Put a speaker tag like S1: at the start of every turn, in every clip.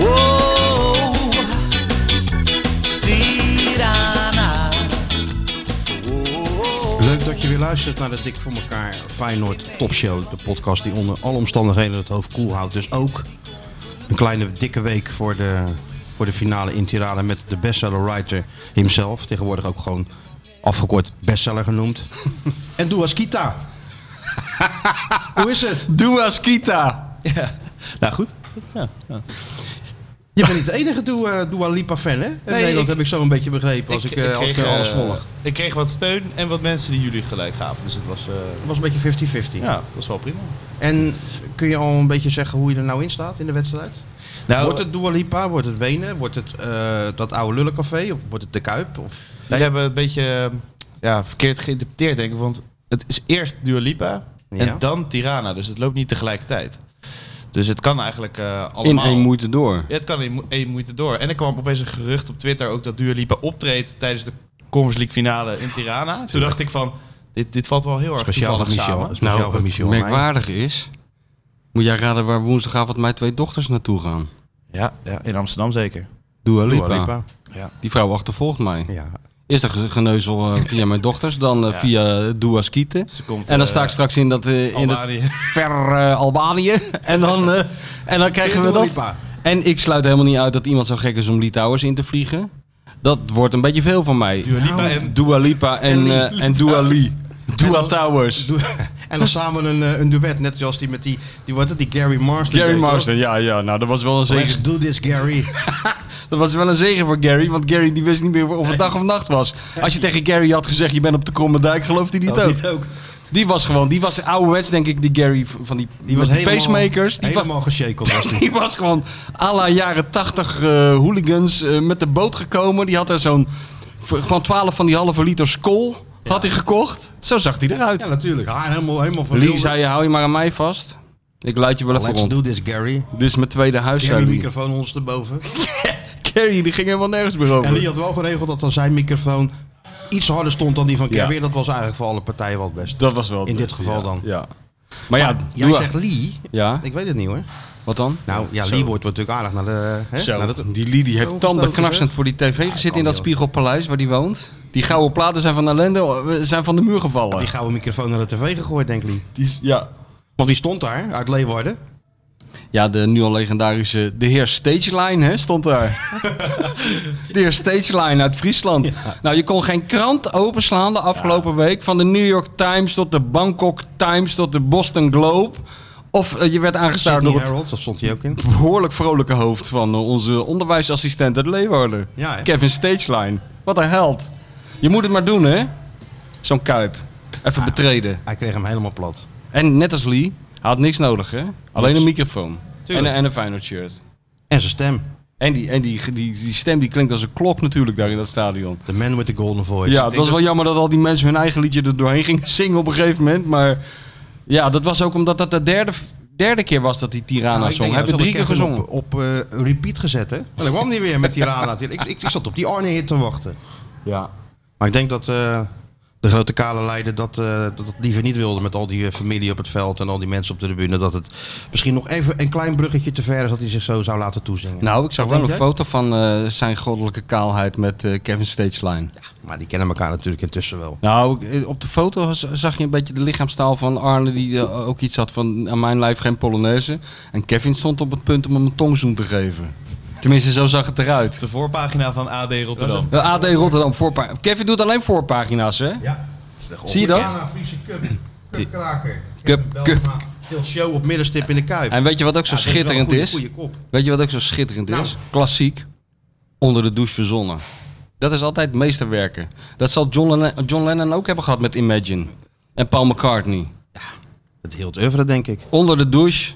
S1: oh, oh.
S2: luistert naar de Dik voor elkaar Feyenoord Top Show. De podcast die onder alle omstandigheden het hoofd koel houdt. Dus ook een kleine dikke week voor de, voor de finale in Tirana met de bestseller writer himself. Tegenwoordig ook gewoon afgekort bestseller genoemd. en Douas Kita. Hoe is het?
S3: Dua Skita.
S4: Ja. Nou goed. Ja. ja.
S2: Je bent niet de enige Dua, eh, Dua Lipa fan hè? In Nederland
S4: ik-
S2: heb ik zo een beetje begrepen als ik, eh, als ik
S4: kreeg,
S2: eh, alles
S4: eh,
S2: volg.
S4: Ik kreeg wat steun en wat mensen die jullie gelijk gaven. Dus het was, eh,
S2: Het was een beetje 50-50.
S4: ja, dat was wel prima.
S2: En kun je al een beetje zeggen hoe je er nou in staat in de wedstrijd?
S4: Nou,
S2: wordt het Dua Lipa? Wordt het Wenen? Wordt het eh, dat oude lullencafé? Of wordt het De Kuip? Of...
S4: jullie hebben het een beetje eh, ja, verkeerd geïnterpreteerd, denk ik. Want het is eerst Dua Lipa en
S2: Ja.
S4: dan Tirana. Dus het loopt niet tegelijkertijd. Dus het kan eigenlijk eh
S3: In
S4: allemaal...
S3: één moeite door.
S4: Ja, het kan in mo- één moeite door. En er kwam opeens een gerucht op Twitter ook dat Dua Lipa optreedt tijdens de Conference League finale in Tirana. Toen dacht ik van, dit, dit valt wel heel erg
S2: Speciaal van
S4: toevallig
S2: Michel.
S4: samen.
S2: Speciaal
S3: nou,
S2: van
S3: het
S2: Michel.
S3: merkwaardig is... Moet jij raden waar woensdagavond mijn twee dochters naartoe gaan?
S4: Ja, ja, in Amsterdam zeker.
S3: Dua Lipa.
S2: Dua Lipa.
S3: Die vrouw achtervolgt mij.
S2: Ja.
S3: Eerst een ge- geneuzel eh, via mijn dochters, dan eh,
S4: Ja.
S3: via Dua Skieten.
S4: Ze komt,
S3: En dan
S4: eh,
S3: sta ik straks in, dat, eh, in het
S4: Albanië.
S3: ver eh, Albanië. En dan, eh, en dan krijgen we
S2: Dua
S3: dat.
S2: Lipa.
S3: En ik sluit helemaal niet uit dat iemand zo gek is om Litouwers in te vliegen. Dat wordt een beetje veel van mij.
S4: Dua
S2: Nou,
S4: Lipa en-
S3: Dua Lipa en,
S2: Li-
S3: eh, en Dua Li.
S2: En
S3: Dua
S2: dan-
S3: Towers.
S2: Doe- en dan samen een, eh, een duet, net zoals die met die, die, wat, het, die Gary Marsden.
S3: Gary
S2: deed, toch?
S3: Marsden, ja, ja. Nou, dat was wel een zegen.
S2: Let's do this, Gary.
S3: Dat was wel een zegen voor Gary, want Gary die wist niet meer of het dag of nacht was. Als je tegen Gary had gezegd, je bent op de Kromme Dijk, geloofde hij niet
S2: Dat
S3: ook.
S2: niet ook.
S3: Die was gewoon, die was ouderwets denk ik, die Gary v- van die,
S2: Die was
S3: met die
S2: helemaal,
S3: pacemakers. Die was,
S2: helemaal geshaken. was die.
S3: die was gewoon à la jaren tachtig hooligans eh, met de boot gekomen. Die had er zo'n, v- gewoon twaalf van die halve liter skol had hij gekocht. Zo zag hij eruut.
S2: Ja, natuurlijk. Haar helemaal, helemaal van
S3: Lee
S2: Hilbert.
S3: zei, hou je maar aan mij vast. Ik leid je wel even
S2: Let's
S3: rond.
S2: do this, Gary.
S3: Dit is mijn tweede huis. zei
S2: Gary
S3: Lee.
S2: microfoon ons erboven.
S3: Gary, die ging helemaal nergens meer over.
S2: En Lee had wel geregeld dat dan zijn microfoon iets harder stond dan die van
S3: Ja.
S2: Gary. Dat was eigenlijk voor alle partijen wel het beste.
S3: Dat was wel het
S2: In dit
S3: beste,
S2: geval
S3: ja.
S2: dan.
S3: Ja. Maar ja,
S2: Jij
S3: doe-
S2: zegt Lee.
S3: Ja,
S2: Ik weet het niet hoor.
S3: wat dan?
S2: Nou, ja, Lee wordt natuurlijk aardig naar de... Hè?
S3: Zo,
S2: Naar de-
S3: die Lee die heeft
S2: Zo
S3: tandenknarsend
S2: gestoken,
S3: voor die tv gezeten in dat
S2: joh.
S3: spiegelpaleis waar die woont. Die gouden platen zijn van ellende, eh, zijn van de muur gevallen.
S2: die gouden microfoon naar de tv gegooid, denk Lee.
S3: Die- ja.
S2: Want die stond daar, uit Leeuwarden.
S3: ja, de nu al legendarische de heer Stageline hè, stond daar. de heer Stageline uit Friesland. Nou, je kon geen krant openslaan de afgelopen week. Van de New York Times tot de Bangkok Times tot de Boston Globe. Of eh, je werd aangestaard
S2: Sydney
S3: door het
S2: Herald, dat stond hij ook in.
S3: behoorlijk vrolijke hoofd van eh, onze onderwijsassistent uit Leeuwarden.
S2: Ja, hè?
S3: Kevin Stageline. Wat een held. Je moet het maar doen, hè? Zo'n kuip.
S2: Ah.
S3: Even betreden.
S2: Hij kreeg hem helemaal plat.
S3: En net als Lee, hij had niks nodig, hè? Alleen
S2: Niks.
S3: een microfoon. En,
S2: Tuurlijk.
S3: een- en een Feyenoord shirt.
S2: En zijn stem.
S3: En, die, en die, die, die stem die klinkt als een klok natuurlijk daar in dat stadion.
S2: The man with the golden voice.
S3: ja,
S2: Ik
S3: het was
S2: denk
S3: wel jammer dat al die mensen hun eigen liedje er doorheen gingen zingen op een gegeven moment. Maar ja, dat was ook omdat dat de derde, derde keer was dat die Tirana
S2: Nou, ik
S3: zong.
S2: denk,
S3: Hij
S2: ja,
S3: heeft drie keer
S2: ze hadden
S3: gezongen.
S2: Kevin Op, op eh, repeat gezet, hè? En dan kwam hij weer met die Rana. Ik, ik, ik zat op die Arne-hit te wachten.
S3: Ja.
S2: Maar ik denk dat eh, de grote kale leider dat, eh, dat het liever niet wilde met al die eh, familie op het veld en al die mensen op de tribune. Dat het misschien nog even een klein bruggetje te ver is dat hij zich zo zou laten toezingen.
S3: Nou, ik zag
S2: Wat
S3: wel een
S2: denk jij?
S3: foto van eh, zijn goddelijke kaalheid met eh, Kevin Stageline.
S2: Maar die kennen elkaar natuurlijk intussen wel.
S3: Nou, ik- op de foto z- zag je een beetje de lichaamstaal van Arne, die eh, ook iets had van aan mijn lijf geen Polonaise. En Kevin stond op het punt om hem een tongzoen te geven. Tenminste, zo zag het eruit.
S4: De voorpagina van AD Rotterdam.
S3: Eh, AD Rotterdam, voorpa- Kevin doet alleen voorpagina's, hè?
S2: Ja.
S3: Zie je dat?
S2: Friese cup. Cupkraker.
S3: Cup, cup.
S2: Stil show op middenstip in de Kuip.
S3: En weet je wat ook zo schitterend is?
S2: Goede kop.
S3: Weet je wat ook zo schitterend
S2: Nou.
S3: is? Klassiek. Onder de douche verzonnen. Dat is altijd meesterwerken. Dat zal John Lennon, John Lennon ook hebben gehad met Imagine. En Paul McCartney.
S2: Het heel het oeuvre, denk ik.
S3: Onder de douche.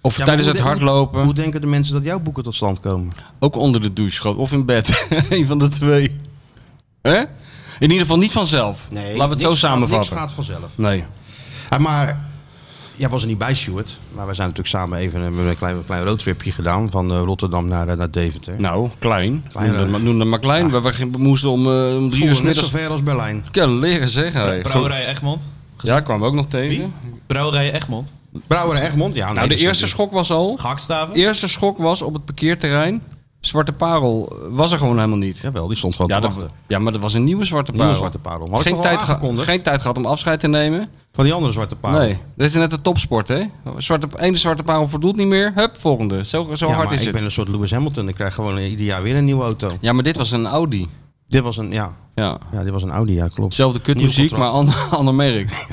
S3: Of
S2: Ja,
S3: tijdens
S2: maar
S3: het
S2: hoe de-
S3: hardlopen.
S2: Hoe denken de mensen dat jouw boeken tot stand komen?
S3: Ook onder de douche. gewoon. Of in bed. Een van de twee. Hè? In ieder geval niet vanzelf. Laten we het zo
S2: niks gaat-
S3: samenvatten.
S2: Niks gaat vanzelf.
S3: Nee.
S2: Ja, Eh, maar jij was er niet bij, Stuart. Maar wij zijn natuurlijk samen even een, een klein, klein roadtripje gedaan. Van eh, Rotterdam naar, eh, naar Deventer.
S3: Nou, klein.
S2: Klein,
S3: noem, dat
S2: eh.
S3: maar, noem dat maar klein. We, we gingen- we moesten om, eh, om drie
S2: Voelde
S3: uur s
S2: net zo
S3: middags...
S2: ver als Berlijn.
S3: Ik kan leren zeggen. hè.
S4: Brouwerij Egmond.
S3: Ja, kwamen we ook nog tegen.
S4: Brouwerij Egmond.
S2: Brouwer en Egmond, ja. nee,
S3: Nou, de
S2: dat is
S3: eerste
S2: natuurlijk-
S3: schok was al.
S4: Gehaktstaven.
S3: eerste schok was op het parkeerterrein. Zwarte Parel was er gewoon helemaal niet.
S2: Jawel, die stond gewoon
S3: Ja,
S2: te
S3: dat-
S2: wachten.
S3: ja, maar dat was een nieuwe Zwarte Parel.
S2: Nieuwe zwarte parel. Had ik
S3: geen,
S2: nog wel
S3: tijd geha-
S2: aangekondigd
S3: geen tijd gehad om afscheid te nemen.
S2: van die andere zwarte parel.
S3: Nee, dit is net de topsport, hè? Zwarte, ene Zwarte Parel voldoet niet meer. Hup, volgende. Zo, zo
S2: Ja,
S3: hard
S2: maar
S3: is
S2: ik
S3: het.
S2: ben een soort Lewis Hamilton. Ik krijg gewoon ieder jaar weer een nieuwe auto.
S3: Ja, maar dit was een Audi.
S2: Dit was een, ja,
S3: Ja.
S2: ja, dit was een Audi, ja, klopt.
S3: Zelfde kutmuziek, maar ander, ander merk.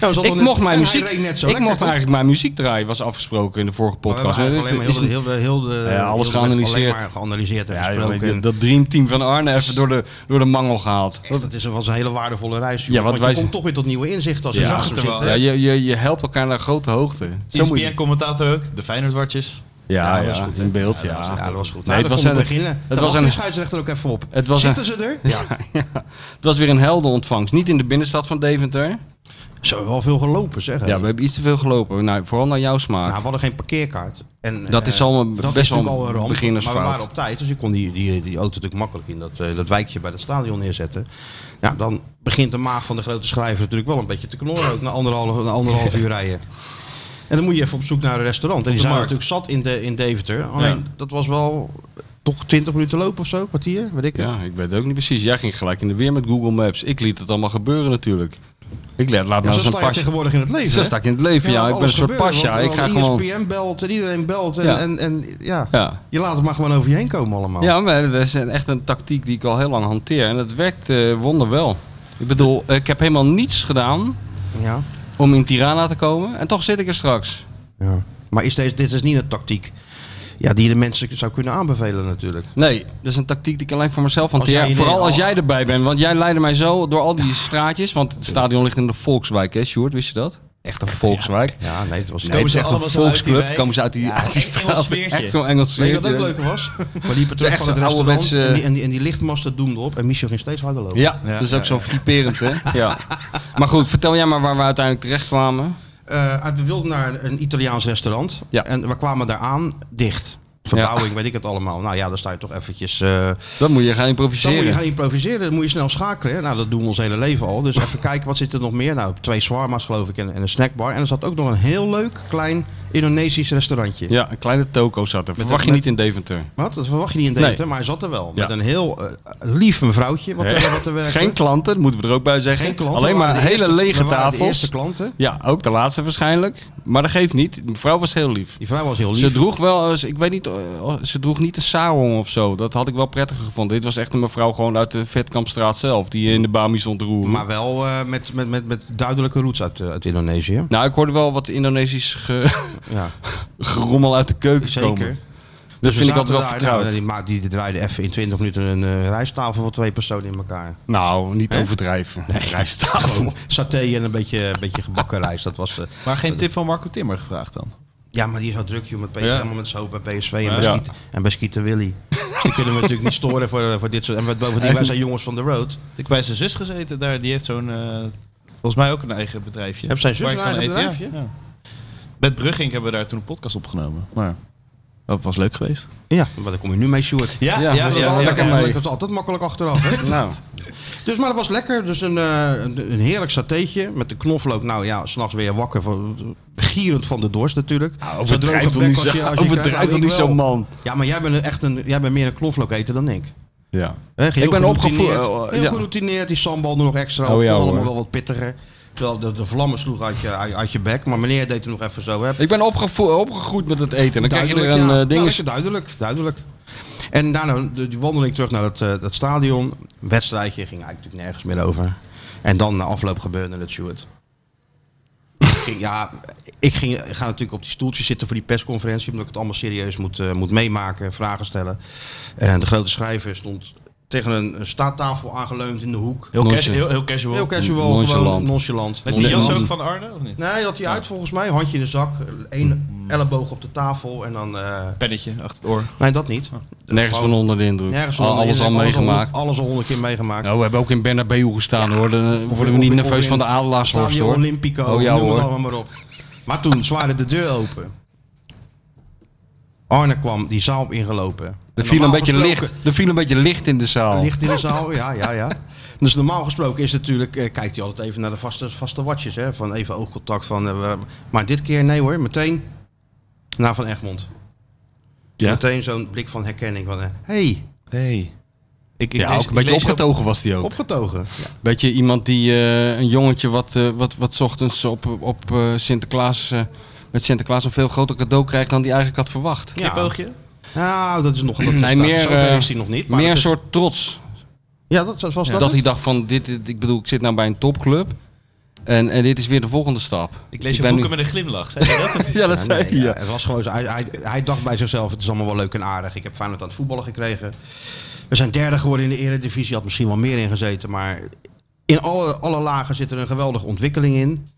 S2: Ja, we zaten
S3: Ik
S2: net-
S3: mocht mijn
S2: en hij
S3: muziek,
S2: reed net zo
S3: ik
S2: lekker,
S3: mocht
S2: toch?
S3: eigenlijk mijn muziek draaien, was afgesproken in de vorige
S2: Maar we hebben
S3: podcast.
S2: eigenlijk
S3: Is-
S2: alleen maar
S3: is-
S2: heel de- heel de- heel de-
S3: Ja,
S2: heel
S3: alles
S2: de weg
S3: geanalyseerd.
S2: alleen maar geanalyseerd en
S3: Ja,
S2: gesproken.
S3: joh,
S2: En
S3: dat dreamteam van Arne even door de, door de mangel gehaald.
S2: echt, Dat is een, was een hele waardevolle reis. joh.
S3: Ja, want
S2: want
S3: wij
S2: je
S3: zijn-
S2: komt toch weer tot nieuwe inzichten als je
S3: Ja.
S2: ja,
S4: Zag het er wel.
S3: Ja, je, je, je helpt elkaar naar grote hoogte.
S4: E
S3: Zo moet je-
S4: ESPN-commentator ook, de Feyenoordwartjes.
S3: Ja,
S2: Ja, dat
S3: ja,
S2: was goed, hè?
S3: in beeld, ja.
S2: Ja, dat was goed.
S3: Nee,
S2: Nou,
S3: het
S2: dan
S3: was
S2: kon
S3: een-
S2: ik beginnen.
S3: Het
S2: Dan
S3: was
S2: was de
S3: een...
S2: scheidsrechter ook even op.
S3: Het was
S2: Zitten
S3: een-
S2: ze er? Ja.
S3: Het was weer een heldenontvangst. Niet in de binnenstad van Deventer.
S2: Ze hebben wel veel gelopen, zeg. hè?
S3: Ja, we hebben iets te veel gelopen. Nou, vooral naar jouw smaak.
S2: Nou, we hadden geen parkeerkaart. En,
S3: Dat
S2: eh,
S3: is al een-
S2: dat
S3: best
S2: is
S3: wel
S2: natuurlijk
S3: een
S2: ramp,
S3: beginnersfout.
S2: Maar we waren op tijd, dus je kon die, die, die auto natuurlijk makkelijk in dat, eh, dat wijkje bij het stadion neerzetten. Ja, dan begint de maag van de grote schrijver natuurlijk wel een beetje te knorren. Ook na anderhalf, na anderhalf uur rijden. En dan moet je even op zoek naar een restaurant. En die
S4: de
S2: zijn we
S4: markt.
S2: natuurlijk zat in, de, in Deventer. Alleen, dat was wel eh, toch 20 minuten lopen of zo, kwartier, weet ik het. Nou,
S3: Ja, ik weet het ook niet precies. Jij ging gelijk in de weer met Google Maps. Ik liet het allemaal gebeuren natuurlijk. Ik laat, laat
S2: Ja,
S3: maar
S2: zo
S3: eens een
S2: sta je
S3: pasje.
S2: tegenwoordig in het leven.
S3: Zo
S2: hè?
S3: sta ik in het leven, ja.
S2: want
S3: Ik ben een
S2: alles
S3: soort
S2: gebeurt,
S3: pasja.
S2: want-
S3: Ik ga
S2: want
S3: gewoon...
S2: ESPN belt en iedereen belt. En,
S3: Ja.
S2: en, en ja.
S3: Ja.
S2: je laat het maar gewoon over je heen komen allemaal.
S3: ja, maar dat is echt een tactiek die ik al heel lang hanteer. En dat werkt eh wonderwel. Ik bedoel, ik heb helemaal niets gedaan
S2: ja.
S3: om in Tirana te komen. En toch zit ik er straks.
S2: Ja. Maar is deze, dit is niet een tactiek ja, die je de mensen zou kunnen aanbevelen natuurlijk.
S3: Nee, dat is een tactiek die ik alleen voor mezelf hanteer.
S2: jij in-
S3: Vooral als
S2: al-
S3: jij erbij bent. Want jij leidde mij zo door al die straatjes. Want het stadion ligt in de Volkswijk, hè, Sjoerd? Wist je dat? Echt een Volkswijk.
S2: Ja, nee, het was
S3: Nee,
S2: nee,
S3: het is
S4: ze
S3: echt een
S4: allemaal zo uit die
S3: volksclub.
S4: wijk?
S3: Komen ze uit die,
S4: Ja,
S3: uit die
S4: echt een Engels
S3: straat.
S4: sfeertje.
S3: Echt zo'n Engels
S2: Weet je wat
S3: sfeertje.
S2: ook leuk was? Maar die
S3: is
S2: terug
S3: echt
S2: van het
S3: zo'n
S2: restaurant
S3: ouderwetse-
S2: en, die, en, die, en die lichtmasten doen erop. En Michel ging steeds harder lopen.
S3: Ja,
S4: Ja,
S3: dat is
S4: ja,
S3: ook zo typerend, hè? Ja. Maar goed, vertel jij maar waar we uiteindelijk terecht kwamen.
S2: Eh, uit- we wilden naar een- een Italiaans restaurant.
S3: Ja.
S2: En we kwamen daar aan, dicht. Verbouwing, weet ik het allemaal. Nou ja, dan sta je toch eventjes... eh,
S3: Dan moet je gaan
S2: Dan moet je
S3: improviseren.
S2: gaan improviseren, dan moet je snel schakelen. hè. Nou, dat doen we ons hele leven al. Dus even kijken, wat zit er nog meer? Nou, twee shawarma's geloof ik en, en een snackbar. En er zat ook nog een heel leuk, klein Indonesisch restaurantje.
S3: Ja, een kleine toko zat er. Verwacht je
S2: met-
S3: niet in Deventer.
S2: Wat? Dat verwacht je niet in Deventer, maar hij zat er wel.
S3: Ja.
S2: Met een heel eh, lief mevrouwtje. Wat, er- wat er werkte.
S3: Geen klanten, dat moeten we er ook bij zeggen.
S2: eh, Geen klant.
S3: Alleen
S2: We
S3: maar
S2: waren de
S3: hele
S2: eerste-
S3: lege
S2: we waren De eerste
S3: tafels.
S2: klanten.
S3: Ja, ook de laatste waarschijnlijk. Maar dat geeft niet. De mevrouw was heel lief.
S2: Die vrouw was heel lief.
S3: Ze droeg wel, eens- ik weet niet, eh, ze droeg niet de sarong of zo. Dat had ik wel prettiger gevonden. Dit was echt een mevrouw gewoon uit de Vetkampstraat zelf, die in de Bami stond te roeren.
S2: Maar wel eh, met, met, met, met duidelijke roots uit, eh, uit Indonesië.
S3: Nou, ik hoorde wel wat Indonesisch ge-
S2: Ja,
S3: gerommel uit de keuken komen.
S2: zeker.
S3: Dus dat vind ik altijd wel
S2: daar, nou,
S3: vertrouwd.
S2: die, ma- die draaide even in 20 minuten een eh, rijsttafel voor twee personen in elkaar.
S3: Nou, niet overdrijven.
S2: Rijsttafel. Saté en een beetje, een beetje gebakken rijst. Dat was eh, de...
S4: Maar geen tip van Marco Timmer gevraagd dan?
S2: Ja, maar die is al druk, joh, met PSV,
S4: Ja.
S2: helemaal met zijn hoofd bij PSV en bij,
S3: Ja.
S2: Schiet, en bij Schieten Willy. Dus die kunnen we natuurlijk niet storen voor, eh, voor dit soort... En wat- bovendien, wij zijn jongens van de road.
S4: Had Ik bij zijn zus gezeten daar, die heeft zo'n, eh, volgens mij ook een eigen bedrijfje.
S2: Heb zijn zus
S4: Waar je
S2: een
S4: kan
S2: eigen
S4: eten, ja. Ja. Met Brugging hebben we daar toen een podcast opgenomen. Maar dat was leuk geweest.
S2: Ja, maar daar kom je nu mee, Sjoerd.
S4: Ja,
S3: ja,
S2: Dat is
S3: ja,
S2: wel lekker,
S3: ja.
S2: want ik was altijd makkelijk achteraf. Hè?
S3: Nou,
S2: Dus, maar dat was lekker. Dus een, eh, een, een heerlijk satéetje met de knoflook. Nou ja, s'nachts weer wakker. Van, gierend van de dorst natuurlijk. Zo droge
S3: overdrijf toch
S2: bek
S3: niet
S2: als je-
S3: zo,
S2: als je
S3: overdrijf
S2: krijgt,
S3: toch
S2: nou,
S3: niet
S2: ik
S3: zo
S2: wel.
S3: man.
S2: Ja, maar jij bent, een- echt een, jij bent meer een knoflook eten dan ik.
S3: Ja.
S2: Hè, heel
S3: Ik ben
S2: geroutineerd.
S3: opgevoed, eh,
S2: heel
S3: ja.
S2: geroutineerd, die sambal er nog extra
S3: Oh
S2: op.
S3: ja,
S2: allemaal
S3: hoor.
S2: wel wat pittiger. Terwijl de, de vlammen sloegen uit je, uit, uit je bek. Maar meneer deed er nog even zo. Hè.
S3: Ik ben opgevo- opgegroeid met het eten. En dan krijg je er
S2: Duidelijk,
S3: een
S2: ja. Nou,
S3: eh, ding.
S2: lekker duidelijk, duidelijk. En daarna de, die wandeling terug naar het, eh, dat stadion. Wedstrijdje ging eigenlijk natuurlijk nergens meer over. En dan na afloop gebeurde het, Stuart. ja, ik, ging, ik ga natuurlijk op die stoeltjes zitten voor die persconferentie. Omdat ik het allemaal serieus moet, eh, moet meemaken, vragen stellen. En de grote schrijver stond tegen een, een staattafel aangeleund in de hoek.
S4: Heel,
S3: Nooit
S4: cas-
S3: zo.
S4: heel, heel casual.
S2: Heel casual,
S3: Nonchalant.
S2: gewoon nonchalant.
S4: Met die jas
S2: Nonchalant.
S4: ook van Arne, of niet?
S2: Nee, dat hij uit volgens mij. Handje in de zak, één
S3: Hmm.
S2: elleboog op de tafel en dan... eh,
S4: Pennetje achter het oor.
S2: Nee, dat niet.
S3: Nergens van onder de indruk.
S2: Nergens
S3: Oh, Al-
S2: van
S3: alles al
S2: Alles
S3: meegemaakt.
S2: Alles al honderd keer meegemaakt.
S3: Nou, we hebben ook in Bernabeu gestaan hoor. Dan eh,
S2: Of-
S3: worden we
S2: of-
S3: niet
S2: of
S3: nerveus
S2: in
S3: van de adelaarshorst
S2: Stadio
S3: hoor.
S2: Olympico,
S3: Oh ja
S2: noem het
S3: hoor.
S2: allemaal maar op. Maar toen zwaaide de deur open. Arne kwam die zaal op ingelopen. En
S3: Er viel een
S2: normaal
S3: beetje
S2: gesproken-
S3: licht. Er viel een beetje licht in de zaal.
S2: Licht in de zaal, ja, ja, ja. Dus normaal gesproken is het natuurlijk, eh, kijkt hij altijd even naar de vaste, vaste watjes. Hè? Van even oogcontact. Van, eh, we- maar dit keer nee hoor, meteen naar Van Egmond.
S4: Ja.
S2: Meteen zo'n blik van herkenning. Van, eh, hey.
S4: Nee. Ik, ik
S3: Ja,
S4: lees-
S3: ook een beetje
S4: ik lees
S3: opgetogen was die ook.
S2: Opgetogen. Ja.
S3: Beetje iemand die eh, een jongetje wat, eh, wat, wat 's ochtends op, op eh, Sinterklaas, eh, met Sinterklaas een veel groter cadeau krijgt dan die eigenlijk had verwacht.
S4: een knipoogje.
S2: Nou, dat is nog... Dat is,
S3: Nee,
S2: dus dat-
S3: meer,
S2: zover
S3: eh,
S2: is hij nog niet. Maar
S3: Meer een
S2: dat is-
S3: soort trots.
S2: Ja, dat was dat.
S3: dat hij dacht van, dit, dit- ik bedoel, ik zit nou bij een topclub. En, en dit is weer de volgende stap.
S4: Ik lees je
S3: ben
S4: boeken
S3: nu-
S4: met een glimlach. Zei je dat of niet?
S3: Ja, dat
S2: Ja,
S3: zei
S2: nee,
S3: hij.
S2: ja,
S3: ja.
S2: het was gewoon, zo- hij, hij, hij dacht bij zichzelf, het is allemaal wel leuk en aardig. Ik heb Feyenoord aan het voetballen gekregen. We zijn derde geworden in de eredivisie. Had misschien wel meer in gezeten. Maar in alle, alle lagen zit er een geweldige ontwikkeling in.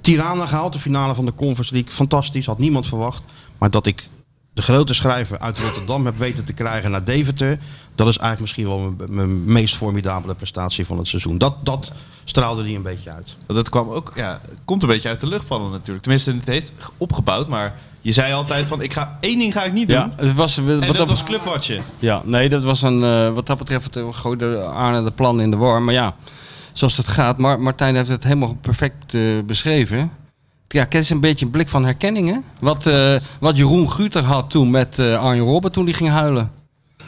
S2: Tirana gehaald, de finale van de Conference League. Fantastisch, had niemand verwacht. Maar dat ik de grote schrijver uit Rotterdam heb weten te krijgen naar Deventer. Dat is eigenlijk misschien wel mijn, mijn meest formidabele prestatie van het seizoen. Dat, dat straalde hij een beetje uit.
S4: Want Dat kwam ook, ja, het komt een beetje uit de lucht vallen natuurlijk. Tenminste, het heeft opgebouwd, maar je zei altijd van, ik ga één ding ga ik niet doen.
S3: Ja, het was, wat
S4: En
S3: dat
S4: dat was clubwatchen.
S3: Ja, nee, dat was een, eh, wat dat betreft eh, gooide Arne de plan in de war. Maar ja, zoals het gaat, Mar- Martijn heeft het helemaal perfect eh, beschreven. Ja, het is een beetje een blik van herkenning, hè? Wat, eh, wat Jeroen Guter had toen met eh, Arjen Robben toen die ging huilen.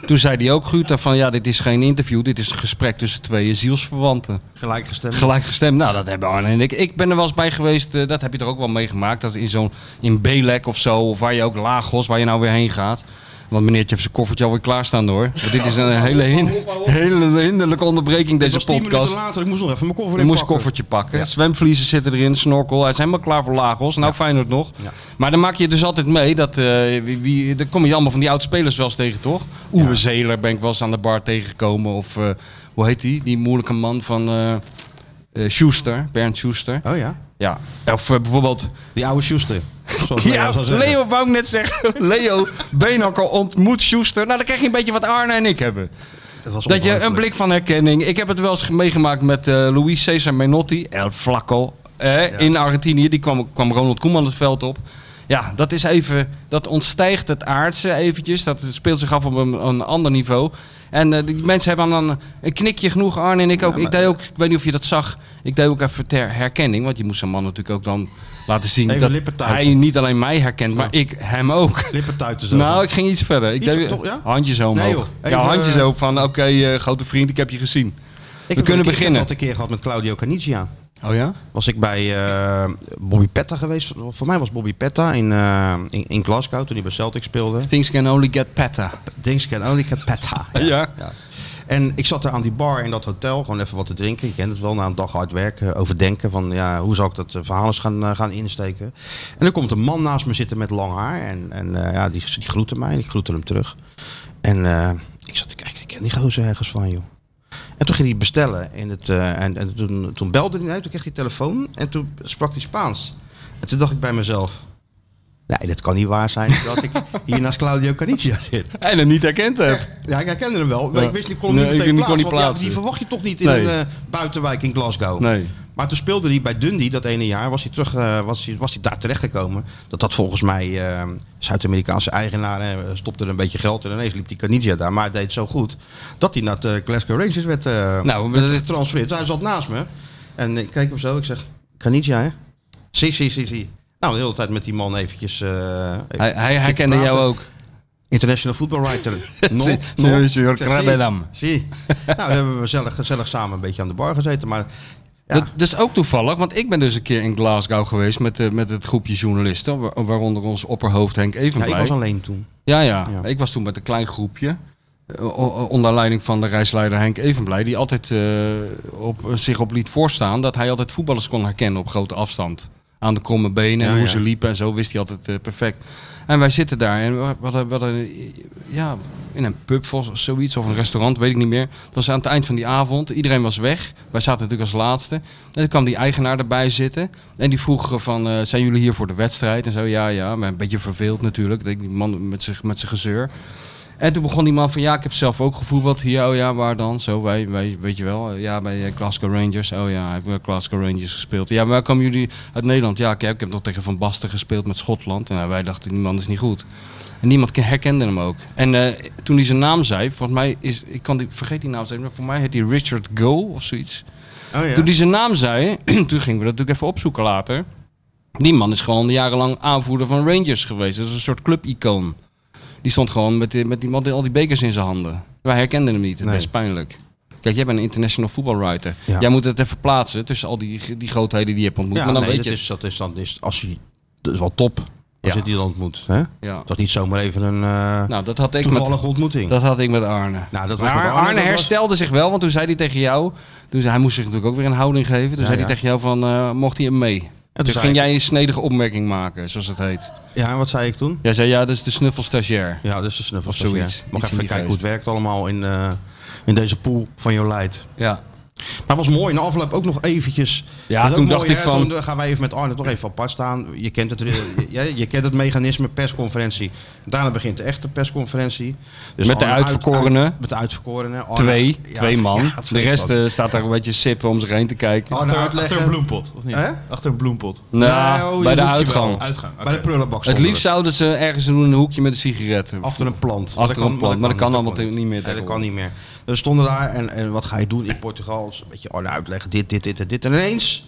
S3: Toen zei hij ook, Guter, van ja, dit is geen interview, dit is een gesprek tussen twee zielsverwanten.
S2: Gelijkgestemd.
S3: Gelijkgestemd, nou dat hebben Arne en ik. Ik ben er wel eens bij geweest, eh, dat heb je er ook wel meegemaakt. Dat is in zo'n, in Belek of zo, of waar je ook Lagos, waar je nou weer heen gaat. Want meneertje heeft zijn koffertje alweer klaarstaan hoor. Want dit is een hele, hin- hele hinderlijke onderbreking
S2: Het
S3: deze
S2: was tien minuten
S3: podcast.
S2: later, ik moest nog even mijn koffer
S3: Je moest een
S2: inpakken.
S3: koffertje pakken. Zwemvliezen zitten erin, snorkel. Hij is helemaal klaar voor Lagos. Nou, fijn Feyenoord nog.
S2: Ja.
S3: Maar dan maak je dus altijd mee dat... eh wie, wie, daar kom je allemaal van die oud-spelers wel eens tegen, toch? Oewe Zeler ben ik wel eens aan de bar tegengekomen. Of eh, hoe heet die? Die moeilijke man van eh eh, Schuster. Bernd Schuster.
S2: Oh ja.
S3: Ja. Of eh, bijvoorbeeld...
S2: Die oude Schuster. Zoals
S3: Ja,
S2: Leo zou zeggen.
S3: Leo wou ik net zeggen. Leo Beenhakker ontmoet Schuster. Nou, dan krijg je een beetje wat Arne en ik hebben.
S2: Het was
S3: Dat je een
S2: ongelooflijk.
S3: blik van herkenning. Ik heb het wel eens ge- meegemaakt met eh Luis Cesar Menotti, El Flacco. eh, In Argentinië, die kwam, kwam Ronald Koeman het veld op. Ja, dat is even. Dat ontstijgt het aardse eventjes. Dat speelt zich af op een, een ander niveau. En eh, die mensen hebben dan een, een knikje genoeg, Arne en ik ook. ik deed ook, ik weet niet of je dat zag. Ik deed ook even ter herkenning. Want je moest een man natuurlijk ook dan laten zien
S2: Even
S3: dat
S2: lippen tuiten.
S3: hij niet alleen mij herkent, maar ik hem ook.
S2: Lippen tuiten zo.
S3: Nou, ik ging iets verder. Ik
S2: Iets
S3: deed
S2: op- ja?
S3: handjes omhoog.
S2: Nee, joh. Even,
S3: ja, handjes
S2: eh,
S3: omhoog van oké, eh, grote vriend, ik heb je gezien.
S2: ik
S3: we kunnen
S2: heb, Ik
S3: beginnen.
S2: heb dat een keer gehad met Claudio Canizia.
S3: Oh ja?
S2: Was ik bij eh, Bobby Petta geweest. Voor mij was Bobby Petta in, eh, in, in Glasgow toen hij bij Celtic speelde.
S3: Things can only get better.
S2: Things can only get Petta.
S3: Ja.
S2: En ik zat daar aan die bar in dat hotel, gewoon even wat te drinken. Je kent het wel, na een dag hard werken, eh, overdenken van ja, hoe zal ik dat eh, verhaal eens gaan, eh, gaan insteken. En er komt een man naast me zitten met lang haar en, en eh, ja, die, die groette mij en ik groette hem terug. En eh, ik zat te kijken, ik ken die gozer ergens van joh. En toen ging hij bestellen in het, eh, en, en toen, toen belde hij, nee, toen kreeg hij telefoon en toen sprak hij Spaans. En toen dacht ik bij mezelf, nee, dat kan niet waar zijn dat ik hier naast Claudio Canicia zit.
S3: En hem niet herkend hebt.
S2: Ja, ik herkende hem wel. maar
S3: Ja.
S2: Ik wist niet, kon hem
S3: Nee,
S2: niet
S3: ik
S2: meteen
S3: kon niet
S2: plaatsen, want ja,
S3: plaatsen.
S2: die verwacht je toch niet in
S3: Nee.
S2: een eh, buitenwijk in Glasgow.
S3: Nee.
S2: Maar toen speelde hij bij Dundee dat ene jaar. Was hij, terug, eh, was hij, was hij daar terechtgekomen. Dat had volgens mij eh, Zuid-Amerikaanse eigenaren eh, stopte er een beetje geld. En ineens liep die Caniggia daar. Maar hij deed het zo goed dat hij naar de Glasgow Rangers werd eh
S3: Nou, dat is toch...
S2: getransfereerd. Hij zat naast me. En ik keek hem zo. Ik zeg, Caniggia hè? Si, si, si, si. Nou, de hele tijd met die man eventjes... eh, even
S3: Hij, hij
S2: zitten
S3: herkende jou
S2: praten.
S3: ook.
S2: International Football Writer.
S3: Sí, señor Krabelam.
S2: Zie. Nou, daar hebben we gezellig, gezellig samen een beetje aan de bar gezeten. Maar Ja.
S3: Dat, dat is ook toevallig, want ik ben dus een keer in Glasgow geweest met, eh, met het groepje journalisten, wa- waaronder ons opperhoofd Henk
S2: ja,
S3: Evenblij.
S2: ik was alleen toen.
S3: Ja, ja,
S2: Ja.
S3: Ik was toen met een klein groepje. eh, o- o- Onder leiding van de reisleider Henk Evenblij, die altijd eh, op, zich op liet voorstaan dat hij altijd voetballers kon herkennen op grote afstand. Aan de kromme benen en
S2: Ja,
S3: hoe
S2: ja.
S3: ze liepen en zo wist hij altijd eh, perfect. En wij zitten daar en we hadden, we hadden, ja, in een pub of zoiets of een restaurant, weet ik niet meer. Het was aan het eind van die avond, iedereen was weg. Wij zaten natuurlijk als laatste. En toen kwam die eigenaar erbij zitten en die vroeg eh, van, eh, zijn jullie hier voor de wedstrijd? En zo, ja, ja, maar een beetje verveeld natuurlijk, Ik denk, die man met zijn met zijn gezeur. En toen begon die man van, ja, ik heb zelf ook gevoetbald hier, oh ja, waar dan? Zo, wij, wij, weet je wel, eh, ja, bij eh, Glasgow Rangers, oh ja, ik heb bij Glasgow Rangers gespeeld. Ja, waar komen jullie uit Nederland? Ja, ik heb, ik heb nog tegen Van Basten gespeeld met Schotland. En nou, wij dachten, die man is niet goed. En niemand ke- herkende hem ook. En eh, toen hij zijn naam zei, volgens mij is, ik kan die, vergeet die naam, zeggen, maar voor mij heet hij Richard Goal of zoiets.
S2: Oh,
S3: Toen hij zijn naam zei, toen gingen we dat natuurlijk even opzoeken later. Die man is gewoon jarenlang aanvoerder van Rangers geweest. Dat is een soort clubicoon. Die stond gewoon met, die- met die man die al die bekers in zijn handen. Wij herkenden hem niet. Dat is
S2: Nee.
S3: best pijnlijk. Kijk, jij bent een international voetbalwriter.
S2: Ja.
S3: Jij moet het even plaatsen tussen al die, die grootheden die je hebt ontmoet.
S2: Ja,
S3: maar dan
S2: nee,
S3: weet
S2: dat
S3: je het.
S2: is, dat is dan is, als hij, dat is wel top als
S3: Ja.
S2: je die dan ontmoet. Hè?
S3: Ja.
S2: Dat is niet zomaar even een eh,
S3: Nou, dat had ik met,
S2: toevallige ontmoeting.
S3: Dat had ik met Arne.
S2: Nou, dat was
S3: maar
S2: met
S3: Arne,
S2: Arne, dat was-
S3: herstelde zich wel, want toen zei hij tegen jou... Toen zei, hij moest zich natuurlijk ook weer een houding geven. Toen
S2: Ja,
S3: zei
S2: ja.
S3: hij tegen jou van, eh, mocht hij hem mee? Toen,
S2: en zei
S3: ging
S2: ik-
S3: jij een snedige opmerking maken, zoals het heet.
S2: Ja, en wat zei ik toen?
S3: Jij zei, ja, dat is de snuffelstagiair.
S2: Ja, dat is de snuffel.
S3: Of zoiets.
S2: Mag
S3: Iets in
S2: even
S3: die
S2: kijken hoe
S3: geest.
S2: het werkt allemaal in, eh, in deze pool van jouw leid.
S3: Ja.
S2: Maar het was mooi. Na afloop ook nog eventjes.
S3: Ja,
S2: Dat is ook
S3: toen dacht
S2: hè?
S3: ik van-
S2: Toen gaan wij even met Arne toch even apart staan. Je kent het, eh, je, je kent het mechanisme persconferentie. Daarna begint de echte persconferentie. Dus
S3: Met de
S2: Arne uit-
S3: uitverkorene.
S2: uit- met de uitverkorene. Arne-
S3: Twee.
S2: ja,
S3: twee man.
S2: ja, twee
S3: de rest
S2: man.
S3: eh, staat daar een beetje sippen om zich heen te kijken.
S2: Oh,
S4: Achter,
S2: nou, uitleggen.
S4: achter een bloempot, of niet?
S2: Hè?
S4: Achter een bloempot.
S3: nou,
S2: Nou, je
S3: bij de
S2: hoeft je
S3: uitgang.
S2: wel.
S4: Uitgang. oké.
S2: Bij de prullenbak
S3: Het
S2: stonden
S3: liefst
S2: we.
S3: zouden ze ergens doen in een hoekje met een sigaret.
S2: Achter een plant.
S3: Achter een plant, maar dat kan allemaal
S2: natuurlijk
S3: niet meer
S2: Nee, dat kan
S3: tegenwoordig.
S2: niet meer. Dus we stonden daar en, en wat ga je doen in Portugal? Dus een beetje Arne uitleggen, dit, dit, dit en dit. En ineens,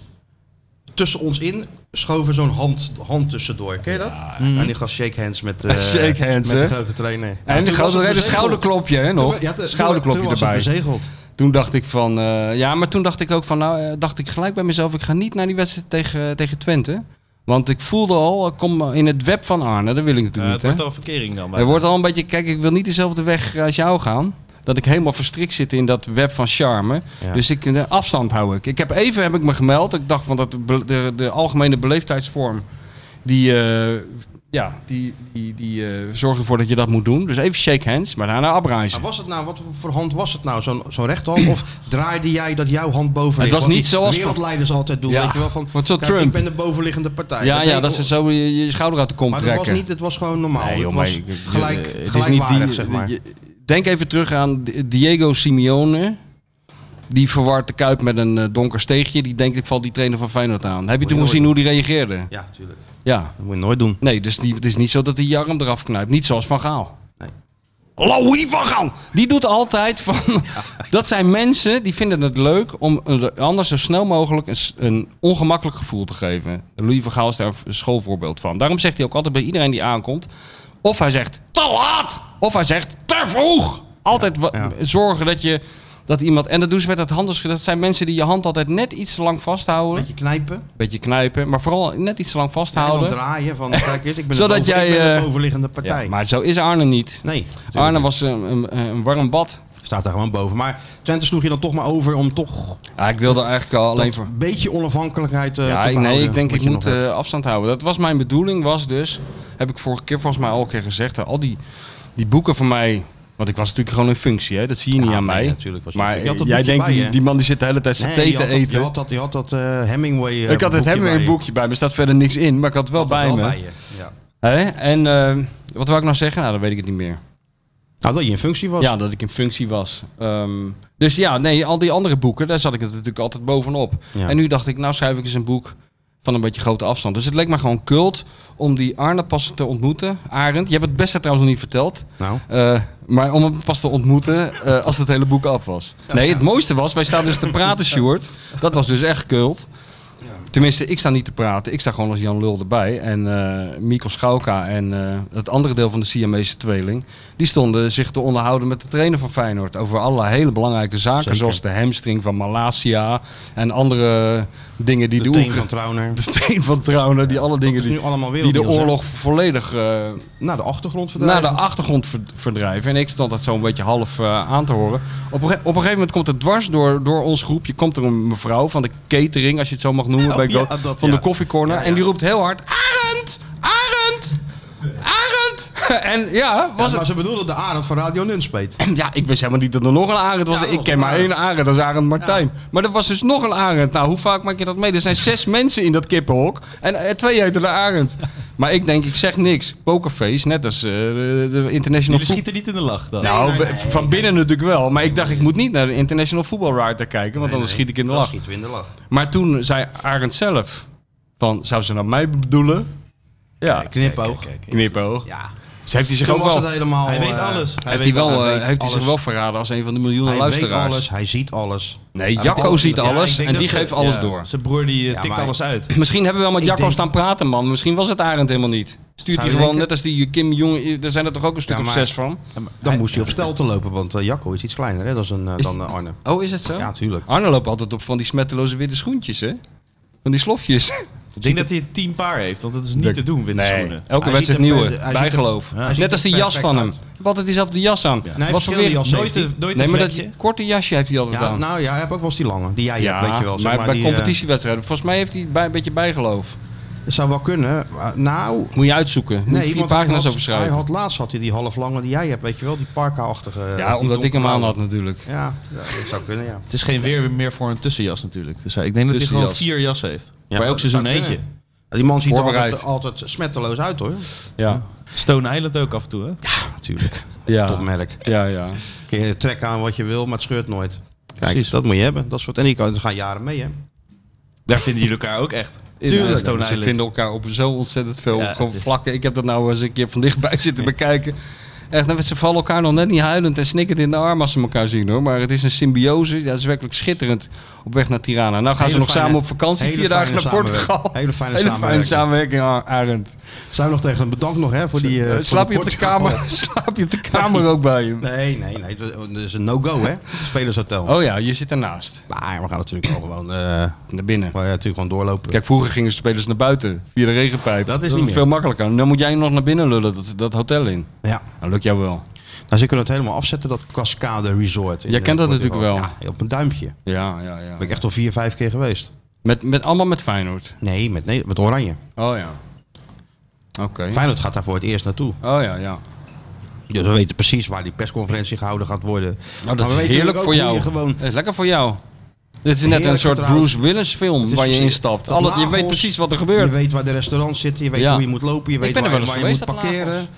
S2: tussen ons in, schoven zo'n hand, hand tussendoor. Ken je dat? En die gast shake hands met, eh,
S3: Shake hands,
S2: met
S3: hè?
S2: de grote trainer. Ja,
S3: En
S2: toen
S3: die
S2: was
S3: gozer
S2: het dus
S3: had een
S2: bezegeld.
S3: schouderklopje, hè,
S2: Toen-
S3: nog?
S2: ja, toen- toen-
S3: schouderklopje
S2: toen was het dus
S3: erbij.
S2: bezegeld.
S3: Toen dacht ik van, eh, ja, maar toen dacht ik ook van, nou, eh, dacht ik gelijk bij mezelf, ik ga niet naar die wedstrijd tegen, tegen Twente. Want ik voelde al, ik kom in het web van Arne, dat wil ik
S4: Eh, het
S3: natuurlijk niet.
S4: wordt al verkering dan.
S3: hè. Er wordt al een beetje, kijk, ik wil niet dezelfde weg eh, als jou gaan. Dat ik helemaal verstrikt zit in dat web van charme.
S2: Ja.
S3: Dus ik, eh, afstand hou ik. Ik heb even heb ik me gemeld. Ik dacht van dat de, be- de, de algemene beleefdheidsvorm. Die, eh, ja, die, die, die eh, zorgt ervoor dat je dat moet doen. Dus even shake hands, maar daarna
S2: Maar
S3: abreizen.
S2: was het nou, wat voor hand was het nou? Zo'n zo'n rechterhand? Of draaide jij dat jouw hand boven ligt?
S3: was
S2: Wat
S3: niet
S2: die
S3: zoals-
S2: Wereldleiders altijd doen.
S3: Ja.
S2: Weet je wel, van,
S3: Want zo
S2: kijk,
S3: Trump.
S2: ik ben de bovenliggende partij.
S3: Ja, ja,
S2: weet-
S3: dat ze zo je, je schouder uit de kom
S2: Maar het
S3: trekken.
S2: was, niet, het was gewoon normaal.
S3: Nee, joh,
S2: het
S3: maar
S2: was
S3: ik- ik-
S2: gelijk,
S3: eh, het is niet
S2: gelijkwaardig,
S3: die,
S2: zeg maar.
S3: je- denk even terug aan Di- Diego Simeone. Die verwart de Kuip met een eh, donker steegje. Die denkt, ik val die trainer van Feyenoord aan. Heb je
S2: Moet je
S3: toen
S2: nooit
S3: gezien hoe die reageerde?
S2: ja, tuurlijk.
S3: Ja.
S2: Dat moet je nooit doen.
S3: Nee, dus die, het is niet zo dat hij je arm eraf knijpt. Niet zoals Van Gaal.
S2: Nee.
S3: Louis van Gaal! Die doet altijd van... Dat zijn mensen die vinden het leuk om een- anders zo snel mogelijk een, s- een ongemakkelijk gevoel te geven. Louis van Gaal is daar een schoolvoorbeeld van. Daarom zegt hij ook altijd bij iedereen die aankomt... Of hij zegt te laat! Of hij zegt te vroeg! Altijd wa-
S2: ja.
S3: zorgen dat je... Dat iemand, en dat doen ze met het handelsgedrag. Dat zijn mensen die je hand altijd net iets te lang vasthouden.
S2: Beetje knijpen.
S3: Beetje knijpen. Maar vooral net iets te lang
S2: En dan
S3: vasthouden.
S2: draaien van, kijk eens, ik ben,
S3: Zodat
S2: de, boven-
S3: jij,
S2: ik ben de
S3: eh,
S2: bovenliggende partij.
S3: Ja, maar zo is Arne niet.
S2: Nee, tuurlijk
S3: Arne
S2: niet.
S3: was een, een, een warm bad.
S2: staat daar gewoon boven. Maar Twente sloeg je dan toch maar over om toch
S3: Ja, ik wilde eigenlijk al alleen voor.
S2: een beetje onafhankelijkheid eh,
S3: Ja,
S2: te
S3: ik, nee,
S2: behouden,
S3: ik denk
S2: wat
S3: ik
S2: je
S3: moet
S2: nog hebt.
S3: eh, afstand houden. Dat was mijn bedoeling, was dus, heb ik vorige keer volgens mij al een keer gezegd, hè, al die, die boeken van mij, want ik was natuurlijk gewoon in functie, hè, dat zie je niet
S2: Ja,
S3: aan
S2: nee,
S3: mij.
S2: natuurlijk was je-
S3: maar
S2: je had dat
S3: jij
S2: boekje
S3: denkt,
S2: bij
S3: die,
S2: je.
S3: die man die zit de hele tijd zijn
S2: Nee,
S3: thee
S2: je
S3: te
S2: had dat-
S3: eten.
S2: Je had dat, je had dat eh, Hemingway eh,
S3: ik had het
S2: boekje
S3: hem weer
S2: bij
S3: een
S2: je.
S3: boekje bij me, staat verder niks in, maar ik had het wel
S2: Had dat
S3: bij me.
S2: je, ja.
S3: Hè? En eh, wat wou ik nou zeggen? Nou, dan weet ik het niet meer.
S2: Nou, dat je in functie was.
S3: Ja, dat ik in functie was. Ehm, dus ja, nee, al die andere boeken, daar zat ik het natuurlijk altijd bovenop.
S2: Ja.
S3: En nu dacht ik, nou schrijf ik eens een boek van een beetje grote afstand. Dus het leek me gewoon kult om die Arne pas te ontmoeten. Arend, je hebt het beste trouwens nog niet verteld.
S2: Nou,
S3: Eh, maar om hem pas te ontmoeten eh, als het hele boek af was. Nee, het mooiste was, wij staan dus te praten, Sjoerd. Dat was dus echt kult. Tenminste, ik sta niet te praten. Ik sta gewoon als Jan Lul erbij. En eh Mikkel Schauka en eh, het andere deel van de Siamese tweeling... die stonden zich te onderhouden met de trainer van Feyenoord... over allerlei hele belangrijke zaken...
S2: Zeker.
S3: zoals de hamstring van Malasia... en andere dingen die
S2: de
S3: de,
S2: teen
S3: Oekra-
S2: van Trauner.
S3: De steen van Trauner, die alle
S2: Dat is
S3: dingen die,
S2: nu allemaal
S3: die de
S2: wereldnieuws, hè?
S3: oorlog volledig... eh,
S2: Naar de achtergrond
S3: naar
S2: verdrijven.
S3: de achtergrond ver- verdrijven. En ik stond dat zo'n beetje half eh, aan te horen. Op een, ge- op een gegeven moment komt er dwars door, door ons groepje komt er een mevrouw van de catering, als je het zo mag noemen,
S2: Oh,
S3: bij Go-
S2: ja, dat,
S3: van
S2: ja.
S3: de koffiecorner.
S2: Ja, ja.
S3: En die roept heel hard, Arend! Arend! Arend! en ja, was
S2: Ja, maar
S3: het...
S2: ze bedoelden de Arend van Radio Nunspeet.
S3: Ja, ik wist helemaal niet dat er nog een Arend was.
S2: Ja, dat
S3: ik
S2: was
S3: ken
S2: een
S3: maar
S2: Arend.
S3: één Arend, dat is Arend Martijn. Maar er was dus nog een Arend. Nou, hoe vaak maak je dat mee? Er zijn zes mensen in dat kippenhok. En eh, twee heten de Arend. Maar ik denk, ik zeg niks. Pokerface, net als eh, de, de international
S4: Jullie
S3: voetbal.
S4: schieten niet in de lach dan.
S3: Nou,
S2: nee,
S3: be-
S2: nee, nee,
S3: van binnen natuurlijk wel. Maar ik dacht, ik moet niet naar de International Football Writer kijken, want anders schiet ik in de
S2: Dan
S3: lach.
S2: schieten we in de lach.
S3: Maar toen zei Arend zelf, van, zou ze naar mij bedoelen? Ja,
S2: Knipoog.
S4: Kijk, kijk.
S3: knipoog.
S2: Ja.
S3: Dus heeft hij zich
S2: Toen
S3: ook
S2: was
S3: wel,
S2: het helemaal,
S4: hij weet
S2: eh,
S4: alles.
S3: heeft hij wel,
S4: alles.
S3: eh,
S2: weet
S3: heeft hij zich
S2: alles.
S3: wel verraden als een van de miljoenen
S2: Hij weet
S3: luisteraars?
S2: alles, hij ziet alles.
S3: Nee,
S2: Hij
S3: Jacco
S2: weet
S3: ziet
S4: Ja, ik
S3: alles
S4: denk
S3: en
S4: dat
S3: die
S4: ze-
S3: geeft alles
S4: ja,
S3: door.
S4: Zijn broer die eh,
S2: Ja,
S4: tikt
S2: maar-
S4: alles uit.
S3: Misschien hebben we wel met
S2: Ik
S3: Jacco
S2: denk-
S3: staan praten, man. Misschien was het Arend helemaal niet.
S2: Zou
S3: Stuurt hij
S2: je
S3: gewoon,
S2: denken?
S3: net als die Kim Jong, daar zijn er toch ook een stuk
S2: Ja,
S3: of
S2: maar-
S3: zes van?
S2: Dan moest hij op stel te lopen, want eh, Jacco is iets kleiner hè, dan, zijn, eh,
S3: Is-
S2: dan eh, Arne.
S3: Oh, is het zo?
S2: Ja, tuurlijk.
S3: Arne loopt altijd op van die smetteloze witte schoentjes, hè? Van die slofjes.
S4: Ik denk dat hij tien paar heeft, want dat is niet te doen, witte schoenen.
S2: Hij
S3: Elke
S2: ziet
S3: wedstrijd
S2: er
S3: nieuwe,
S2: per- hij ziet er-
S3: bijgeloof.
S2: hij ziet
S3: Net als
S2: er
S3: die jas
S2: perfect
S3: van hem.
S2: uit.
S3: Hij heeft altijd diezelfde jas aan.
S2: Nee, hij heeft
S3: voor
S2: verschillende jassen.
S4: Nooit een, nooit
S3: Nee,
S4: een
S3: maar dat
S4: vlekje.
S3: korte jasje heeft hij altijd
S2: Ja,
S3: aan.
S2: nou ja, hij heeft ook wel eens die lange, die jij hebt, weet je wel. Zeg
S3: maar,
S2: maar,
S3: bij
S2: die, eh,
S3: competitiewedstrijden. Volgens mij heeft hij bij, een beetje bijgeloof.
S2: het eh, zou wel kunnen. maar- nou,
S3: Moet je uitzoeken. Moet je
S2: nee,
S3: vier
S2: want
S3: pagina's
S2: hij had,
S3: over schrijven.
S2: hij had laatst had hij die half lange die jij hebt, weet je wel, die parka-achtige. eh,
S3: ja,
S2: die
S3: omdat ik hem aan
S2: donkerblauwe.
S3: had natuurlijk.
S2: Ja, ja, dat zou kunnen, ja.
S4: Het is geen weer meer voor een tussenjas natuurlijk. Dus hij- ik denk dat hij gewoon
S3: Tussenjas.
S4: vier jassen heeft.
S2: Ja,
S4: Bij elk
S2: dat
S4: seizoen
S2: zou
S4: eentje.
S2: kunnen. Die man ziet er
S3: Voorbereid.
S2: altijd, altijd smetteloos uit hoor.
S3: Ja,
S4: Stone Island ook af en toe, hè?
S2: Natuurlijk,
S3: ja,
S2: topmerk.
S3: ja. ja.
S2: Kun je trek aan wat je wil, maar het scheurt nooit. Kijk, dat moet je hebben. Dat soort, en die kan, die gaan jaren mee, hè?
S4: Daar vinden jullie elkaar ook echt. In
S2: Tuurlijk.
S4: eh, Stone
S3: Ze
S4: Island.
S3: vinden elkaar op zo ontzettend veel
S4: Ja,
S3: gewoon
S4: het is-
S3: vlakken. Ik heb dat nou eens een keer van dichtbij zitten bekijken. Echt, nou, ze vallen elkaar nog net niet huilend en snikkend in de arm als ze elkaar zien hoor. Maar het is een symbiose. Ja, dat is werkelijk schitterend op weg naar Tirana. Nou gaan ze
S2: Hele
S3: nog
S2: fijne-
S3: samen op vakantie,
S2: hele
S3: vier dagen
S2: fijne
S3: naar Portugal.
S2: samenwerking. Hele fijne
S3: fijne
S2: samenwerking.
S3: samenwerking, Ar- Arend.
S2: Zijn we nog tegen hem bedankt nog, hè? Voor die, eh,
S3: Eh,
S2: voor
S3: slaap,
S2: de
S3: je op de
S2: Portugal.
S3: kamer, slaap je op de kamer ook bij hem?
S2: Nee, nee, nee. Dat is een no-go, hè? Spelershotel.
S3: Oh ja, je zit ernaast.
S2: Maar we gaan natuurlijk wel gewoon, eh,
S3: Naar binnen.
S2: we gaan natuurlijk gewoon doorlopen.
S3: Kijk, vroeger gingen de spelers naar buiten via de regenpijp.
S2: Dat is
S3: was
S2: niet meer.
S3: veel makkelijker. Dan moet jij nog naar binnen lullen, dat, dat hotel in.
S2: Ja.
S3: Nou, lukt jou wel.
S2: Nou, ze kunnen het helemaal afzetten, dat Cascade Resort. in,
S3: Jij kent
S2: eh,
S3: dat
S2: Portugal.
S3: natuurlijk wel.
S2: Ja, op een duimpje. Daar
S3: Ja, ja, ja.
S2: ben ik echt al vier, vijf keer geweest.
S3: Met, met, allemaal met Feyenoord.
S2: Nee, met, nee, met Oranje.
S3: Oh ja. Oké.
S2: Feyenoord gaat daar voor het eerst naartoe.
S3: Oh ja, ja.
S2: Dus we weten precies waar die persconferentie gehouden gaat worden.
S3: Nou,
S2: Maar
S3: dat
S2: we
S3: is
S2: weten
S3: heerlijk
S2: ook
S3: voor
S2: hoe
S3: jou.
S2: je gewoon-
S3: Dat is lekker voor jou. Dit is net een
S2: Heerlijk
S3: soort
S2: vertrouwd.
S3: Bruce Willis film
S2: Het is
S3: waar je
S2: precies-
S3: instapt.
S2: dat
S3: Alle, je
S2: Lagos,
S3: weet precies wat
S2: Je
S3: er gebeurt.
S2: weet waar de restaurants zitten, je weet
S3: Ja.
S2: hoe je moet lopen, je weet
S3: ben er
S2: waar,
S3: wel eens
S2: waar je moet
S3: geweest, dat
S2: parkeren.
S3: Lagos.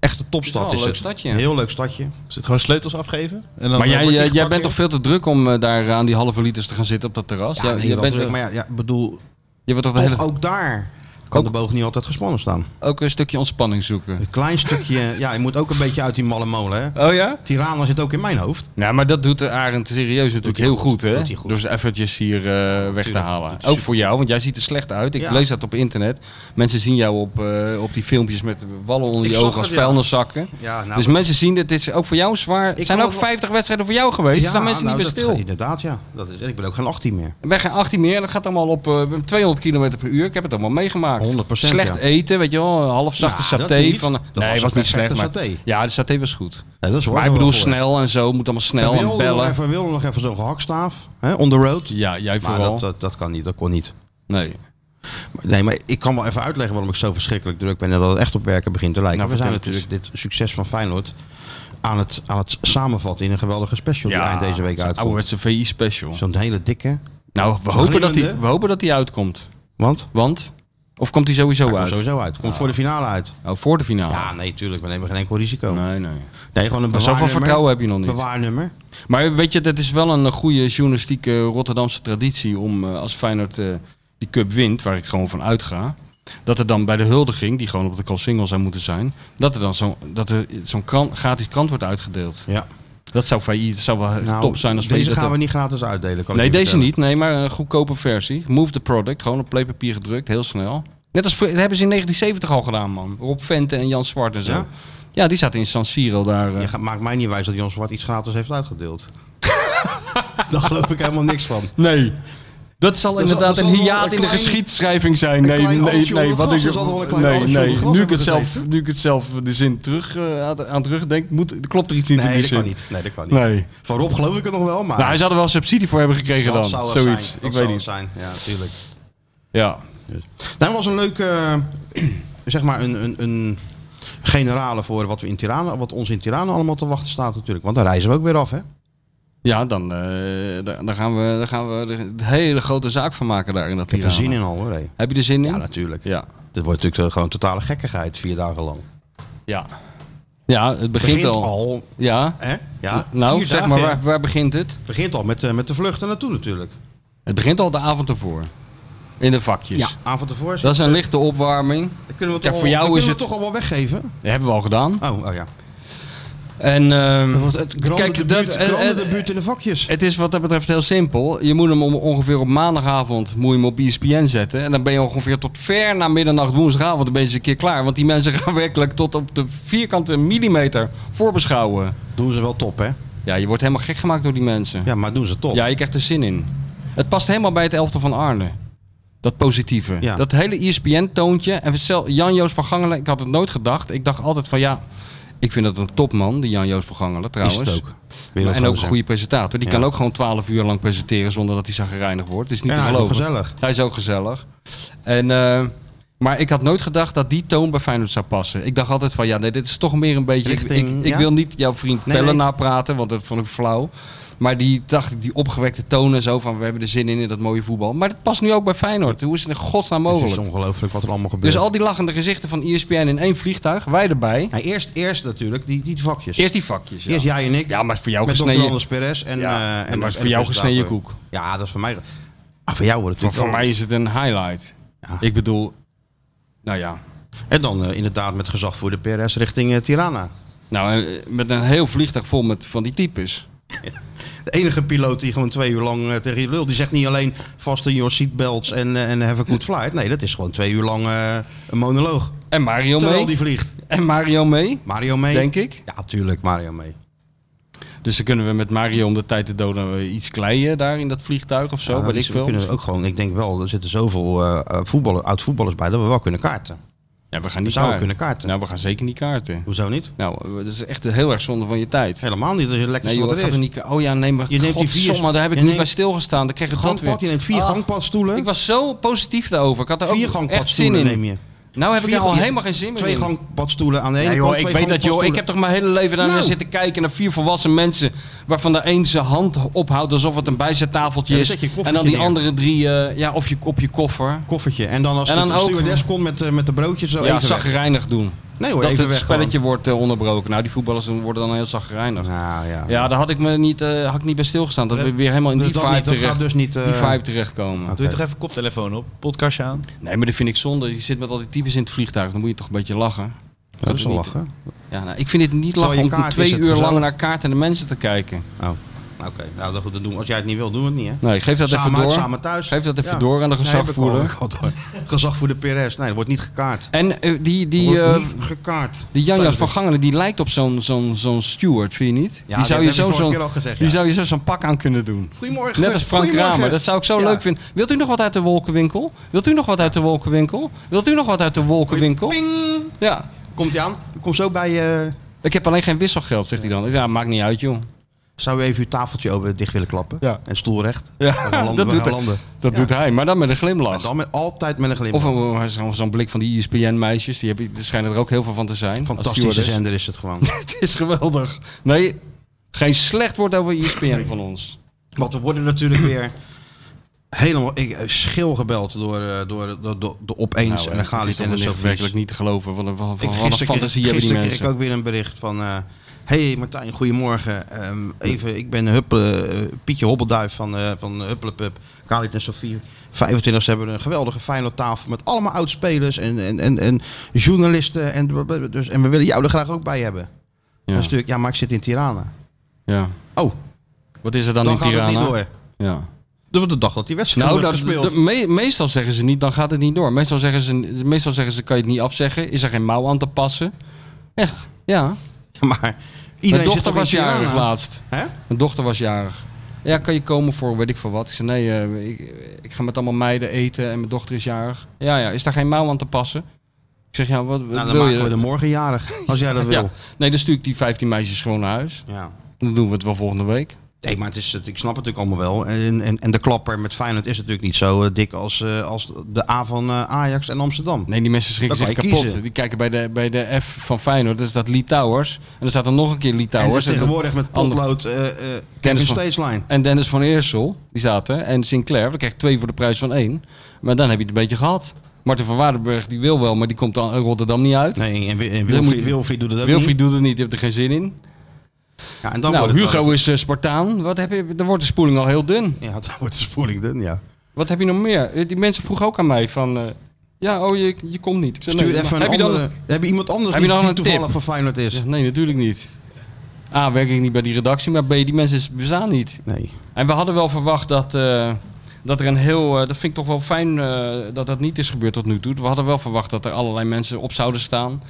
S2: Echt een
S3: Het is wel
S2: topstad
S3: een
S2: is,
S3: leuk
S2: het.
S3: stadje.
S2: Een heel leuk stadje.
S4: Is het gewoon sleutels afgeven? En dan
S3: maar jij,
S4: wordt
S3: jij,
S4: hij
S3: jij bent toch
S4: gepakt
S3: veel te druk om eh, daar aan die halve liters te gaan zitten op dat terras?
S2: Ja,
S3: Ja,
S2: nee,
S3: je,
S2: wel
S3: bent,
S2: druk,
S3: eh,
S2: maar Oh, ja, ja, ik bedoel,
S3: je wordt toch de
S2: toch
S3: hele, ook,
S2: ook daar kan
S3: Ook-
S2: de boog niet altijd gespannen staan.
S3: een stukje ontspanning zoeken.
S2: Een klein stukje, ja, je moet ook een beetje uit die malle molen, hè.
S3: Oh ja?
S2: Tirana zit ook in mijn hoofd.
S3: Nou, maar dat doet de Arend serieus natuurlijk
S2: hij
S3: heel
S2: goed,
S3: goed, hè?
S2: doet hij goed.
S3: Door ze eventjes hier eh, weg te
S2: tuurlijk.
S3: halen.
S2: Doet hij
S3: Ook voor jou, want jij ziet er slecht uit. Ik
S2: Ja.
S3: lees dat op internet. Mensen zien jou op, eh, op die filmpjes met wallen onder
S2: Ik
S3: je
S2: zag
S3: ogen als
S2: het, ja.
S3: vuilniszakken.
S2: Ja, nou,
S3: dus mensen zien dit. Dit is ook voor jou zwaar. Het zijn
S2: kan
S3: ook
S2: ook wel-
S3: 50 wedstrijden voor jou geweest. Er staan mensen
S2: nou,
S3: niet meer
S2: dat-
S3: stil.
S2: Inderdaad, ja. Dat is, en ik ben ook geen 18 meer.
S3: Ik ben geen 18 meer. Dat gaat allemaal op eh, 200 km per uur. Ik heb het allemaal meegemaakt.
S2: 100%,
S3: Slecht
S2: ja.
S3: eten, weet je wel. Een half zachte
S2: Nou,
S3: saté.
S2: dat niet.
S3: Van,
S2: Dat
S3: nee,
S2: was
S3: was
S2: een
S3: niet slecht.
S2: perfecte
S3: Maar,
S2: saté.
S3: ja, de saté was goed.
S2: Nee, dat is wel
S3: Maar ik
S2: wel
S3: bedoel
S2: voor.
S3: snel en zo. Moet allemaal snel
S2: Wil
S3: en
S2: nog
S3: bellen.
S2: even, wil nog even zo'n gehakstaaf, hè, on the road.
S3: Ja, jij
S2: maar
S3: vooral.
S2: dat, eh, dat, dat kan niet, dat kon niet.
S3: Nee.
S2: Maar- Nee, maar ik kan wel even uitleggen waarom ik zo verschrikkelijk druk ben en dat het echt op werken begint te lijken.
S3: Nou,
S2: we zijn
S3: vertel het
S2: natuurlijk dit succes van Feyenoord aan het, aan het samenvatten in een geweldige special die eind deze week
S3: zo'n
S2: uitkomt.
S3: Ouderwetse VI special.
S2: Zo'n hele dikke,
S3: Nou, we hopen, dat
S2: glimmende.
S3: die, we hopen dat die uitkomt.
S2: want
S3: Want? Of komt die sowieso
S2: hij komt
S3: uit?
S2: sowieso uit. Komt voor de finale uit.
S3: Oh, voor de finale.
S2: Ja, nee, tuurlijk. We nemen geen enkel risico.
S3: Nee, nee.
S2: Nee, gewoon een
S3: Maar zoveel
S2: bewaarnummer.
S3: vertrouwen heb je nog niet.
S2: Bewaarnummer.
S3: Maar weet je, dat is wel een eh, goede journalistieke Rotterdamse traditie om eh, als Feyenoord eh, die cup wint, waar ik gewoon van uitga, dat er dan bij de huldiging, die gewoon op de call single zou moeten zijn, dat er dan zo'n dat er zo'n krant, gratis krant wordt uitgedeeld.
S2: Ja.
S3: Dat zou, VI dat zou wel
S2: Nou,
S3: top zijn als VI
S2: deze
S3: dat
S2: gaan
S3: dat-
S2: we niet gratis uitdelen. Kan ik
S3: Nee,
S2: je
S3: deze
S2: vertellen.
S3: niet. Nee, maar een goedkope versie. Move the product. Gewoon op playpapier gedrukt. Heel snel. Net als dat hebben ze in 1970 al gedaan, man. Rob Vente en Jan Zwart en zo. Ja,
S2: Ja?
S3: die zaten in San Siro daar. eh.
S2: Je gaat- maakt mij niet wijs dat Jan Zwart iets gratis heeft uitgedeeld. Daar geloof ik helemaal niks van.
S3: Nee. Dat zal
S2: Dat zal-
S3: inderdaad
S2: dat
S3: een
S2: zal wel
S3: hiaat
S2: een
S3: in de
S2: klein-
S3: geschiedschrijving zijn.
S2: een
S3: Nee,
S2: klein
S3: nee,
S2: appeltje onder
S3: nee.
S2: het
S3: Wat
S2: gras.
S3: ik,
S2: Er zal wel een klein
S3: nee,
S2: appeltje onder
S3: nee.
S2: het gras
S3: Nu ik, het
S2: hebben
S3: zelf, nu ik het zelf de zin terug eh, aan- aan terugdenk, moet, klopt er iets niet in
S2: Nee,
S3: die
S2: dat
S3: zin.
S2: kan niet. Nee, dat kan niet.
S3: Nee.
S2: Van Rob geloof ik het nog wel, maar...
S3: Nou, hij zou er wel subsidie voor hebben gekregen dan.
S2: zou wel
S3: Zoiets.
S2: zijn. Dat zou
S3: Ik weet
S2: wel
S3: niet.
S2: zijn. Ja, natuurlijk.
S3: Ja.
S2: Daar Nou, was een leuke, eh, zeg maar, een, een, een generale voor wat, we in Tirana, wat ons in Tirana allemaal te wachten staat natuurlijk. Want daar reizen we ook weer af, hè?
S3: Ja, dan, eh, daar, daar gaan we, daar gaan we er een hele grote zaak van maken daar in dat
S2: Ik heb er
S3: Tirana.
S2: zin in al, hoor. hé.
S3: Heb je er zin in?
S2: Ja, natuurlijk.
S3: ja.
S2: Dit wordt natuurlijk eh, gewoon totale gekkigheid, vier dagen lang.
S3: Ja. Ja, het begint,
S2: Begint
S3: al.
S2: al,
S3: Ja.
S2: hè? Ja,
S3: nou,
S2: vier
S3: zeg
S2: dagen.
S3: maar, waar, waar begint het?
S2: Begint al met, eh, met de vluchten naartoe natuurlijk.
S3: Het begint al de avond ervoor. in de vakjes.
S2: Ja. Aan van tevoren.
S3: Dat is een lichte opwarming.
S2: Dan kunnen we
S3: Ja,
S2: toch
S3: voor
S2: al-
S3: jou
S2: dan
S3: is
S2: kunnen we
S3: het-
S2: toch al wel weggeven.
S3: Dat hebben we al gedaan.
S2: Oh, oh ja.
S3: En ehm,
S2: Want het grande
S3: Kijk,
S2: de
S3: dat-
S2: buurt,
S3: eh,
S2: grande
S3: eh,
S2: de buurt in de vakjes.
S3: het is wat dat betreft heel simpel. Je moet hem om, ongeveer op maandagavond moet je hem op E ESPN zetten. En dan ben je ongeveer tot ver na middernacht woensdagavond dan ben je eens een keer klaar. Want die mensen gaan werkelijk tot op de vierkante millimeter voorbeschouwen.
S2: Doen ze wel top, hè?
S3: Ja, je wordt helemaal gek gemaakt door die mensen.
S2: Ja, maar doen ze top.
S3: Ja, je krijgt er zin in. Het past helemaal bij het elftal van Arne. Dat positieve.
S2: Ja.
S3: Dat hele E ESPN-toontje. En zelf- Jan-Joos van Gangelen, ik had het nooit gedacht. Ik dacht altijd van ja, ik vind dat een topman, die Jan-Joos van Gangelen
S2: is
S3: trouwens.
S2: het ook.
S3: Maar- en ook een
S2: Wereldgozer.
S3: goede presentator. Die
S2: Ja.
S3: kan ook gewoon 12 uur lang presenteren zonder dat hij zagrijnig wordt. Het is niet
S2: Ja,
S3: te
S2: hij is ook
S3: geloven.
S2: gezellig.
S3: Hij is ook gezellig. En, eh, maar ik had nooit gedacht dat die toon bij Feyenoord zou passen. Ik dacht altijd van, ja, nee, dit is toch meer een beetje... ik,
S2: Richting,
S3: ik, ik
S2: ja?
S3: wil niet jouw vriend
S2: Nee,
S3: Pelle
S2: nee.
S3: napraten, want dat vond ik flauw. Maar die dacht ik, die opgewekte tonen zo van, we hebben er zin in, in dat mooie voetbal. Maar dat past nu ook bij Feyenoord. Hoe is het in godsnaam
S2: Het is
S3: mogelijk?
S2: ongelooflijk wat er allemaal gebeurt.
S3: Dus al die lachende gezichten van E ESPN in één vliegtuig, wij erbij.
S2: Ja, Nou, eerst, eerst natuurlijk die, die vakjes.
S3: Eerst die vakjes, ja.
S2: Eerst jij en ik.
S3: Ja, maar voor jou
S2: met dokter
S3: gesneden...
S2: Anders Perez. En,
S3: Ja,
S2: eh,
S3: maar
S2: en,
S3: voor
S2: en de
S3: jou gesneden
S2: presentator.
S3: koek.
S2: Ja, dat is voor mij. Ah, voor jou wordt het
S3: Voor, voor
S2: natuurlijk
S3: mij is het een highlight.
S2: Ja.
S3: Ik bedoel, nou ja.
S2: wel. En dan eh, inderdaad met gezag voor de Perez richting eh, Tirana.
S3: Nou, eh, met een heel vliegtuig vol met van die types.
S2: De enige piloot die gewoon twee uur lang eh, tegen je lul. Die zegt niet alleen vast in your seatbelts en, eh, en have a good flight. Nee, dat is gewoon twee uur lang eh, een monoloog.
S3: En Mario mee.
S2: Terwijl die vliegt.
S3: En Mario mee,
S2: Mario mee.
S3: denk ik.
S2: Ja, tuurlijk Mario mee.
S3: Dus dan kunnen we met Mario om de tijd te doden eh, iets kleien daar in dat vliegtuig of zo.
S2: Ja,
S3: weet
S2: dus
S3: ik
S2: we
S3: veel.
S2: kunnen ook gewoon, ik denk wel, er zitten zoveel eh, eh, voetballers, oud-voetballers bij dat we wel kunnen kaarten.
S3: Ja, we gaan
S2: zouden
S3: niet kaarten.
S2: kunnen kaarten.
S3: Nou, we gaan zeker niet kaarten.
S2: Hoezo niet?
S3: Nou, eh, dat is echt heel erg zonde van je tijd.
S2: Helemaal niet, dat is het lekkerste
S3: nee, joh,
S2: wat
S3: dat
S2: er
S3: gaat
S2: is.
S3: er niet. ka- Oh ja, nee, maar
S2: Je neemt die vier-
S3: godsomme, daar heb ik
S2: je
S3: niet
S2: neemt-
S3: bij stilgestaan. Dan krijg je dat
S2: Gangpad, je
S3: weer.
S2: neemt vier
S3: Ah,
S2: gangpadstoelen.
S3: Ik was zo positief daarover. Ik had er
S2: vier
S3: ook echt zin
S2: gangpadstoelen
S3: in.
S2: neem je.
S3: Nou heb ik
S2: Vier
S3: er al
S2: gang-
S3: helemaal geen zin meer
S2: Twee
S3: in.
S2: gangpadstoelen aan de ene
S3: Ja, joh,
S2: kant.
S3: ik
S2: twee
S3: weet dat, joh. Ik heb toch mijn hele leven naar
S2: Nou.
S3: zitten kijken naar vier volwassen mensen. waarvan de een zijn hand ophoudt alsof het een bijzettafeltje
S2: Ja, dan
S3: is.
S2: zet je je
S3: en dan
S2: koffertje
S3: die
S2: neer.
S3: andere drie, eh, ja, of je, op je koffer.
S2: koffertje. En dan als
S3: En
S2: de-
S3: dan
S2: de
S3: ook-
S2: stewardess komt met, eh, met de broodjes zo
S3: Ja,
S2: even weg.
S3: zagrijnig doen.
S2: Nee hoor,
S3: dat
S2: even
S3: het
S2: weg
S3: spelletje wordt eh, onderbroken. Nou, die voetballers worden dan heel zagrijnig.
S2: gewoon. Nou ja.
S3: Ja, daar had ik me niet, eh, had ik niet bij stilgestaan. Dat
S2: Dat-
S3: we weer helemaal in
S2: Dus
S3: die
S2: dat,
S3: vibe,
S2: niet, dat
S3: terecht,
S2: gaat dus niet... eh,
S3: die vibe terechtkomen.
S2: nou,
S4: Doe je toch even koptelefoon op, podcastje aan.
S3: Nee, maar dat vind ik zonde. Je zit met al die types in het vliegtuig. Dan moet je toch een beetje lachen.
S2: Dat is wel
S3: niet.
S2: lachen.
S3: Ja, nou, ik vind het niet lachen
S2: je
S3: om toen
S2: kaart is
S3: twee
S2: het
S3: uur lang
S2: gezellig.
S3: naar kaartende mensen te kijken.
S2: Oh. Nou, Oké, nou dat goed, dat doen we. Als jij het niet wil, doen we het niet hè.
S3: Nee, geef dat
S2: samen
S3: even door.
S2: uit, samen thuis.
S3: Geef dat even
S2: Ja.
S3: door aan de
S2: Nee, heb ik al,
S3: gezagvoerder.
S2: heb ik al door. Gezag voor de PRS. Nee, dat wordt niet gekaart.
S3: en eh, die, die,
S2: Wordt
S3: eh,
S2: niet gekaart.
S3: die Janjas
S2: Tijdelijk.
S3: van Gangelen, die lijkt op zo'n zo'n zo'n steward, vind je niet?
S2: Ja,
S3: die
S2: dat
S3: zou je
S2: heb ik
S3: zo
S2: vorige
S3: zo'n
S2: keer al gezegd,
S3: die
S2: ja.
S3: zou je zo zo'n pak aan kunnen doen.
S2: Goedemorgen.
S3: Net als Frank
S2: Goedemorgen.
S3: Kramer, dat zou ik zo
S2: Ja.
S3: leuk vinden. Wilt u nog wat uit de wolkenwinkel? Wilt u nog wat uit de wolkenwinkel? Wilt u nog wat uit de wolkenwinkel?
S2: Ping!
S3: Ja.
S2: Komt hij aan? Kom zo bij eh, je.
S3: Ik heb alleen geen wisselgeld, zegt hij dan. Ik zeg, Ja, maakt niet uit, joh.
S2: Zou je even uw tafeltje open dicht willen klappen?
S3: Ja.
S2: En stoel recht.
S3: Ja,
S2: We gaan landen,
S3: dat
S2: we
S3: doet
S2: gaan
S3: hij.
S2: landen.
S3: Dat
S2: Ja.
S3: doet hij, maar dan met een
S2: En
S3: glimlach.
S2: dan met, altijd met een
S3: Of
S2: glimlach.
S3: een- zo'n zo'n blik van die E ESPN-meisjes, die, heb ik- er schijnen er ook heel veel van te zijn. als
S2: Fantastische
S3: stewardess.
S2: zender is het gewoon.
S3: Het is geweldig. Nee, geen slecht woord over E ESPN van ons.
S2: Want we worden natuurlijk weer helemaal ik, eh, schil gebeld door, eh, door, door, door de opeens en dan gaat
S3: het is
S2: Nou, het
S3: toch
S2: en dan
S3: dus
S2: zo
S3: echt werkelijk niet te geloven. Van, van,
S2: Ik
S3: van, wat een
S2: gisteren,
S3: fantasie hebben die
S2: gisteren kreeg
S3: mensen.
S2: ik ook weer een bericht van... eh, hey Martijn, goedemorgen. Ehm, even, ik ben Huppele, eh, Pietje Hobbelduif van, eh van Huppelepup, Kalit en Sofie. 25 hebben een geweldige fijne tafel met allemaal oudspelers en, en, en, en journalisten. En, blablabla. dus, en we willen jou er graag ook bij hebben. Dat
S3: ja.
S2: is natuurlijk, ja, maar ik zit in Tirana.
S3: ja.
S2: Oh,
S3: Wat is er dan,
S2: dan
S3: in
S2: gaat
S3: Tirana?
S2: het niet door.
S3: Ja.
S2: De, de dag dat die wedstrijd
S3: Nou,
S2: wordt
S3: dat,
S2: gespeeld.
S3: dat- me- meestal zeggen ze niet, dan gaat het niet door. Meestal zeggen, ze, meestal zeggen ze, kan je het niet afzeggen. Is er geen mouw aan te passen. Echt, ja.
S2: maar
S3: Mijn
S2: iedereen zit
S3: dochter
S2: toch in
S3: was jarig
S2: Tirana?
S3: laatst.
S2: Hè?
S3: Mijn dochter was jarig. Ja, kan je komen voor weet ik veel wat? Ik zei, nee, eh, ik, ik ga met allemaal meiden eten en mijn dochter is jarig. Ja, ja, is daar geen mouw aan te passen? Ik zeg, ja, wat, wat
S2: Nou, dan
S3: wil je?
S2: maken we de morgen jarig, als jij dat wil.
S3: ja. Nee, dan stuur ik die 15 meisjes gewoon naar huis.
S2: ja.
S3: Dan doen we het wel volgende week.
S2: Nee, maar het is, het, ik snap het natuurlijk allemaal wel. En, en, en de klapper met Feyenoord is natuurlijk niet zo eh, dik als, eh, als de A van eh, Ajax en Amsterdam.
S3: Nee, die mensen schrikken
S2: Dan
S3: zich
S2: kan je
S3: kapot.
S2: kiezen.
S3: Die kijken bij de, bij de F van Feyenoord, dat staat Lee Towers. En dan staat er nog een keer Lee
S2: en dus
S3: Towers. En,
S2: tegenwoordig met
S3: ander-
S2: potlood eh eh
S3: Kennis
S2: Kevin
S3: van-
S2: Stageline.
S3: en Dennis van Eersel, die zaten. En Sinclair, dan krijg je twee voor de prijs van één. Maar dan heb je het een beetje gehad. Marten van Waardenburg, die wil wel, maar die komt dan in Rotterdam niet uit.
S2: Nee, en, Wi- en
S3: Dus
S2: Wilfried,
S3: moet-
S2: Wilfried doet het ook
S3: Wilfried doet het niet, je hebt er geen zin in.
S2: niet. Ja, en dan
S3: nou,
S2: wordt het
S3: Hugo
S2: wel-
S3: is eh, Spartaan. Wat heb je, dan wordt de spoeling al heel dun.
S2: Ja, dan wordt de spoeling dun, ja.
S3: Wat heb je nog meer? Eh, Die mensen vroegen ook aan mij van... eh, ja, oh, je, je komt niet. Ik zei,
S2: Stuur
S3: nee,
S2: even
S3: maar
S2: een
S3: heb je dan-
S2: andere. Heb je iemand anders
S3: heb
S2: die,
S3: je dan
S2: die
S3: een tip?
S2: toevallig van Feyenoord
S3: Ik
S2: is?
S3: zeg, nee, natuurlijk niet. A, werk ik niet bij die redactie, maar B, die mensen bestaan niet.
S2: Nee.
S3: En we hadden wel verwacht dat, eh, dat er een heel. eh, dat vind ik toch wel fijn eh, dat dat niet is gebeurd tot nu toe. We hadden wel verwacht dat er allerlei mensen op zouden staan.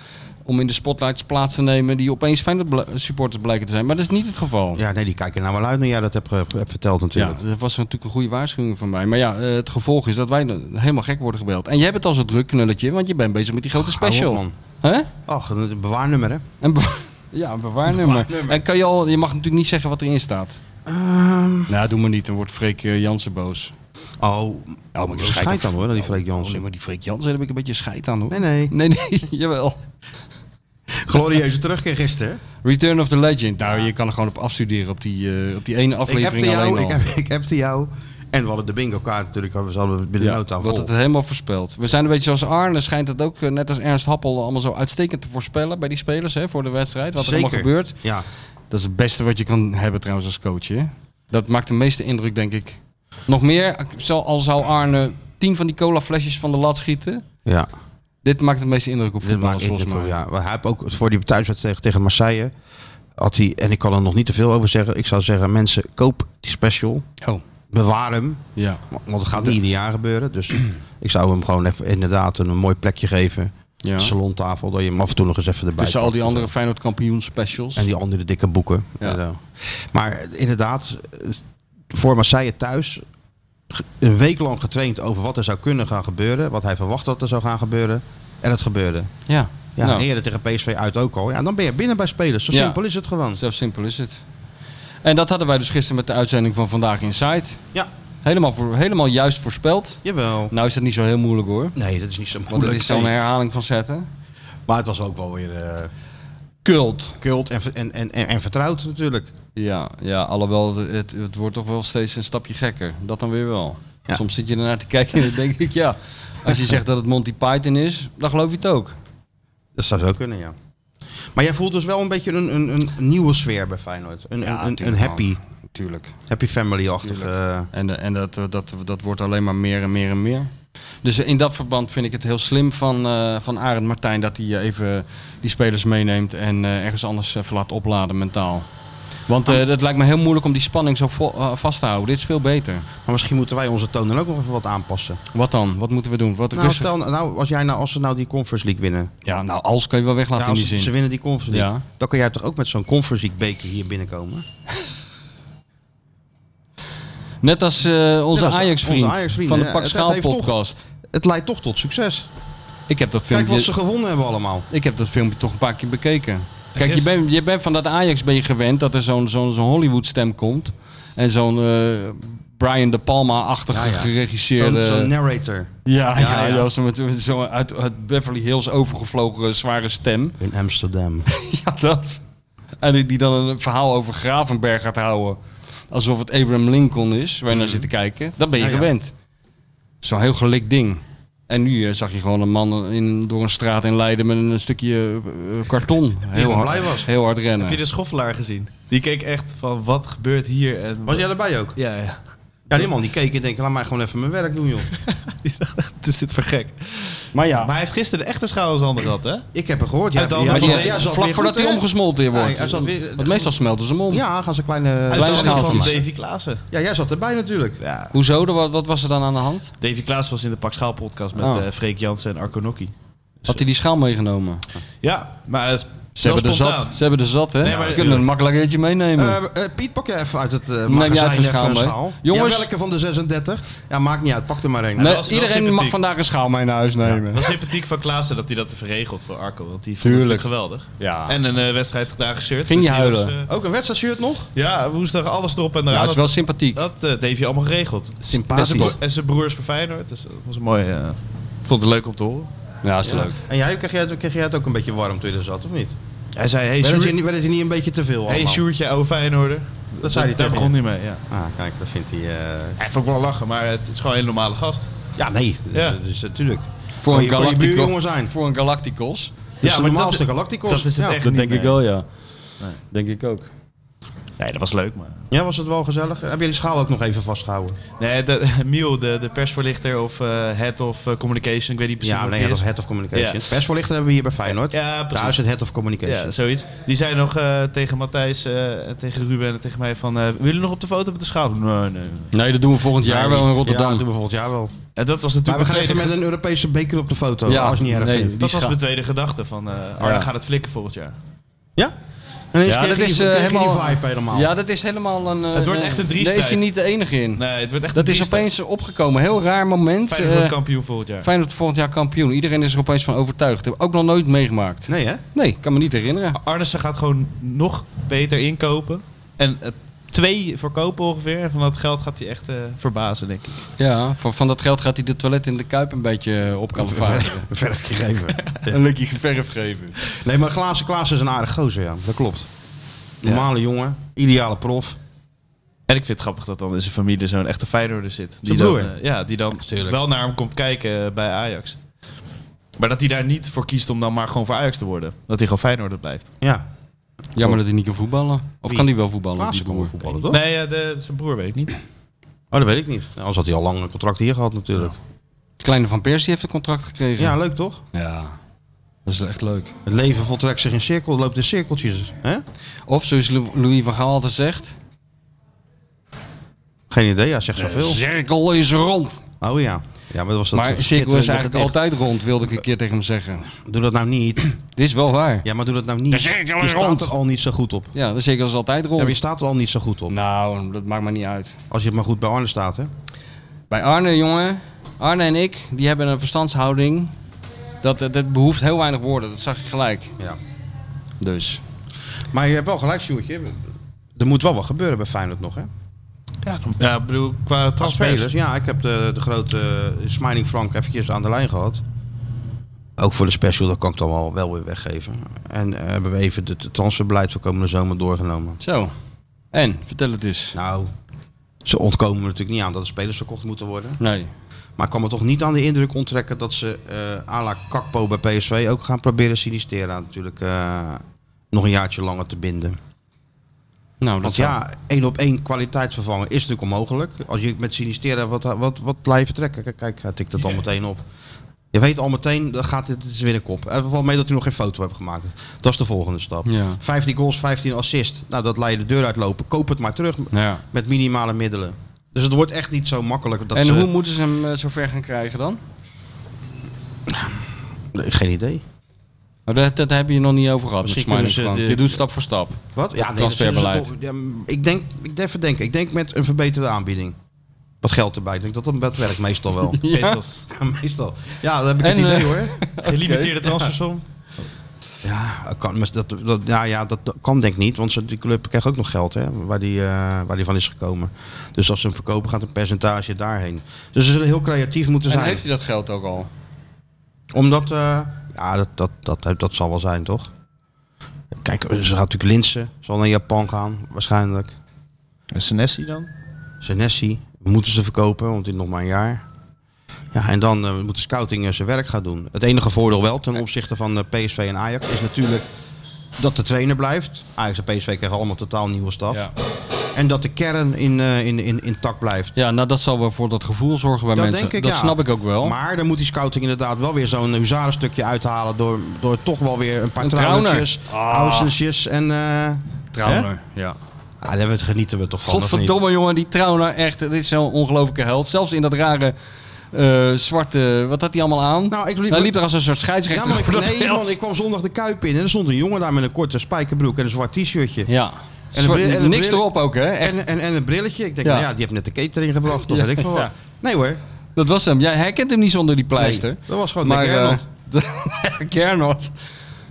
S3: om in de spotlights plaats te nemen. die opeens fijne supporters blijken te zijn. Maar dat is niet het geval.
S2: Ja, nee, die kijken nou wel uit naar jij dat hebt, ge- hebt verteld
S3: Ja,
S2: natuurlijk.
S3: dat was natuurlijk een goede waarschuwing van mij. Maar ja, eh, het gevolg is dat wij dan helemaal gek worden gebeld. En jij bent al zo druk, knulletje, want je bent bezig met die grote
S2: Hou
S3: special.
S2: op,
S3: Hè?
S2: man. Och, een bewaarnummer hè. Oh,
S3: En be- ja, een bewaarnummer.
S2: Bewaarnummer.
S3: En kan je, al, je mag natuurlijk niet zeggen wat erin staat.
S2: Ehm,
S3: Nou, doe maar niet, dan wordt Freek eh, Jansen boos.
S2: oh,
S3: maar ik
S2: dat
S3: schijt
S2: schijt
S3: op-
S2: dan hoor, dat die Freek Jansen.
S3: Alleen Oh, maar die Freek Jansen daar heb ik een beetje scheid aan hoor.
S2: Nee, nee.
S3: Nee, nee, jawel.
S2: Glorieuze terugkeer gisteren.
S3: Return of the Legend. Nou, je kan er gewoon op afstuderen op die, eh, op die ene
S2: Ik heb
S3: aflevering alleen
S2: jou,
S3: al.
S2: ik heb, ik appte jou. En we hadden de bingo kaart natuurlijk, hadden we hadden we binnen
S3: ja,
S2: de
S3: we
S2: nota
S3: hadden
S2: vol.
S3: het helemaal voorspeld. We zijn een beetje zoals Arne, schijnt het ook eh, net als Ernst Happel allemaal zo uitstekend te voorspellen bij die spelers hè, voor de wedstrijd. Wat er allemaal
S2: Zeker.
S3: gebeurt.
S2: Ja,
S3: Dat is het beste wat je kan hebben trouwens als coach. Hè? Dat maakt de meeste indruk denk ik. Nog meer, zal- al zou Arne tien van die cola flesjes van de lat schieten.
S2: ja.
S3: Dit maakt de meeste indruk op
S2: Dit maakt
S3: voetballers
S2: ik
S3: volgens mij.
S2: ja. Maar hij heeft ook voor die thuiswedstrijd tegen, tegen Marseille. Had hij, en ik kan er nog niet te veel over zeggen. Ik zou zeggen, mensen, koop die special.
S3: Oh,
S2: Bewaar hem.
S3: ja.
S2: Want het gaat niet ieder jaar gebeuren. Dus ik zou hem gewoon even, inderdaad een mooi plekje geven.
S3: ja.
S2: Salontafel, dat je hem af en toe nog eens even erbij
S3: Tussen al
S2: pakt
S3: die
S2: of
S3: andere
S2: zo.
S3: Feyenoord kampioen specials.
S2: En die andere dikke boeken.
S3: Ja.
S2: En zo. Maar inderdaad, eh, voor Marseille thuis... ge- Een week lang getraind over wat er zou kunnen gaan gebeuren. Wat hij verwacht dat er zou gaan gebeuren. En het gebeurde.
S3: Ja,
S2: Ja,
S3: Nou,
S2: eerder tegen PSV uit ook al. Ja, dan ben je binnen bij spelers. Zo
S3: Ja.
S2: simpel is het gewoon.
S3: zo simpel is het. En dat hadden wij dus gisteren met de uitzending van Vandaag Insight.
S2: Ja,
S3: Helemaal, voor, helemaal juist voorspeld.
S2: jawel.
S3: Nou is dat niet zo heel moeilijk hoor.
S2: Nee, dat is niet zo
S3: Want er
S2: moeilijk.
S3: is zo'n
S2: Nee.
S3: herhaling van zetten.
S2: Maar het was ook wel weer eh
S3: Kult.
S2: kult en, ver- en, en, en, en vertrouwd natuurlijk.
S3: Ja, ja alhoewel het, het, het wordt toch wel steeds een stapje gekker. Dat dan weer wel.
S2: Ja.
S3: Soms zit je ernaar te kijken en dan denk ik ja. Als je zegt dat het Monty Python is, dan geloof je het ook.
S2: Dat zou zo kunnen, ja. Maar jij voelt dus wel een beetje een, een, een nieuwe sfeer bij Feyenoord. Een,
S3: Ja,
S2: een, een, een
S3: tuurlijk,
S2: happy,
S3: Tuurlijk.
S2: happy family-achtige... eh,
S3: En, eh, en dat, eh, dat, dat wordt alleen maar meer en meer en meer. Dus in dat verband vind ik het heel slim van, eh van Arend Martijn dat hij eh, even die spelers meeneemt en eh, ergens anders even laat opladen mentaal. Want eh het lijkt me heel moeilijk om die spanning zo vo- eh, vast te houden. Dit is veel beter.
S2: Maar misschien moeten wij onze toon dan ook nog even wat aanpassen.
S3: Wat dan? Wat moeten we doen? Wat
S2: Nou,
S3: rustig.
S2: stel, nou, als, jij nou, als ze nou die Conference League winnen.
S3: Ja, nou, als kan je wel
S2: Ja,
S3: weglaten in
S2: als
S3: die
S2: ze, ze
S3: zin.
S2: winnen die Conference League.
S3: Ja.
S2: Dan kan jij toch ook met zo'n Conference League beker hier binnenkomen?
S3: Net als eh, onze
S2: als de-
S3: Ajax-vriend
S2: onze Ajax-vriend,
S3: van de
S2: ja,
S3: Pak
S2: dat
S3: Schaal
S2: heeft toch-
S3: podcast.
S2: Het leidt toch tot succes.
S3: Ik heb dat
S2: Kijk
S3: filmpje...
S2: wat ze gewonnen hebben allemaal.
S3: Ik heb dat filmpje toch een paar keer bekeken. Kijk, je
S4: gisteren-
S3: bent, je bent van dat Ajax ben je gewend dat er zo'n zo'n zo'n Hollywood stem komt. En zo'n eh, Brian De Palma-achtige
S2: Ja, ja. Zo'n
S3: geregisseerde...
S2: zo'n narrator
S3: ja, ja,
S2: Ja, ja.
S3: ja, zo'n met- met zo'n uit, uit Beverly Hills overgevlogen eh, zware stem.
S2: in Amsterdam.
S3: Ja, dat. En die, die dan een verhaal over Gravenberg gaat houden. Alsof het Abraham Lincoln is, waar je naar zit te kijken. Dat ben je
S2: Mhm. Ja, ja.
S3: gewend. Zo'n heel gelikt ding. En nu eh, zag je gewoon een man in, door een straat in Leiden met een stukje eh, karton. Heel
S2: gewoon
S3: hard,
S2: blij was.
S3: heel hard rennen.
S4: Heb je de schoffelaar gezien? Die keek echt van wat gebeurt hier en...
S2: Was jij erbij ook?
S4: Ja, ja.
S2: Ja, die man die keek en denkt, laat mij gewoon even mijn werk doen, joh.
S4: Die dacht echt, wat is dit voor gek?
S3: Maar ja,
S4: Maar hij heeft gisteren de echte schoudersander gehad, hè?
S2: Ik heb er gehoord. Jij,
S4: Uit de
S2: jij-
S4: hand
S2: jij-
S4: van-
S2: jij zat
S3: vlak
S2: weer
S3: voordat
S2: goed,
S3: hij
S2: hè?
S3: omgesmolten weer
S2: Ja,
S3: wordt.
S2: hij zat weer-
S3: Want meestal smelten ze hem om.
S2: Ja, gaan ze kleine...
S4: Uit de
S3: Kleine
S4: handen van
S3: schaaltjes.
S4: Davy Klaassen.
S2: Ja, jij zat erbij natuurlijk.
S4: Ja.
S3: Hoezo? Er wa- Wat was er dan aan de hand?
S4: Davy Klaas was in de Pak Schaal podcast met
S3: Oh.
S4: eh, Freek Jansen en Arco Nocchi.
S3: Had hij die schaal meegenomen?
S4: Ja, maar dat is
S3: Ze
S4: wel
S3: hebben er
S4: spontaan.
S3: zat. Ze hebben er zat, hè?
S4: Nee, maar-
S3: ze kunnen een makkelijk eentje meenemen.
S2: Eh, eh, Piet, pak je even uit het eh
S3: jij
S2: magazijn
S3: even een
S2: even
S3: schaal
S2: een
S3: mee.
S2: schaal.
S3: Jongens-
S2: Ja, welke van de 36? Ja, maakt niet uit. Pak er maar één.
S3: Nee,
S4: dat was wel
S3: iedereen mag
S4: sympathiek.
S3: vandaag een schaal mee naar huis nemen.
S4: Wel sympathiek van Klaassen dat hij dat heeft verregeld voor Arco, want die vond het
S3: Tuurlijk.
S4: natuurlijk geweldig.
S3: Ja.
S4: En een eh, wedstrijd gedaan geshirt.
S3: Ging je
S4: die was,
S3: huilen?
S4: eh,
S2: Ook een wedstrijdshirt nog?
S4: ja, woensdag alles erop en
S3: Ja,
S4: eraan.
S3: het is wel
S4: dat
S3: sympathiek.
S4: dat eh, Davy allemaal geregeld. En zijn,
S3: Sympathisch.
S4: broer- en zijn broers voor Feyenoord, dus dat was een mooi... eh, ik vond het leuk om te horen.
S3: Ja, is leuk.
S2: En jij, kreeg jij, kreeg jij het ook een beetje warm toen je er zat, of niet?
S4: Hij zei, hey,
S2: werd, het
S4: Sjoerd- Oh,
S2: je, niet- werd het je niet een beetje te veel
S4: hey
S2: allemaal?
S4: Sjoerdje, oude Feyenoorder.
S2: Dat zei hij
S4: Daar
S2: tegen
S4: begon hij mee, ja.
S2: Ah, kijk, dat vindt hij... eh,
S4: Hij vond ik wel lachen, maar het is gewoon een hele normale gast.
S2: Ja, nee.
S4: Ja.
S2: Dat is eh, natuurlijk...
S3: Voor
S2: Kan
S3: een
S2: je- kan je
S3: Galactico-
S2: buurjongen zijn?
S3: Voor een Galacticos.
S2: Ja, maar
S4: maar
S2: normaal
S4: dat-
S2: is de Galacticos.
S4: dat is het
S2: Ja.
S4: echt.
S3: Dat
S4: niet,
S3: denk ik
S4: nee.
S3: wel, ja. Denk ik ook.
S4: Nee, dat was leuk, maar...
S2: Ja, was het wel gezellig? Hebben jullie schaal ook nog even vastgehouden?
S4: Nee, de, Miel, de, de persvoorlichter of eh, head of eh, communication, ik weet niet precies
S2: ja,
S4: wat
S2: nee,
S4: die
S2: ja, dat
S4: is.
S2: is Head of Communication.
S4: Ja.
S2: Persvoorlichter hebben we hier bij Feyenoord.
S4: Ja,
S2: Daar is
S4: precies.
S2: het Head of Communication.
S4: Ja, zoiets. Die zei nog eh, tegen Matthijs, eh, en tegen Ruben en tegen mij van... eh, willen jullie nog op de foto met de schaal? Nee, nee.
S3: Nee, dat doen we volgend jaar wel in
S2: Ja, dat
S3: Rotterdam.
S2: doen we volgend jaar wel.
S4: En dat was
S2: Maar we gaan
S4: natuurlijk mijn
S2: even
S4: tweede,
S2: met
S4: ge-
S2: een Europese beker op de foto,
S3: Ja,
S2: als je het niet erg
S3: nee.
S2: vindt.
S4: dat
S3: die
S4: was
S3: scha-
S4: mijn tweede gedachte van... eh oh,
S3: Ja.
S4: dan gaat het flikken volgend jaar.
S2: Ja? En
S3: Ja, dat is eh,
S2: helemaal...
S3: helemaal.
S2: die vibe helemaal.
S3: Ja, dat is helemaal een. eh,
S4: Het wordt
S3: eh,
S4: echt een
S3: Daar
S4: driestrijd.
S3: is hij niet de enige in.
S4: Nee, het wordt echt
S3: Dat
S4: een
S3: is
S4: beest.
S3: opeens opgekomen. Heel raar moment.
S4: Feyenoord wordt
S3: Eh,
S4: kampioen volgend jaar.
S3: Feyenoord volgend jaar kampioen. Iedereen is er opeens van overtuigd. Heb ik ook nog nooit meegemaakt.
S2: Nee, hè?
S3: Nee, kan me niet herinneren.
S4: Arnissen gaat gewoon nog beter inkopen. En eh, twee verkopen ongeveer. En van dat geld gaat hij echt eh, verbazen, denk ik.
S3: Ja, van, van dat geld gaat hij de toilet in de Kuip een beetje op kan varen.
S2: Een verfje geven.
S3: Een lukje verf geven.
S2: Nee, maar Glazen Klaas is een aardig gozer, ja. Dat klopt. Normale jongen, ideale prof.
S4: En ik vind het grappig dat dan in zijn familie zo'n echte Feyenoorder zit. Die
S2: broer.
S4: Dan, eh, ja, die dan
S2: Tuurlijk.
S4: wel naar hem komt kijken eh, bij Ajax. Maar dat hij daar niet voor kiest om dan maar gewoon voor Ajax te worden. Dat hij gewoon Feyenoorder blijft.
S2: Ja.
S3: Jammer dat hij niet kan voetballen. Of
S2: Wie?
S3: kan hij wel voetballen?
S2: Klaassen
S3: die
S2: kon wel
S3: broer?
S2: voetballen, toch?
S4: Nee, eh, de, zijn broer weet ik niet.
S2: Oh, dat weet ik niet. Nou, Anders had hij al lang een contract hier gehad natuurlijk.
S3: Kleine van Persie heeft een contract gekregen.
S2: Ja, leuk toch?
S3: Ja, dat is echt leuk.
S2: Het leven voltrekt zich in cirkel, loopt in cirkeltjes. Hè?
S3: Of zoals Lou- Louis van Gaal altijd zegt...
S2: Geen idee, ja, zegt zoveel.
S3: Cirkel is rond.
S2: Oh ja. Ja, maar dat was dat
S3: maar cirkel is
S2: schitterende
S3: eigenlijk
S2: gedicht.
S3: altijd rond, wilde ik een keer tegen hem zeggen.
S2: Doe dat nou niet.
S3: Dit is wel waar. Ja,
S2: Ja, maar doe dat nou niet.
S3: De cirkel
S2: je
S3: is
S2: staat
S3: rond.
S2: er al niet zo goed op.
S3: de cirkel is altijd
S2: Ja, maar je
S3: rond.
S2: staat er al niet zo goed op.
S3: Nou, dat maakt me niet uit.
S2: Als je maar goed bij Arne staat, hè?
S3: Bij Arne, jongen. Arne en ik, die hebben een verstandshouding. Dat, dat, dat behoeft heel weinig woorden, dat zag ik gelijk.
S2: Ja.
S3: Dus.
S2: Maar je hebt wel gelijk, Sjoerdje. Er moet wel wat gebeuren bij Feyenoord nog, hè?
S4: Ja, ja ik bedoel, qua
S2: Qua spelers.
S4: transfers.
S2: Ja, ik heb de, de grote eh, Smiling Frank eventjes aan de lijn gehad. Ook voor de special, dat kan ik dan wel, wel weer weggeven. En eh, hebben we even het transferbeleid voor komende zomer doorgenomen.
S3: Zo. En, vertel het eens.
S2: Nou, ze ontkomen er natuurlijk niet aan dat er spelers verkocht moeten worden.
S3: Nee.
S2: Maar ik kan me toch niet aan de indruk onttrekken dat ze eh à la Kakpo bij PSV ook gaan proberen Sinistera natuurlijk eh, nog een jaartje langer te binden.
S3: Nou, dat
S2: Want
S3: zou-
S2: ja, één op één kwaliteit vervangen is natuurlijk onmogelijk. Als je met Sinistera wat, wat, wat lijven trekken. Kijk, kijk, hij tikt het al meteen op. Je weet al meteen, dan gaat dit, dit is weer een kop. Het valt mee dat hij nog geen foto hebt gemaakt. Dat is de volgende stap.
S3: Ja.
S2: 15 goals, 15 assist. Nou, dat laat je de deur uitlopen. Koop het maar terug
S3: Ja.
S2: met minimale middelen. Dus het wordt echt niet zo makkelijk. Dat
S3: en
S2: ze-
S3: hoe moeten ze hem eh, zover gaan krijgen dan?
S2: Nee, Geen idee.
S3: Nou, dat, dat heb je nog niet over gehad
S2: Misschien
S3: met
S2: kunnen
S3: Smiling
S2: ze
S3: Frank.
S2: de-
S3: Je doet stap voor stap.
S2: Wat? Ja, nee,
S3: Transferbeleid.
S2: dat zullen ze toch- ja, ik denk, ik even denken. Ik denk met een verbeterde aanbieding. Wat geld erbij. Ik denk dat dat dat werkt meestal wel.
S3: Ja.
S4: Bezos.
S2: Ja, meestal. Ja, dat heb ik
S3: En,
S2: het idee
S3: eh,
S2: hoor.
S4: Gelimiteerde transfersom.
S2: Ja, dat kan, maar dat, dat, ja, ja, dat dat kan denk ik niet. Want ze- die club krijgt ook nog geld hè, waar, die, eh, waar die van is gekomen. Dus als ze hem verkopen gaat een percentage daarheen. Dus ze zullen heel creatief moeten
S3: En
S2: zijn.
S3: heeft hij dat geld ook al?
S2: Omdat, eh, ja, dat, dat, dat, dat zal wel zijn toch? Kijk, ze gaat natuurlijk Linsen. Zal naar Japan gaan waarschijnlijk.
S4: En Senesi dan?
S2: Senesi moeten ze verkopen, want die nog maar een jaar. Ja, en dan eh, moet de scouting eh, zijn werk gaan doen. Het enige voordeel wel ten opzichte van eh, PSV en Ajax is natuurlijk dat de trainer blijft. Ajax en PSV krijgen allemaal totaal nieuwe staf.
S3: Ja.
S2: En dat de kern in, eh, in, in, intact blijft.
S3: ja, nou dat zal wel voor dat gevoel zorgen bij
S2: Dat
S3: mensen.
S2: denk ik,
S3: dat
S2: ja.
S3: snap ik ook wel.
S2: Maar dan moet die scouting inderdaad wel weer zo'n huzarenstukje uithalen door, door toch wel weer een paar
S3: Een trouwner.
S2: trouwnertjes,
S3: Ah.
S2: housensjes en... eh
S3: Trouwner, ja.
S2: ah, daar genieten we toch van, of niet?
S3: Godverdomme jongen, die Trouwner echt, dit is zo'n ongelofelijke held. Zelfs in dat rare eh, zwarte, wat had hij allemaal aan?
S2: Nou, ik liep-
S3: hij liep er als een soort
S2: Ja,
S3: scheidsrechter
S2: maar ik,
S3: over dat
S2: nee,
S3: veld.
S2: man, ik kwam zondag de Kuip in en er stond een jongen daar met een korte spijkerbroek en een zwart t-shirtje.
S3: Ja,
S2: een
S3: Zwart-
S2: bril- en een
S3: niks
S2: bril-
S3: erop ook hè. Echt,
S2: En, en, en een brilletje. Ik denk,
S3: Ja.
S2: nou ja, die heeft net de catering gebracht, of
S3: Ja,
S2: weet ik veel wat.
S3: ja.
S2: Nee hoor,
S3: dat was hem. Jij herkent hem niet zonder die
S2: nee,
S3: pleister.
S2: dat was gewoon
S3: Maar,
S2: Oh, lekker.
S3: eh,
S2: Nederland.
S3: de- Gernot.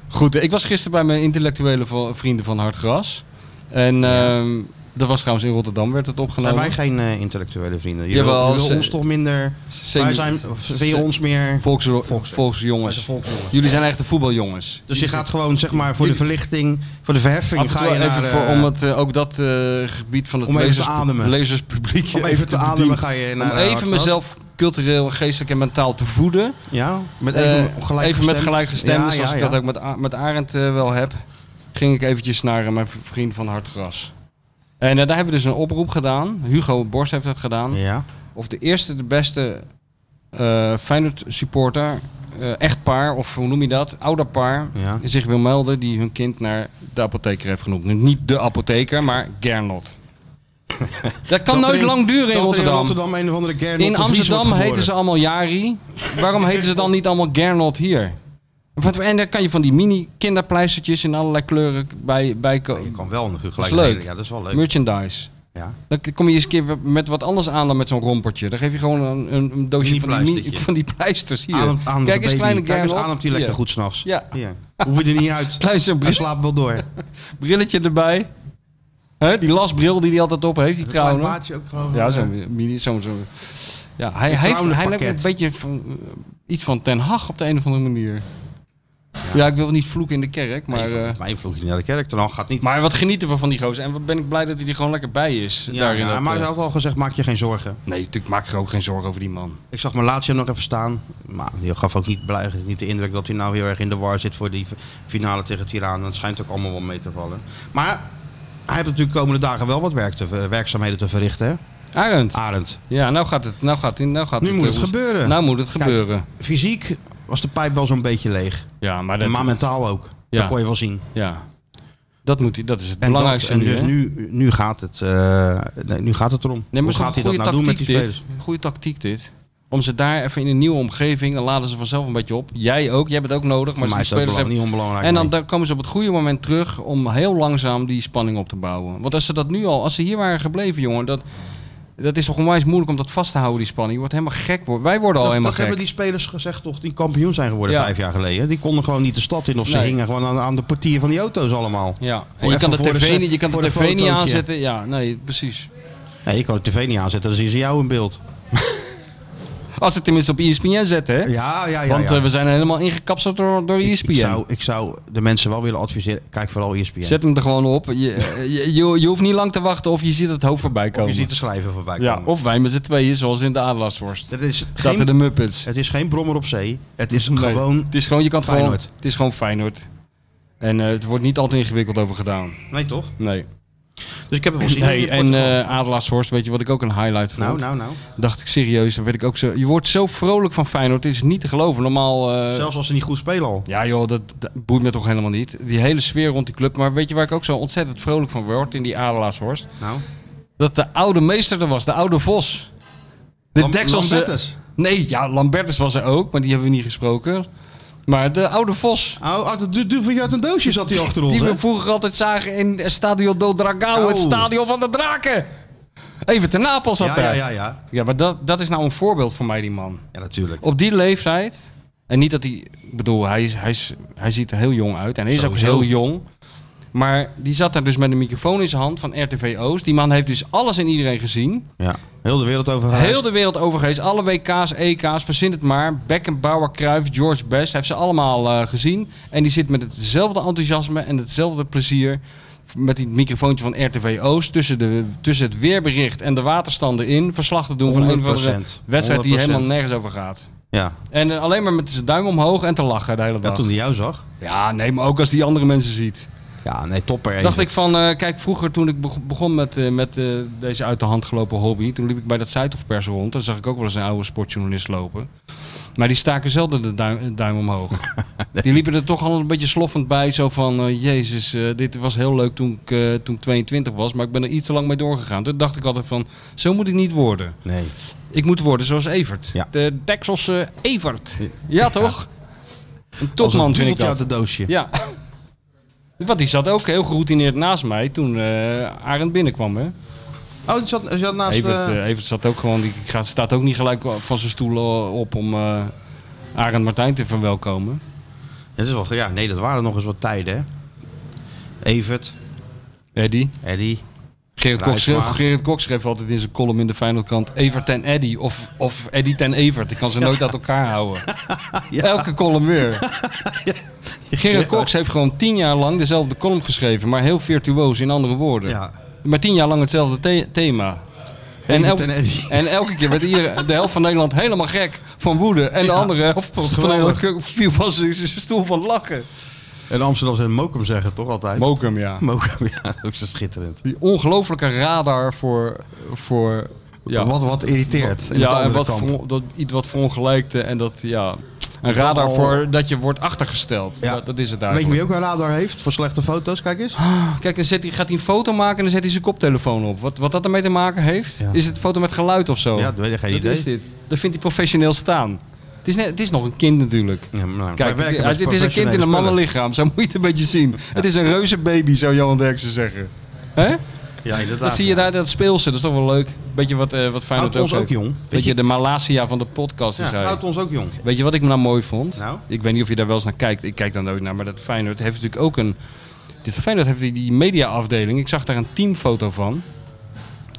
S3: Goed, eh, ik was gisteren bij mijn intellectuele vo- vrienden van Hartgras. En ehm, dat was trouwens in Rotterdam, werd het
S2: Zijn
S3: opgenomen.
S2: wij geen eh, intellectuele vrienden? Je
S3: Jawel,
S2: wil, je wil
S3: ze-
S2: ons toch minder...
S3: Semi-
S2: wij zijn, of vind je ons meer...
S3: volksjo-
S2: Volks-
S3: volksjongens.
S2: Wij zijn volksjongens.
S3: Jullie zijn echte voetbaljongens.
S2: Dus je gaat gewoon, zeg maar, voor de verlichting, voor de verheffing,
S3: Af en
S2: ga
S3: toe
S2: je naar...
S3: even voor,
S2: eh,
S3: om het, eh, ook dat eh, gebied van het
S2: om even te
S3: lezers-
S2: ademen.
S3: lezerspubliekje
S2: om even te ademen,
S3: bedienen.
S2: ga je
S3: Om
S2: naar... eh,
S3: even
S2: Hartgras.
S3: mezelf cultureel, geestelijk en mentaal te voeden.
S2: Ja, met
S3: Eh,
S2: even gelijk
S3: even met gelijkgestemden,
S2: Ja,
S3: zoals
S2: ja,
S3: ik
S2: ja.
S3: dat ook met, A- met Arend eh, wel heb. Ging ik eventjes naar eh, mijn v- vriend van Hartgras. En eh, daar hebben we dus een oproep gedaan. Hugo Borst heeft dat gedaan.
S2: Ja.
S3: Of de eerste, de beste eh Feyenoord supporter, eh echtpaar of hoe noem je dat, ouderpaar,
S2: Ja.
S3: zich wil melden die hun kind naar de apotheker heeft genoemd. Nu, niet de apotheker, maar Gernot. dat kan
S2: Dat
S3: nooit
S2: er in-
S3: lang duren in
S2: dat er
S3: Rotterdam.
S2: In Rotterdam een of andere Gernot
S3: In Amsterdam heten ze allemaal Jari. Waarom heten ze dan niet allemaal Gernot hier? Want- En daar kan je van die mini kinderpleistertjes in allerlei kleuren bij, bij ko-
S2: Je kan wel natuurlijk
S3: Dat is
S2: gelijk
S3: leuk.
S2: leren. Ja, dat is wel leuk.
S3: merchandise.
S2: Ja.
S3: Dan kom je eens een keer met wat anders aan dan met zo'n rompertje. Dan geef je gewoon een, een, een doosje van die, mini-
S2: Mini-pleistertje.
S3: van die pleisters hier.
S2: Adem, adem
S3: Kijk
S2: de baby.
S3: eens, kleine
S2: Kijk eens,
S3: Gernot.
S2: ademt die lekker
S3: Hier.
S2: goed s'nachts.
S3: Ja.
S2: Hier. Hoef je er niet uit.
S3: Klein zo'n
S2: Hij
S3: bril-
S2: slaapt wel door.
S3: brilletje erbij. Hè, die lasbril die hij altijd op heeft, die
S2: Klein
S3: trouwen.
S2: maatje ook gewoon.
S3: Ja,
S2: eh,
S3: zo'n mini, zo'n... zo'n- ja, hij,
S2: Een
S3: hij, heeft, hij lijkt
S2: trouwenpakket.
S3: een beetje van, eh, iets van Ten Hag op de een of andere manier. Ja, ik wil niet vloeken in de kerk, maar...
S2: nee,
S3: eh,
S2: volgens mij vloog je naar de kerk. Dan gaat niet.
S3: maar wat genieten we van die gozer. En wat ben ik blij dat hij er gewoon lekker bij is.
S2: ja,
S3: daarin
S2: ja,
S3: dat,
S2: maar
S3: eh,
S2: hij had al gezegd, maak je geen zorgen.
S3: Nee, natuurlijk maak ik er ook geen zorgen over die man.
S2: Ik zag mijn laatste nog even staan. Maar die gaf ook niet, blij- niet de indruk dat hij nou heel erg in de war zit voor die finale tegen Tirana. Dat schijnt ook allemaal wel mee te vallen. Maar hij heeft natuurlijk de komende dagen wel wat werk te, eh, werkzaamheden te verrichten. Hè?
S3: Arend.
S2: Arend.
S3: Ja, nou gaat het. Nou gaat, nou gaat
S2: Ah. Nu
S3: het,
S2: moet
S3: eh,
S2: het
S3: woest-
S2: gebeuren.
S3: Nou moet het gebeuren.
S2: Fysiek was de pijp wel zo'n beetje leeg.
S3: ja, maar dat,
S2: maar mentaal ook.
S3: Ja.
S2: Dat kon je wel zien.
S3: ja. dat, moet, hij- dat is het
S2: En, dat,
S3: belangrijkste
S2: en
S3: nu.
S2: dus
S3: hè?
S2: nu, nu, gaat het, eh, nee, nu gaat het erom.
S3: Nee, maar
S2: Hoe
S3: het
S2: gaat hij
S3: is een
S2: dat nou
S3: goede
S2: doen met die
S3: tactiek dit.
S2: spelers?
S3: Goede tactiek dit. Om ze daar even in een nieuwe omgeving, dan laden ze vanzelf een beetje op. Jij ook, jij bent ook nodig, maar
S2: Maar
S3: die
S2: is dat
S3: spelers
S2: belang-
S3: hebben...
S2: niet onbelangrijk.
S3: En dan,
S2: nee.
S3: dan komen ze op het goede moment terug om heel langzaam die spanning op te bouwen. Want als ze dat nu al, als ze hier waren gebleven, jongen, dat, dat is toch onwijs moeilijk om dat vast te houden, die spanning. Je wordt helemaal gek. hoor. Wij worden al
S2: Dat,
S3: helemaal
S2: dat
S3: gek.
S2: hebben die spelers gezegd toch, die kampioen zijn geworden
S3: Ja.
S2: vijf jaar geleden. Die konden gewoon niet de stad in of ze
S3: Nee.
S2: hingen gewoon aan, aan de portier van die auto's allemaal.
S3: Ja, en
S2: Voor
S3: je kan de
S2: even voor de
S3: tv,
S2: set-
S3: niet- je kan de
S2: voor de
S3: tv niet
S2: fotootje.
S3: aanzetten. Ja, nee, precies.
S2: Nee, je kan de tv niet aanzetten, dan zien ze jou in beeld.
S3: Als het tenminste op E ESPN zetten, hè?
S2: Ja, ja, ja.
S3: Want
S2: ja.
S3: eh, we zijn helemaal ingekapseld door, E door
S2: ik,
S3: ESPN.
S2: ik, zou, ik zou de mensen wel willen adviseren, kijk vooral E ESPN.
S3: Zet hem er gewoon op. Je, eh, je, je, je hoeft niet lang te wachten of je ziet het hoofd voorbij
S2: of
S3: komen.
S2: je ziet de schrijver voorbij komen.
S3: ja, of wij met z'n tweeën, zoals in de Adelaarsworst.
S2: het, is
S3: Zaten
S2: geen,
S3: de Muppets.
S2: het is geen brommer op zee, het is
S3: Nee.
S2: gewoon...
S3: het is gewoon, je kan het gewoon,
S2: Feyenoord.
S3: het is gewoon Feyenoord. En eh, het wordt niet altijd ingewikkeld over gedaan.
S2: Nee toch?
S3: Nee.
S2: Dus ik heb het wel zien.
S3: nee
S2: in
S3: en
S2: Portugal.
S3: eh Adelaarshorst, weet je wat ik ook een highlight vond?
S2: nou, nou, nou.
S3: Dacht ik serieus, dan werd ik ook zo... Je wordt zo vrolijk van Feyenoord, het is niet te geloven. Normaal... eh,
S2: Zelfs als ze niet goed spelen al.
S3: Ja joh, dat, dat boeit me toch helemaal niet. Die hele sfeer rond die club. Maar weet je waar ik ook zo ontzettend vrolijk van word in die Adelaarshorst?
S2: Nou,
S3: Dat de oude meester er was, de oude Vos. De eh,
S2: Lam-
S3: Dekselse...
S2: Lambertus.
S3: Nee, ja, Lambertus was er ook, maar die hebben we niet gesproken. Maar de oude Vos.
S2: Oh, oh, de du- duvel uit een doosje zat hij achter ons,
S3: Die
S2: hè?
S3: we vroeger altijd zagen in Stadio do Dragão,
S2: Oh.
S3: het stadion van de draken. Even ten Napels zat
S2: Ja,
S3: hij.
S2: ja, ja, ja.
S3: ja, maar dat, dat is nou een voorbeeld voor mij, die man.
S2: Ja, natuurlijk.
S3: Op die leeftijd. En niet dat hij. Ik bedoel, hij, is, hij, is, hij ziet er heel jong uit. En hij is
S2: Sowieso.
S3: ook heel jong. Maar die zat daar dus met een microfoon in zijn hand van RTV Oost. Die man heeft dus alles en iedereen gezien.
S2: Ja. Heel de wereld over gereisd.
S3: Heel de wereld overgeweest. Alle WK's, EK's, verzin het maar. Beckenbauer, Cruijff, George Best. Hij heeft ze allemaal eh, gezien. En die zit met hetzelfde enthousiasme en hetzelfde plezier... met die microfoontje van RTV Oost... tussen, de, tussen het weerbericht en de waterstanden in... verslag te doen van een of andere
S2: 100%.
S3: wedstrijd...
S2: 100%.
S3: die helemaal nergens over gaat.
S2: Ja.
S3: En eh, alleen maar met zijn duim omhoog en te lachen de hele
S2: ja,
S3: dag.
S2: toen hij jou zag.
S3: Ja, nee, maar ook als die andere mensen ziet.
S2: Ja, nee, topper.
S3: Dacht ik van, eh, kijk, vroeger toen ik beg- begon met, eh, met eh, deze uit de hand gelopen hobby, toen liep ik bij dat Zuidhofpers rond. Dan zag ik ook wel eens een oude sportjournalist lopen. Maar die staken zelden de duim, eh, duim omhoog. Die liepen er toch al een beetje sloffend bij. Zo van, eh, jezus, eh, dit was heel leuk toen ik, eh, toen ik 22 was, maar ik ben er iets te lang mee doorgegaan. Toen dacht ik altijd van, zo moet ik niet worden.
S2: Nee.
S3: Ik moet worden zoals Evert.
S2: Ja.
S3: De Dekselse Evert. Ja, toch? Een
S2: Als een
S3: topman vind ik
S2: duveltje
S3: dat.
S2: uit het doosje.
S3: Ja. Want die zat ook heel geroutineerd naast mij toen eh Arend binnenkwam. Hè?
S2: Oh, die zat, die zat naast...
S3: Evert,
S2: eh,
S3: eh, Evert zat ook gewoon, die gaat, staat ook niet gelijk van zijn stoel eh, op om eh Arend Martijn te verwelkomen.
S2: Het is wel, ge- ja, nee, dat waren nog eens wat tijden, hè. Evert,
S3: Eddy.
S2: Eddy.
S3: Gerrit Kok,
S2: Rijksma.
S3: schreef, Gerrit Kok schreef altijd in zijn column in de Feyenoordkrant Evert en Eddy of, of Eddy ten Evert. Ik kan ze nooit uit elkaar houden. Elke column weer. Gerrit Koks heeft gewoon tien jaar lang dezelfde column geschreven, maar heel virtuoos in andere woorden.
S2: Ja.
S3: Maar tien jaar lang hetzelfde the- thema. En,
S2: Evert
S3: elk-
S2: en Eddy.
S3: en elke keer werd ieder, de helft van Nederland helemaal gek van woede. En de andere helft van
S2: geweldig.
S3: Nederland viel van zijn zijn stoel van lachen.
S2: En Amsterdam zijn Mokum zeggen toch altijd?
S3: Mokum, ja.
S2: Mokum, ja, ook zo schitterend.
S3: Die ongelofelijke radar voor... voor ja,
S2: Wat, wat irriteert. in het
S3: ja en
S2: andere
S3: wat
S2: kamp.
S3: voor, dat, iets wat verongelijkte en dat, ja... Een radar
S2: Al-
S3: voor dat je wordt achtergesteld.
S2: Ja.
S3: Dat, dat is het
S2: Weet je
S3: daar.
S2: wie ook een radar heeft voor slechte foto's? Kijk eens.
S3: Kijk, dan zet hij, gaat hij een foto maken en dan zet hij zijn koptelefoon op. Wat, wat dat ermee te maken heeft?
S2: Ja.
S3: Is het foto met geluid of zo?
S2: Ja, dat weet ik geen
S3: dat
S2: idee.
S3: is dit. Dat vindt hij professioneel staan. Het is, net, het is nog een kind natuurlijk.
S2: Ja, maar nou, wij
S3: Kijk,
S2: werken
S3: het,
S2: met
S3: het is een kind in
S2: professionele
S3: een
S2: spullen.
S3: mannenlichaam. Zo moet je het een beetje zien. Het is een reuzenbaby, zou Johan Derksen zeggen. Hè?
S2: Ja, inderdaad.
S3: Dat zie je daar, dat speelse. Dat is toch wel leuk. Beetje wat, eh wat Feyenoord
S2: Houdt ons ook
S3: heeft.
S2: jong.
S3: Weet je, de Malasia van de podcast is
S2: Ja,
S3: hij.
S2: houdt ons ook jong.
S3: Weet je wat ik nou mooi vond?
S2: Nou?
S3: Ik weet niet of je daar wel eens naar kijkt. Ik kijk daar nooit naar. Maar dat Feyenoord heeft natuurlijk ook een... Dit Feyenoord heeft die, die mediaafdeling. Ik zag daar een teamfoto van.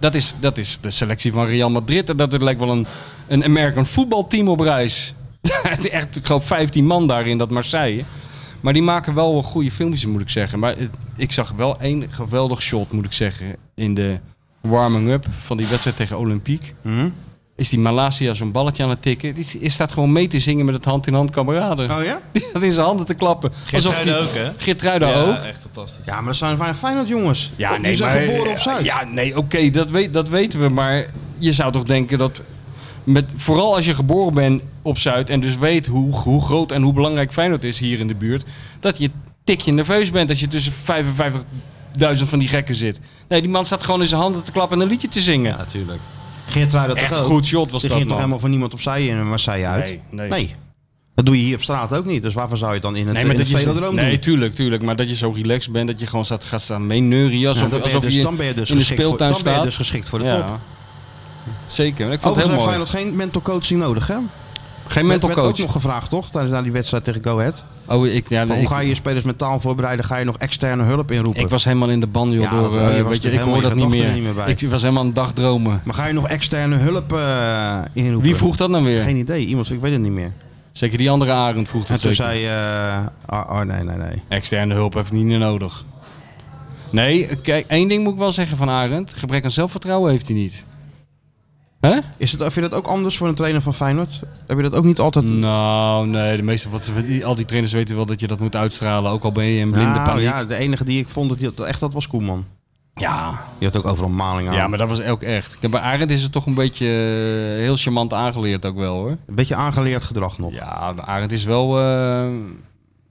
S3: Dat is, dat is de selectie van Real Madrid. En Dat het lijkt wel een, een American voetbalteam op reis. Het is Echt, ik geloof 15 man daar in dat Marseille. Maar die maken wel wel goede filmpjes, moet ik zeggen. Maar het- ik zag wel één geweldig shot, moet ik zeggen. In de warming-up van die wedstrijd tegen Olympique
S2: Hm?
S3: is die Malasia zo'n balletje aan het tikken. Die is staat gewoon mee te zingen met het hand-in-hand kameraden.
S2: Oh ja?
S3: Die staat in zijn handen te klappen.
S4: Geertruida
S3: die-
S4: ook, hè?
S3: Geertruida
S4: ja,
S3: ook.
S4: echt fantastisch.
S2: Ja, maar dat zijn waren Feyenoord jongens.
S3: Ja,
S2: Die zijn geboren op Zuid.
S3: Ja, nee, oké, dat, weet, dat weten we. Maar je zou toch denken dat... Met, vooral als je geboren bent op Zuid en dus weet hoe, hoe groot en hoe belangrijk Feyenoord is hier in de buurt... dat je tikje nerveus bent als je tussen 55.000 van die gekken zit. Nee, die man staat gewoon in zijn handen te klappen en een liedje te zingen.
S2: Ja, natuurlijk. Geert Ruij dat
S3: Echt
S2: toch ook?
S3: goed shot was
S2: Die
S3: dat,
S2: ging toch
S3: man.
S2: helemaal van niemand opzij in Marseille uit?
S3: Nee, nee.
S2: Dat doe je hier op straat ook niet. Dus waarvoor zou je het dan in het, nee,
S3: Nee, maar
S2: in
S3: dat
S2: het
S3: je zo-
S2: velodroom
S3: nee,
S2: doen?
S3: tuurlijk, tuurlijk. Maar dat je zo relaxed bent, dat je gewoon staat, gaat staan meeneuren.
S2: Ja,
S3: Alsof,
S2: dan, ben je
S3: alsof
S2: dus,
S3: je
S2: dan ben je dus
S3: in de
S2: geschikt voor,
S3: speeltuin
S2: dan ben je
S3: staat.
S2: dus geschikt voor de
S3: ja.
S2: top.
S3: Zeker. Ik vond het
S2: Overigens
S3: heel
S2: heeft
S3: mooi.
S2: Feyenoord geen mental coaching nodig, hè?
S3: Geen mental
S2: werd, werd
S3: coach.
S2: ook nog gevraagd, toch? Tijdens na die wedstrijd tegen Go Ahead.
S3: Oh, ik, ja,
S2: Van,
S3: ik,
S2: hoe ga je je spelers mentaal voorbereiden? Ga je nog externe hulp inroepen?
S3: ik was helemaal in de ban, joh.
S2: Ja,
S3: door,
S2: dat-
S3: eh,
S2: je was
S3: weet je,
S2: er
S3: ik hoor
S2: helemaal
S3: dat
S2: je
S3: niet
S2: gedachten
S3: meer.
S2: er niet meer bij.
S3: Ik was helemaal aan het dagdromen.
S2: Maar ga je nog externe hulp eh, inroepen?
S3: Wie vroeg dat dan weer?
S2: Geen idee. Iemand, ik weet het niet meer.
S3: Zeker die andere Arend vroeg
S2: En
S3: dat
S2: toen
S3: zeker.
S2: zei... eh ah, oh, nee, nee, nee.
S3: Externe hulp heeft niet meer nodig. Nee, kijk, één ding moet ik wel zeggen van Arend. Gebrek aan zelfvertrouwen heeft hij niet. Hè?
S2: Is het, vind je dat ook anders voor een trainer van Feyenoord? Heb je dat ook niet altijd...
S3: Nou, nee, de meeste, wat, die- al die trainers weten wel dat je dat moet uitstralen. Ook al ben je in blinde
S2: Nou,
S3: paniek.
S2: Ja, de enige die ik vond dat die dat echt had was Koeman.
S3: Ja.
S2: Die had ook overal maling aan.
S3: ja, maar dat was ook echt. Kijk, Bij Arend is het toch een beetje eh, heel charmant aangeleerd ook wel hoor.
S2: Een beetje aangeleerd gedrag nog.
S3: Ja, maar Arend is wel... eh,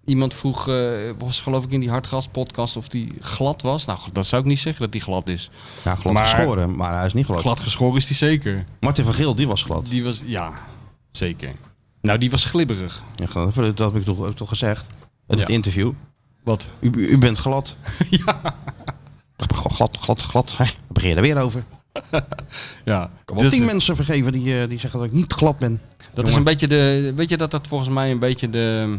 S3: iemand vroeg, eh, was geloof ik in die Hartgras podcast of die glad was. Nou, dat zou ik niet zeggen dat die glad is.
S2: Ja, glad
S3: Maar-
S2: geschoren, maar hij is niet glad.
S3: Glad geschoren is die zeker.
S2: Martin van Geel, die was glad.
S3: Die was, ja, zeker. Nou, die was glibberig.
S2: Ja, glad. dat heb ik toch, heb ik toch gezegd in het
S3: Ja.
S2: interview.
S3: Wat?
S2: U, u bent glad. ja. Glad, glad, glad. Hè, we beginnen er weer over. Ik
S3: Ja.
S2: kan wel
S3: Dus-
S2: tien mensen vergeven die, eh, die zeggen dat ik niet glad ben.
S3: Dat is
S2: Jongen.
S3: een beetje de. Weet je dat dat volgens mij een beetje de,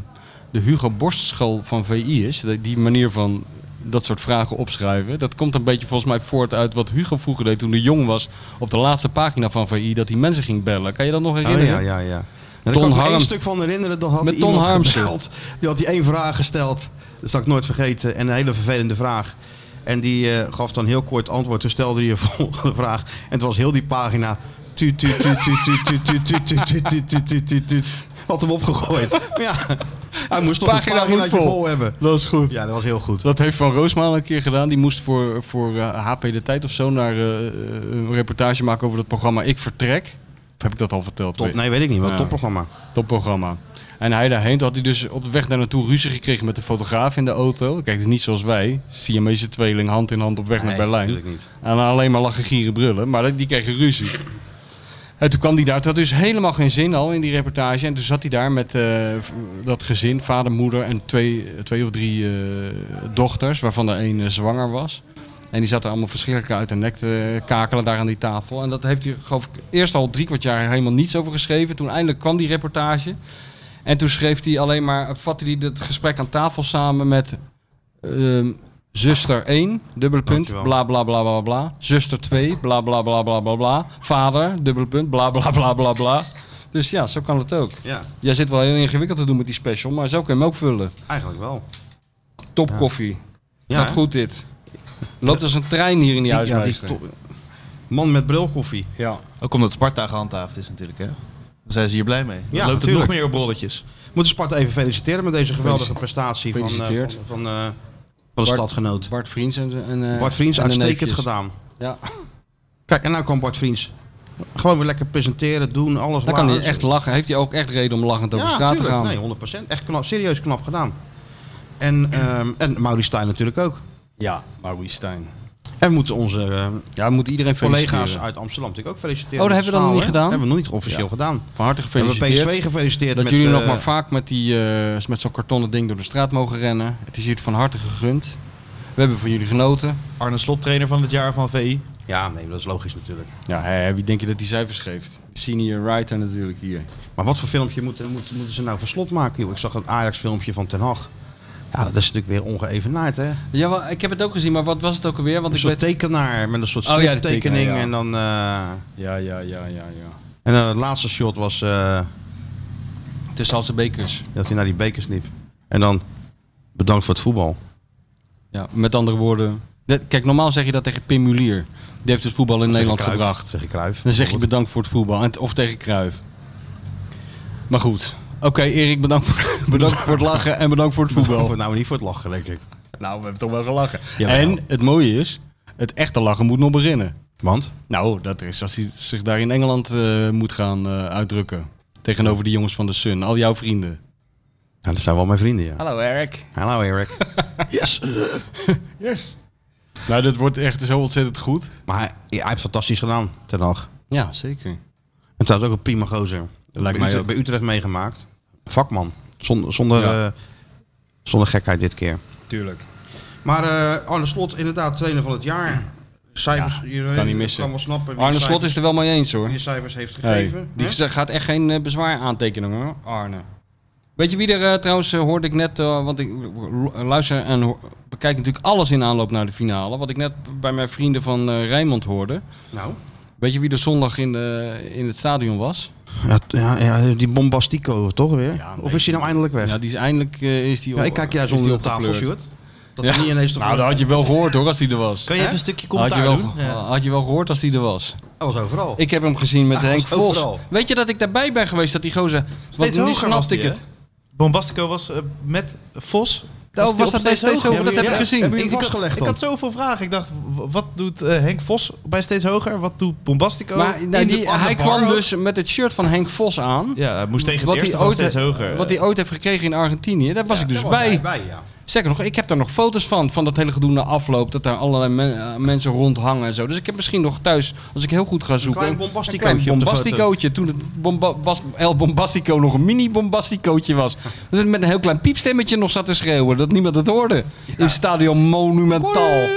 S3: de Hugo Borstschool van VI is? Die- Die manier van dat soort vragen opschrijven. Dat komt een beetje volgens mij voort uit wat Hugo vroeger deed toen hij jong was. Op de laatste pagina van VI dat hij mensen ging bellen. Kan je dat nog
S2: Oh,
S3: herinneren?
S2: ja, ja, ja.
S3: Ton
S2: Nou, daar kan ik me
S3: Harm-
S2: één stuk van herinneren. Dat had
S3: Met
S2: hij
S3: Ton
S2: iemand
S3: Harmsen.
S2: gebeld. Die had die één vraag gesteld. Dat zal ik nooit vergeten. En een hele vervelende vraag. En die eh, gaf dan heel kort antwoord. Toen stelde hij een volgende vraag. En het was heel die pagina. Tu, tu, tu, tu, tu, tu, tu, tu, tu, tu, tu, tu, tu, tu, tu. Had hem opgegooid. Maar ja, hij moest toch
S3: Pagina
S2: een
S3: moet
S2: paginaatje
S3: vol.
S2: vol. hebben.
S3: Dat is goed.
S2: Ja, dat was heel goed.
S3: Dat heeft Van Roosmaal een keer gedaan. Die moest voor, voor eh, HP De Tijd of zo naar eh, een reportage maken over dat programma Ik Vertrek. Of heb ik dat al verteld?
S2: Top, nee, weet ik niet. Wat
S3: Ja.
S2: topprogramma.
S3: topprogramma. En hij daarheen, toen had hij dus op de weg daar naartoe ruzie gekregen met de fotograaf in de auto. Kijk, het is niet zoals wij, Siamese tweeling, hand in hand op weg naar
S2: Nee,
S3: Berlijn.
S2: natuurlijk niet.
S3: En dan alleen maar lachen, gieren, brullen. Maar die kregen ruzie. En toen kwam hij daar. Het had dus helemaal geen zin al in die reportage. En toen zat hij daar met eh, dat gezin, vader, moeder en twee, twee of drie eh, dochters, waarvan de een eh, zwanger was. En die zaten allemaal verschrikkelijk uit de nek te kakelen daar aan die tafel. En dat heeft hij, geloof ik, eerst al drie kwart jaar helemaal niets over geschreven. Toen eindelijk kwam die reportage. En toen schreef hij alleen maar, vatte hij het gesprek aan tafel samen met ehm, zuster 1, dubbele punt,
S2: Dankjewel.
S3: bla bla bla bla bla. Zuster 2, bla bla bla bla bla bla. Vader, dubbele punt, bla bla bla bla bla. Dus ja, zo kan het ook.
S2: Ja,
S3: Jij zit wel heel ingewikkeld te doen met die special, maar zo kun je hem ook vullen.
S2: eigenlijk wel.
S3: Top koffie.
S2: Ja,
S3: Gaat
S2: hè?
S3: goed dit. Loopt als een trein hier in die
S2: Die- ja, die
S3: huismeester.
S2: is top. Man met bril koffie.
S3: Ja.
S4: Ook omdat Sparta gehandhaafd is natuurlijk, hè? Dat is zijn ze hier blij mee. Dan
S2: Ja,
S4: loopt
S2: natuurlijk.
S4: het nog meer op rolletjes.
S2: Moeten Sparta even feliciteren met deze geweldige prestatie van, eh,
S3: Gefeliciteerd.
S2: van, van, eh, van de
S3: Bart-
S2: stadgenoot.
S3: Bart Vriends en... en eh,
S2: Bart Vriends,
S3: en de
S2: uitstekend
S3: neefjes.
S2: gedaan.
S3: Ja,
S2: Kijk, en nou kwam Bart Vriends. Gewoon weer lekker presenteren, doen, alles.
S3: dan kan hij
S2: laten.
S3: echt lachen. Heeft hij ook echt reden om lachend over straat te gaan.
S2: tuurlijk. Nee, 100%. Echt knap, serieus knap gedaan. En, ehm en Mauri Stijn natuurlijk ook.
S3: Ja, Maurice Stijn.
S2: En we moeten onze eh,
S3: Ja, we moeten iedereen feliciteren.
S2: collega's uit Amsterdam natuurlijk ook feliciteren.
S3: Oh,
S2: met
S3: dat hebben we dan
S2: Staal, hè?
S3: niet gedaan?
S2: Hebben we nog niet officieel gedaan.
S3: Van harte
S2: Hebben we
S3: gefeliciteerd.
S2: PSV gefeliciteerd
S3: Dat
S2: met...
S3: jullie nog
S2: eh,
S3: maar vaak met, die, eh, met zo'n kartonnen ding door de straat mogen rennen. Het is jullie van harte gegund. We hebben van jullie genoten.
S4: Arne Slot, trainer van het jaar van VI.
S2: Ja, nee, dat is logisch natuurlijk.
S3: Ja, hè, wie denk je dat die cijfers geeft? Senior writer natuurlijk hier.
S2: Maar wat voor filmpje moet, moet, moeten ze nou voor slot maken? Joh? Ik zag een Ajax-filmpje van Ten Hag. Ja, dat is natuurlijk weer ongeëvenaard, hè?
S3: Ja, wel, ik heb het ook gezien, maar wat was het ook alweer? Want
S2: Een
S3: ik
S2: soort
S3: weet...
S2: tekenaar met een soort
S3: Oh ja, de tekenaar,
S2: striptekening.
S3: ja.
S2: En dan... eh,
S3: Ja, ja, ja, ja, ja.
S2: en dan het laatste shot was eh,
S3: Tussen als de bekers.
S2: dat hij naar die beker sliep. En dan... Bedankt voor het voetbal.
S3: Ja, met andere woorden. Net- Kijk, normaal zeg je dat tegen Pim Mulier. Die heeft het voetbal in Nederland
S2: Tegen Cruijff,
S3: gebracht.
S2: Tegen Cruijff.
S3: Dan zeg je bedankt voor het voetbal. En, of tegen Kruif. Maar goed. Oké, Erik, bedankt voor, bedankt voor het lachen en bedankt voor het voetbal.
S2: Voor- Nou, niet voor het lachen, denk ik.
S3: Nou, we hebben toch wel gelachen.
S2: Ja,
S3: en
S2: wel.
S3: het mooie is, het echte lachen moet nog beginnen.
S2: Want?
S3: Nou, dat is als hij zich daar in Engeland eh, moet gaan eh, uitdrukken. Tegenover die jongens van de Sun, al jouw vrienden.
S2: Nou, dat zijn wel mijn vrienden, ja.
S3: Hallo Erik.
S2: Hallo, Erik. yes.
S3: Yes. Nou, dat wordt echt zo ontzettend goed.
S2: Maar hij, hij heeft fantastisch gedaan, Ten Hag.
S3: Ja, zeker.
S2: En trouwens ook een prima gozer.
S3: Lijkt
S2: bij,
S3: mij
S2: Utrecht,
S3: ook.
S2: bij Utrecht meegemaakt. Vakman. Zonder, zonder,
S3: Ja.
S2: eh, zonder gekheid dit keer.
S3: Tuurlijk.
S2: Maar eh Arne Slot, inderdaad, trainer van het jaar. Cijfers,
S3: Ja,
S2: iedereen
S3: kan niet missen.
S2: kan wel snappen wie
S3: Arne
S2: de
S3: Slot
S2: cijfers-
S3: is er wel mee eens hoor.
S2: wie de cijfers heeft
S3: Hey,
S2: gegeven.
S3: die
S2: Hè?
S3: gez- gaat echt geen eh, bezwaar aantekenen hoor, Arne. Weet je wie er eh, trouwens, eh, hoorde ik net, eh, want ik eh, luister en hoor- bekijk natuurlijk alles in aanloop naar de finale. Wat ik net bij mijn vrienden van eh Rijnmond hoorde.
S2: Nou.
S3: Weet je wie er zondag in, de, in het stadion was?
S2: Ja, t- ja, ja, die Bombastico toch weer?
S3: Ja, nee.
S2: of is hij nou eindelijk weg?
S3: Ja,
S2: Ja,
S3: die is eindelijk eh, is die op.
S2: ik kijk juist
S3: is die
S2: onder de tafel,
S3: opgekleurd.
S2: Stuart. Dat
S3: Ja.
S2: hij niet ineens... de
S3: Nou, dat had je wel gehoord hoor, als die er was.
S4: Kan je even een stukje
S3: Had je,
S4: commentaar
S3: wel,
S4: doen?
S3: ge- had je wel gehoord als die er was.
S2: Dat was overal.
S3: Ik heb hem gezien met
S2: Hij
S3: Henk
S2: was
S3: Vos.
S2: overal.
S3: Weet je dat ik daarbij ben geweest dat die gozer... want
S4: Steeds
S3: nu
S4: hoger was
S3: snapte
S4: die,
S3: ik
S4: hè?
S3: het.
S4: Bombastico was eh, met Vos.
S3: Oh, was
S4: die op
S3: dat bij Steeds Hoger? Dat heb ik gezien.
S2: Hebben jullie
S4: Ik, ik, had,
S2: vastgelegd
S4: ik
S2: dan?
S4: had zoveel vragen. Ik dacht, w- wat doet eh, Henk Vos bij Steeds Hoger? Wat doet Bombastico?
S3: Maar nou,
S4: In de-
S3: die,
S4: aan de
S3: hij
S4: bar
S3: kwam
S4: ook.
S3: dus met het shirt van Henk Vos aan.
S4: Ja, hij moest tegen het
S3: Wat hij
S4: eerste van
S3: ooit-
S4: Steeds Hoger. eh,
S3: Wat hij ooit heeft gekregen in Argentinië. Daar was
S2: Ja,
S3: ik dus
S2: daar
S3: bij.
S2: jij ja.
S3: Zeker nog, ik heb daar nog foto's van. Van dat hele gedoe na afloop. Dat daar allerlei men- eh, mensen rondhangen en zo. Dus ik heb misschien nog thuis, als ik heel goed ga zoeken.
S2: klein
S3: een
S2: bombasticootje
S3: klein
S2: op de foto.
S3: bombasticootje. Toen het bomba bas- El Bombastico nog een mini bombasticootje was. Dat Met een heel klein piepstemmetje nog zat te schreeuwen. Dat niemand het hoorde. In Stadion Monumental.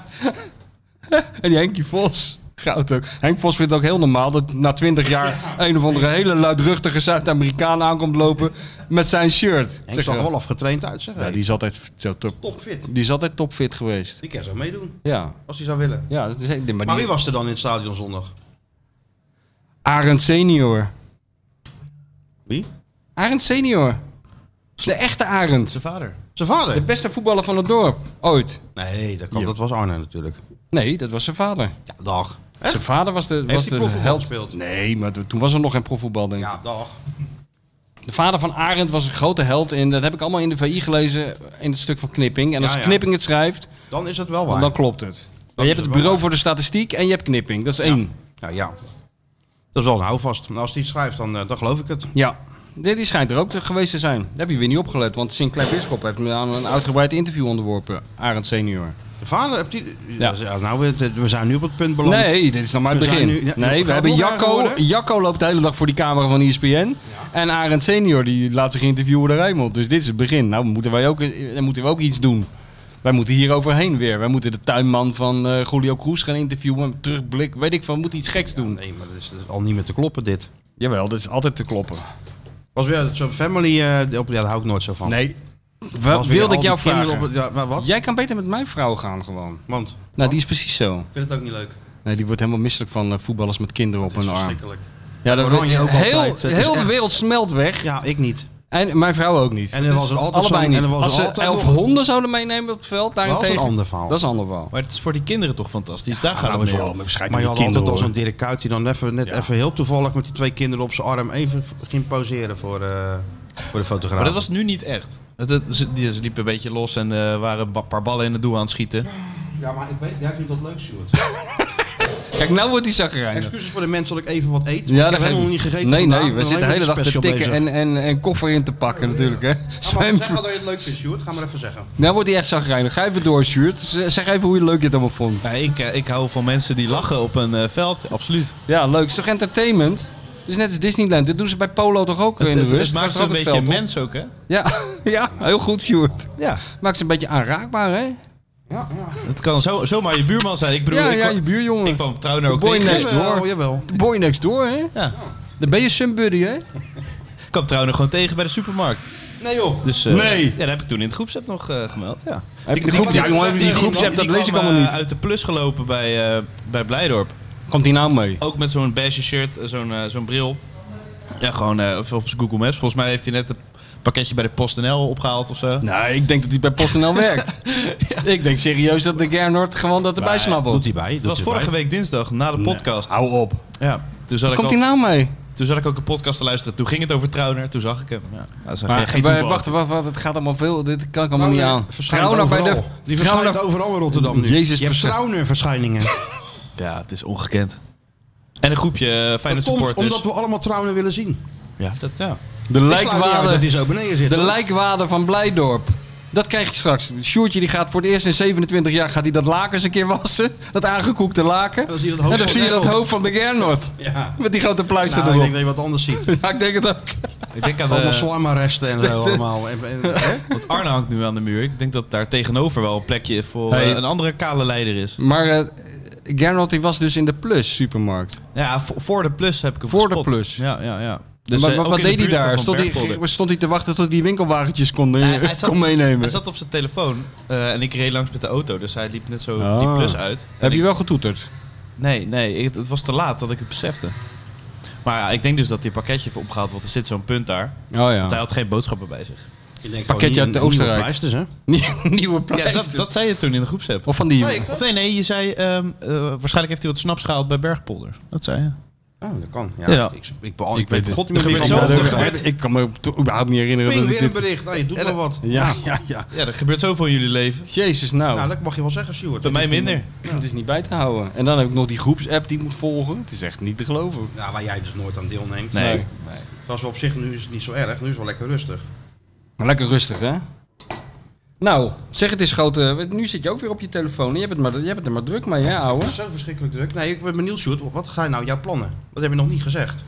S3: en die Henkie Vos. Goud ook. Henk Vos vindt het ook heel normaal dat na 20 jaar een of andere hele luidruchtige Zuid-Amerikaan aankomt lopen met zijn shirt.
S2: Henk
S3: Zeg,
S2: zag er
S3: eh,
S2: wel afgetraind uit, zeg.
S3: ja, die is altijd zo top.
S2: Topfit.
S3: Die is altijd topfit geweest.
S2: Die kan zo meedoen,
S3: Ja.
S2: als hij zou willen.
S3: Ja, dat is- maar, die-
S2: Maar wie was er dan in het stadion zondag?
S3: Arend senior.
S2: Wie?
S3: Arend senior. De echte Arend.
S4: Zijn vader.
S2: Zijn
S3: De
S2: vader?
S3: beste voetballer van het dorp. Ooit.
S2: Nee, dat, kan, dat was Arne natuurlijk.
S3: Nee, dat was zijn vader.
S2: Ja, dag.
S3: Zijn vader was de, was
S2: hij
S3: de
S2: profvoetbal
S3: held.
S2: gespeeld?
S3: Nee, maar toen- toen was er nog geen profvoetbal, denk ik.
S2: Ja, dag.
S3: De vader van Arend was een grote held. En dat heb ik allemaal in de VI gelezen. In het stuk van Knipping. En als
S2: Ja, ja.
S3: Knipping het schrijft,
S2: Dan is het wel waar.
S3: dan klopt het. Maar je
S2: is
S3: hebt het
S2: wel
S3: bureau
S2: waar.
S3: voor de statistiek en je hebt Knipping. Dat is één.
S2: Nou ja. Dat is wel een houvast. Maar als hij het schrijft, dan, eh, dan geloof ik het.
S3: Ja, die die schijnt er ook te- geweest te zijn. Daar heb je weer niet opgelet, want Sinclair Bisschop heeft me aan een uitgebreid interview onderworpen. Arend senior.
S2: De vader, hebt die...
S3: Ja.
S2: Ja. Nou, we, we zijn nu op het punt beland.
S3: Nee, dit is nog maar het
S2: We
S3: begin.
S2: zijn nu- ja,
S3: nee,
S2: gaat
S3: we
S2: het
S3: hebben
S2: nog erger
S3: Jacco.
S2: worden?
S3: Jacco loopt de hele dag voor die camera van E ESPN. En Arend senior die laat zich interviewen door Rijnmond. Dus dit is het begin. Nou moeten wij ook, dan moeten we ook iets doen. Wij moeten hier overheen weer. Wij moeten de tuinman van eh, Julio Cruz gaan interviewen. Terugblik, weet ik van, we moeten iets geks doen.
S2: Nee, maar dat is, dat is al niet meer te kloppen, dit.
S3: Jawel, dat is altijd te kloppen.
S2: Was weer zo'n family... eh op, ja, daar hou ik nooit zo van.
S3: Nee,
S2: Was
S3: wat
S2: weer
S3: wilde
S2: al
S3: ik jou
S2: die kinderen
S3: vragen?
S2: Op, het- ja, maar wat?
S3: Jij kan beter met mijn vrouw gaan gewoon.
S2: Want?
S3: Nou, die is precies zo.
S2: Ik vind het ook niet leuk.
S3: Nee, die wordt helemaal misselijk van eh, voetballers met kinderen op
S2: Het is
S3: hun arm.
S2: verschrikkelijk.
S3: Ja, dat
S2: Oranje ook
S3: heel,
S2: altijd. Het is
S3: heel de
S2: echt-
S3: wereld smelt weg.
S2: Ja, ik niet.
S3: En mijn vrouw ook niet. Dus
S2: En er was er altijd
S3: Allebei
S2: zo'n-
S3: niet.
S2: en er was
S3: Als
S2: er
S3: ze
S2: altijd
S3: elf
S2: nog-
S3: honden zouden meenemen op het veld, daarentegen...
S2: ander verhaal.
S3: Dat is een ander verhaal.
S4: Maar het is voor die kinderen toch fantastisch. Daar gaat
S2: maar
S4: het
S2: je
S4: meer om.
S2: had
S5: waarschijnlijk
S2: altijd
S5: die kinderen,
S2: al zo'n
S5: hoor.
S2: Dirk Kuyt die dan even, net even heel toevallig met die twee kinderen op zijn arm even ging poseren voor, eh, voor de fotograaf.
S4: Maar dat was nu niet echt. Het, het- ze, die- ze liepen een beetje los en eh, waren een ba- paar ballen in het doel aan het schieten.
S2: Ja, maar ik weet, jij vindt dat leuk, Stuart.
S3: Kijk, nou wordt die zagrijnig.
S2: Excuses voor de mensen dat ik even wat eet.
S3: Ja,
S2: ik heb
S3: dat
S2: helemaal
S3: geeft-
S2: niet gegeten
S3: Nee,
S2: vandaag.
S3: nee,
S2: Ik
S3: we
S2: ben
S3: zitten de
S2: alleen
S3: hele
S2: met
S3: dag te
S2: special
S3: tikken
S2: bezig.
S3: en, en, en koffer in te pakken natuurlijk, hè.
S2: Nou, maar
S3: Zwem...
S2: zeg maar dat je het leuk vindt, Stuart. Ga maar even zeggen.
S3: Nou wordt hij echt zagrijnig. Ga even door, Sjoerd. Z- Zeg even hoe je leuk je het allemaal vond.
S4: Ja, ik, eh, ik hou van mensen die lachen op een eh, veld, absoluut.
S3: Ja, leuk. Het is toch entertainment? Het is net als Disneyland. Dit doen ze bij Polo toch ook
S4: Het,
S3: in de
S4: het,
S3: rust?
S4: het maakt
S3: Gaat
S4: ze een
S3: ook het
S4: beetje
S3: veld op?
S4: mens ook, hè?
S3: Ja, ja, heel goed, Sjoerd.
S4: Ja.
S3: Maakt ze een beetje aanraakbaar, hè?
S2: Ja, ja.
S4: Het kan zo, zomaar je buurman zijn. Ik bedoel,
S3: ja,
S4: ik,
S3: ja,
S4: kwam-
S3: je
S4: ik
S3: buurjongen.
S4: kwam Trouwner ook
S3: boy
S4: tegen. eh,
S3: next door.
S2: Jawel, eh, oh, jawel.
S3: Boy next door, hè?
S4: Ja.
S3: Dan ben je somebody, hè?
S4: Ik kwam Trouwner gewoon tegen bij de supermarkt.
S2: Nee joh.
S4: Dus, eh,
S5: Nee.
S4: Ja, dat heb ik toen in de groepsapp nog eh, gemeld, ja.
S3: Heb je de
S4: die
S3: groep-
S4: kwam-
S5: Ja, jongen, die
S4: kwam-
S5: groepsapp, dat
S4: die
S5: lees ik
S4: kwam,
S5: allemaal
S4: eh,
S5: niet.
S4: uit de plus gelopen bij, eh, bij Blijdorp.
S3: Komt hij nou mee?
S4: Ook met zo'n beige shirt, eh, zo'n eh, zo'n bril. Ja, gewoon eh, op op zijn Google Maps. Volgens mij heeft hij net een pakketje bij de PostNL opgehaald of zo.
S3: Nou, ik denk dat hij bij PostNL werkt. Ik denk serieus dat de Gernot gewoon dat erbij
S2: Doet
S3: snappelt.
S2: hij bij. Doet
S4: Het was
S2: hij
S4: vorige
S2: bij.
S4: week dinsdag, na de podcast.
S3: Hou op.
S4: Ja, toen zat, ik
S3: Komt
S4: al,
S3: hij nou mee?
S4: toen zat ik ook een podcast te luisteren. Toen ging het over Trouwner, toen zag ik hem. Ja, dat is geen,
S3: Maar,
S4: geen
S3: maar
S4: toeval.
S3: wacht, wacht, wacht, het gaat allemaal veel. Dit kan ik allemaal niet
S2: Trouwner
S3: aan.
S2: verschijnt
S3: Trouwner bij de. nou-
S2: overal. Die verschijnt
S3: Trouwner-
S2: overal in Rotterdam nu.
S3: Jezus,
S2: je hebt
S3: verschijnt-
S2: Trouwner verschijningen.
S4: Ja, het is ongekend. En een groepje uh, Feyenoord
S2: Dat komt
S4: supporters.
S2: omdat we allemaal Trouwner willen zien.
S4: ja, dat, ja.
S3: De
S2: Ik sluit niet uit
S3: lijkwade.
S2: dat hij zo beneden zit.
S3: De
S2: hoor.
S3: lijkwade van Blijdorp. Dat krijg je straks. Sjoertje die gaat voor het eerst in 27 jaar gaat hij dat laken eens een keer wassen. Dat aangekoekte laken.
S2: dan zie je dat hoofd
S3: en dan
S2: van
S3: zie je dat
S2: Gernot.
S3: hoofd van de Gernot.
S2: Ja.
S3: Met die grote pluister
S2: Nou, ik denk
S3: erop.
S2: dat je wat anders ziet.
S3: Ja, ik denk het ook.
S4: Ik denk aan
S2: allemaal
S4: de,
S2: slammerresten en zo allemaal. En, en- hè?
S4: want Arne hangt nu aan de muur. Ik denk dat daar tegenover wel een plekje voor eh,
S3: Hey.
S4: een andere kale leider is.
S3: Maar eh, Gernot die was dus in de Plus supermarkt.
S4: Ja, vo- voor de plus heb ik hem
S3: Voor de
S4: gespot.
S3: plus.
S4: Ja, ja, ja.
S3: maar,
S4: eh,
S3: wat-
S4: ook
S3: wat
S4: in de
S3: deed hij
S4: buurt
S3: daar?
S4: van
S3: Stond
S4: Bergpolder.
S3: hij, stond hij te wachten tot hij winkelwagentjes kon,
S4: Hij- hij zat-
S3: kon
S4: Hij
S3: meenemen?
S4: zat op zijn telefoon eh, en ik reed langs met de auto, dus hij liep net zo
S3: Ah.
S4: die plus uit. En
S3: Heb
S4: ik-
S3: je wel getoeterd?
S4: Nee, nee, ik- het was te laat dat ik het besefte. Maar ja, ik denk dus dat hij een pakketje heeft opgehaald, want er zit zo'n punt daar.
S3: Oh ja.
S4: Want hij had geen boodschappen bij zich.
S3: Pakketje uit de Oostenrijk.
S2: Pleisters, hè?
S3: Nieuwe
S4: Ja,
S3: prijs.
S4: dat, dat zei je toen in de groepsapp.
S3: Of van die...
S4: Of nee, nee, je zei ehm, eh, waarschijnlijk heeft hij wat snaps gehaald bij Bergpolder. Dat zei je.
S2: Oh, dat kan. Ja.
S4: Ja.
S2: Ik, ik, ik, beal- ik, weet het. God,
S4: Er gebeurt
S2: ik
S4: zo
S2: kan
S4: op de
S2: bedenken.
S4: gebeurt-
S3: Ik kan me to- überhaupt niet herinneren
S2: Ping,
S3: dat ik
S2: weer een
S3: dit...
S2: bericht. Nee, doet
S4: En
S2: maar
S4: dat-
S2: wat.
S3: Ja, ja, ja.
S4: Ja, er gebeurt zoveel in jullie leven.
S3: Jezus, nou.
S2: Nou, dat mag je wel zeggen, Stuart.
S4: Bij mij
S2: Dat is niet-
S4: minder.
S3: Het is niet bij te houden. En dan heb ik nog die groepsapp die ik moet volgen. Het is echt niet te geloven.
S2: Nou, waar jij dus nooit aan deelneemt.
S4: Nee.
S3: Nee.
S2: Dat is wel op zich, nu is het niet zo erg. Nu is het wel lekker rustig.
S3: Maar lekker rustig, hè? Nou, zeg het eens, grote. want Nu zit je ook weer op je telefoon. Je hebt het, maar, je hebt het er maar druk mee, hè, ouwe?
S2: Het is zo verschrikkelijk druk. Nee, ik ben benieuwd, Stuart. Wat zijn nou jouw plannen? Dat heb je nog niet gezegd.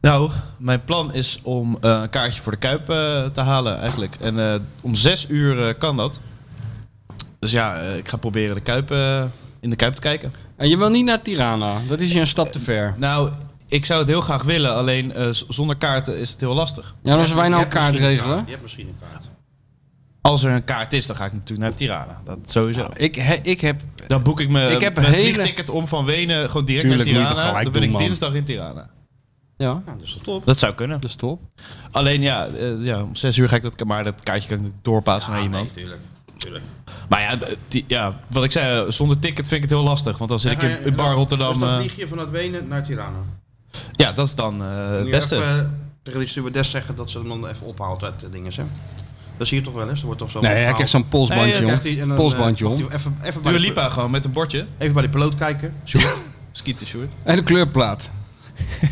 S4: Nou, mijn plan is om eh, een kaartje voor de Kuip eh, te halen eigenlijk. En eh, om zes uur eh, kan dat. Dus ja, eh, ik ga proberen de Kuip, eh, in de Kuip te kijken.
S3: En je wil niet naar Tirana. Dat is je een stap te ver.
S4: Nou, ik zou het heel graag willen, alleen eh, z- zonder kaarten is het heel lastig.
S3: Ja, als wij nou
S2: Je
S3: een
S2: hebt
S3: kaart
S2: misschien
S3: regelen.
S2: kaart. Je hebt misschien een kaart.
S4: Als er een kaart is, dan ga ik natuurlijk naar Tirana. Dat sowieso.
S3: Ik, he- ik heb.
S4: Dan boek ik me
S3: Ik heb
S4: mijn
S3: hele-
S4: vliegticket om van Wenen gewoon direct
S3: Tuurlijk
S4: naar
S3: moet je dat
S4: Tirana.
S3: gelijk
S4: Dan ben
S3: doen,
S4: ik
S3: man.
S4: dinsdag in Tirana.
S3: Ja,
S2: Nou, dat is toch top.
S4: Dat zou kunnen.
S3: dat is top.
S4: Alleen ja, eh, ja om zes uur ga ik dat... Maar dat kaartje kan ik doorpassen
S2: Ah,
S4: naar iemand.
S2: natuurlijk.
S4: Maar ja, d- die- ja, wat ik zei, eh, zonder ticket vind ik het heel lastig. Want dan zit ik in, in Bar Rotterdam.
S2: Dus dan
S4: eh,
S2: vlieg je vanuit Wenen naar Tirana.
S4: ja, dat is dan eh, het
S2: Moet je
S4: beste.
S2: even, eh, tegen die stewardess zeggen dat ze hem dan even ophaalt uit de dingen. Hè? Dat zie je toch wel eens? Er wordt toch zo
S3: Nee, hij krijgt zo'n polsbandje om. polsbandje om.
S2: eh, Even, even, bij
S4: Dua
S2: de-
S4: Lipa gewoon met een bordje.
S2: even bij de piloot kijken.
S4: Sjoerd. Skieten, Sjoerd.
S3: En een kleurplaat.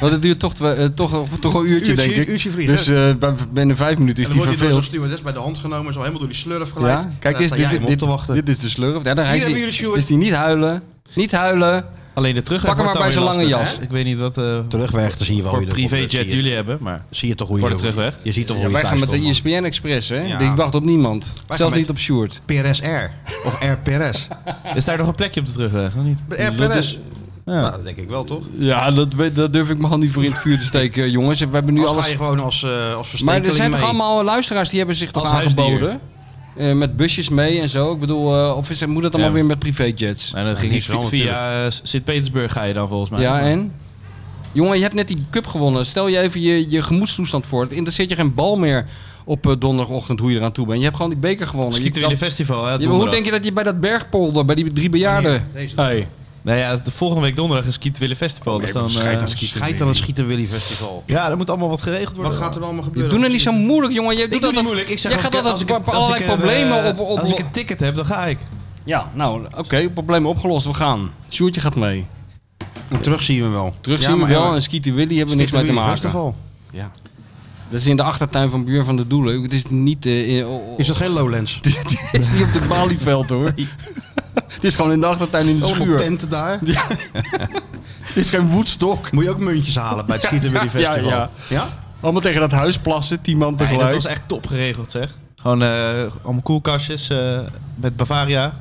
S3: Want het duurt toch, twa- eh, toch, toch een uurtje,
S2: Uurtje-
S3: denk ik.
S2: uurtje vliegen.
S3: Dus eh, bij- binnen vijf minuten is
S2: en dan wordt hij
S3: die
S2: door zo'n
S3: verveeld.
S2: stewardess bij de hand genomen. Zo helemaal door die slurf geleid.
S3: Ja,
S2: En
S3: kijk,
S2: dan
S3: dit,
S2: sta jij
S3: dit,
S2: hem
S3: dit,
S2: op te wachten.
S3: dit is de slurf. Ja, daar is,
S2: hebben
S3: die,
S2: jullie Sjoerd.
S3: is die niet huilen. Niet huilen.
S4: Alleen de terug.
S3: Pak hem maar bij zijn lange jas.
S4: Ik weet niet wat eh,
S2: Terugweg, dan zie je wel
S4: voor
S2: weer de
S4: privéjet
S2: zie je-
S4: jullie hebben, maar...
S2: Zie je toch hoe je...
S4: Voor de terugweg.
S2: Je ziet toch hoe
S3: Ja,
S2: je
S3: wij gaan
S2: thuis
S3: met de E
S2: komt, man.
S3: ESPN Express, hè?
S2: Ja.
S3: Die wacht op niemand. Zelfs
S2: met-
S3: niet op Sjoerd.
S2: PRS-R. Of R-PRS.
S4: Is daar nog een plekje op de terugweg, of niet? dus-
S2: R-PRS.
S4: Ja.
S2: dus, Nou, dat denk ik wel, toch?
S3: Ja, dat, we- dat durf ik me al niet voor in het vuur te steken, jongens. We hebben nu
S2: Nu ga
S3: alles...
S2: je gewoon als, eh als
S3: Maar
S2: verstekeling
S3: er zijn
S2: mee.
S3: toch allemaal luisteraars die hebben zich toch
S4: Als
S3: aangeboden?
S4: huisdier.
S3: Eh, met busjes mee en zo. Ik bedoel, eh, of is, moet dat allemaal
S4: Ja.
S3: weer met privéjets?
S4: En dan ging
S2: niet
S4: ik
S2: zo,
S4: via eh, Sint-Petersburg ga je dan volgens mij.
S3: Ja, en? Jongen, je hebt net die cup gewonnen. Stel je even je, je gemoedstoestand voor. Het interesseert je geen bal meer op eh, donderdagochtend hoe je eraan toe bent. Je hebt gewoon die beker gewonnen. Je
S4: Schieten
S3: kan-
S4: jullie festival, hè?
S3: Ja, maar hoe denk je dat je bij dat bergpolder, bij die drie bejaarden...
S2: Deze.
S3: Hey.
S4: Nou ja, de volgende week donderdag is Skitwille Festival.
S3: Oh,
S4: dus dan, eh,
S2: Scheid aan het Schieten Willy Festival.
S4: ja, er moet allemaal wat geregeld worden.
S2: Wat gaat er allemaal
S3: Je
S2: gebeuren?
S3: doet het niet zo moeilijk, jongen. Je doet
S4: Ik doe
S3: dat
S4: niet moeilijk. Ik zeg,
S3: jij
S4: als
S3: gaat
S4: ik- als
S3: altijd
S4: ik-
S3: voor- voor
S4: als ik
S3: allerlei
S4: een, eh,
S3: problemen op, op,
S4: Als ik een ticket heb, dan ga ik.
S3: Ja, nou, oké, probleem opgelost, we gaan. Sjoertje gaat mee.
S2: En terug zien we wel.
S3: Terug zien we wel en Skeeter Willy hebben we niks mee te maken.
S2: Festival.
S3: Ja. Dat is in de achtertuin van Buur van de Doelen. Het is niet, eh, in- oh, oh,
S2: Is dat geen Lowlands?
S3: het is niet op het Balieveld hoor. het is gewoon in de achtertuin in de
S2: Allemaal
S3: schuur.
S2: tenten daar.
S3: Het is geen woedstok.
S2: Moet je ook muntjes halen bij het Schieten Willy Festival.
S3: Ja, ja. Allemaal tegen dat huis plassen, tien man
S4: Nee,
S3: tegelijk.
S4: dat was echt top geregeld, zeg. Gewoon eh, allemaal koelkastjes eh, met Bavaria.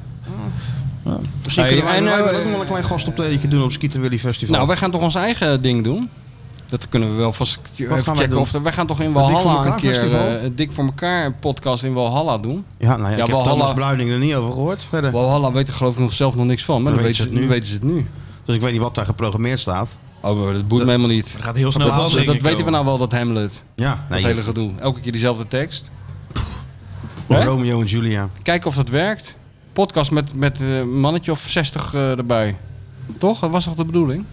S2: Misschien
S3: Hey,
S2: kunnen wij,
S3: en,
S2: wij
S3: eh,
S2: willen ook nog wel een klein gastoptredentje doen op Schieten Willy Festival.
S3: Nou, wij gaan toch ons eigen ding doen? Dat kunnen we wel vast even
S2: gaan wij
S3: checken.
S2: doen?
S3: Of er- wij gaan toch in
S2: voor
S3: Walhalla een
S2: elkaar
S3: keer
S2: festival?
S3: eh, een dik voor elkaar podcast in Walhalla doen.
S2: ja, nou ja,
S3: Ja,
S2: ik heb
S3: Walhalla.
S2: Thomas Bruining er niet over gehoord verder.
S3: Walhalla weet er geloof ik nog zelf nog niks van, maar dan, weten, ze het nu. weten ze het nu.
S2: Dus ik weet niet wat daar geprogrammeerd staat.
S3: Oh, maar dat boeit me helemaal niet.
S4: Dat gaat heel snel
S3: Dat,
S4: van
S3: dat weten we nou wel, dat Hamlet.
S2: Ja,
S3: dat
S2: nee,
S3: hele gedoe. Elke keer diezelfde tekst. Hè?
S2: Romeo en Julia.
S3: Kijken of dat werkt. Podcast met, met eh, een mannetje of 60 eh, erbij. Toch? Dat was toch de bedoeling?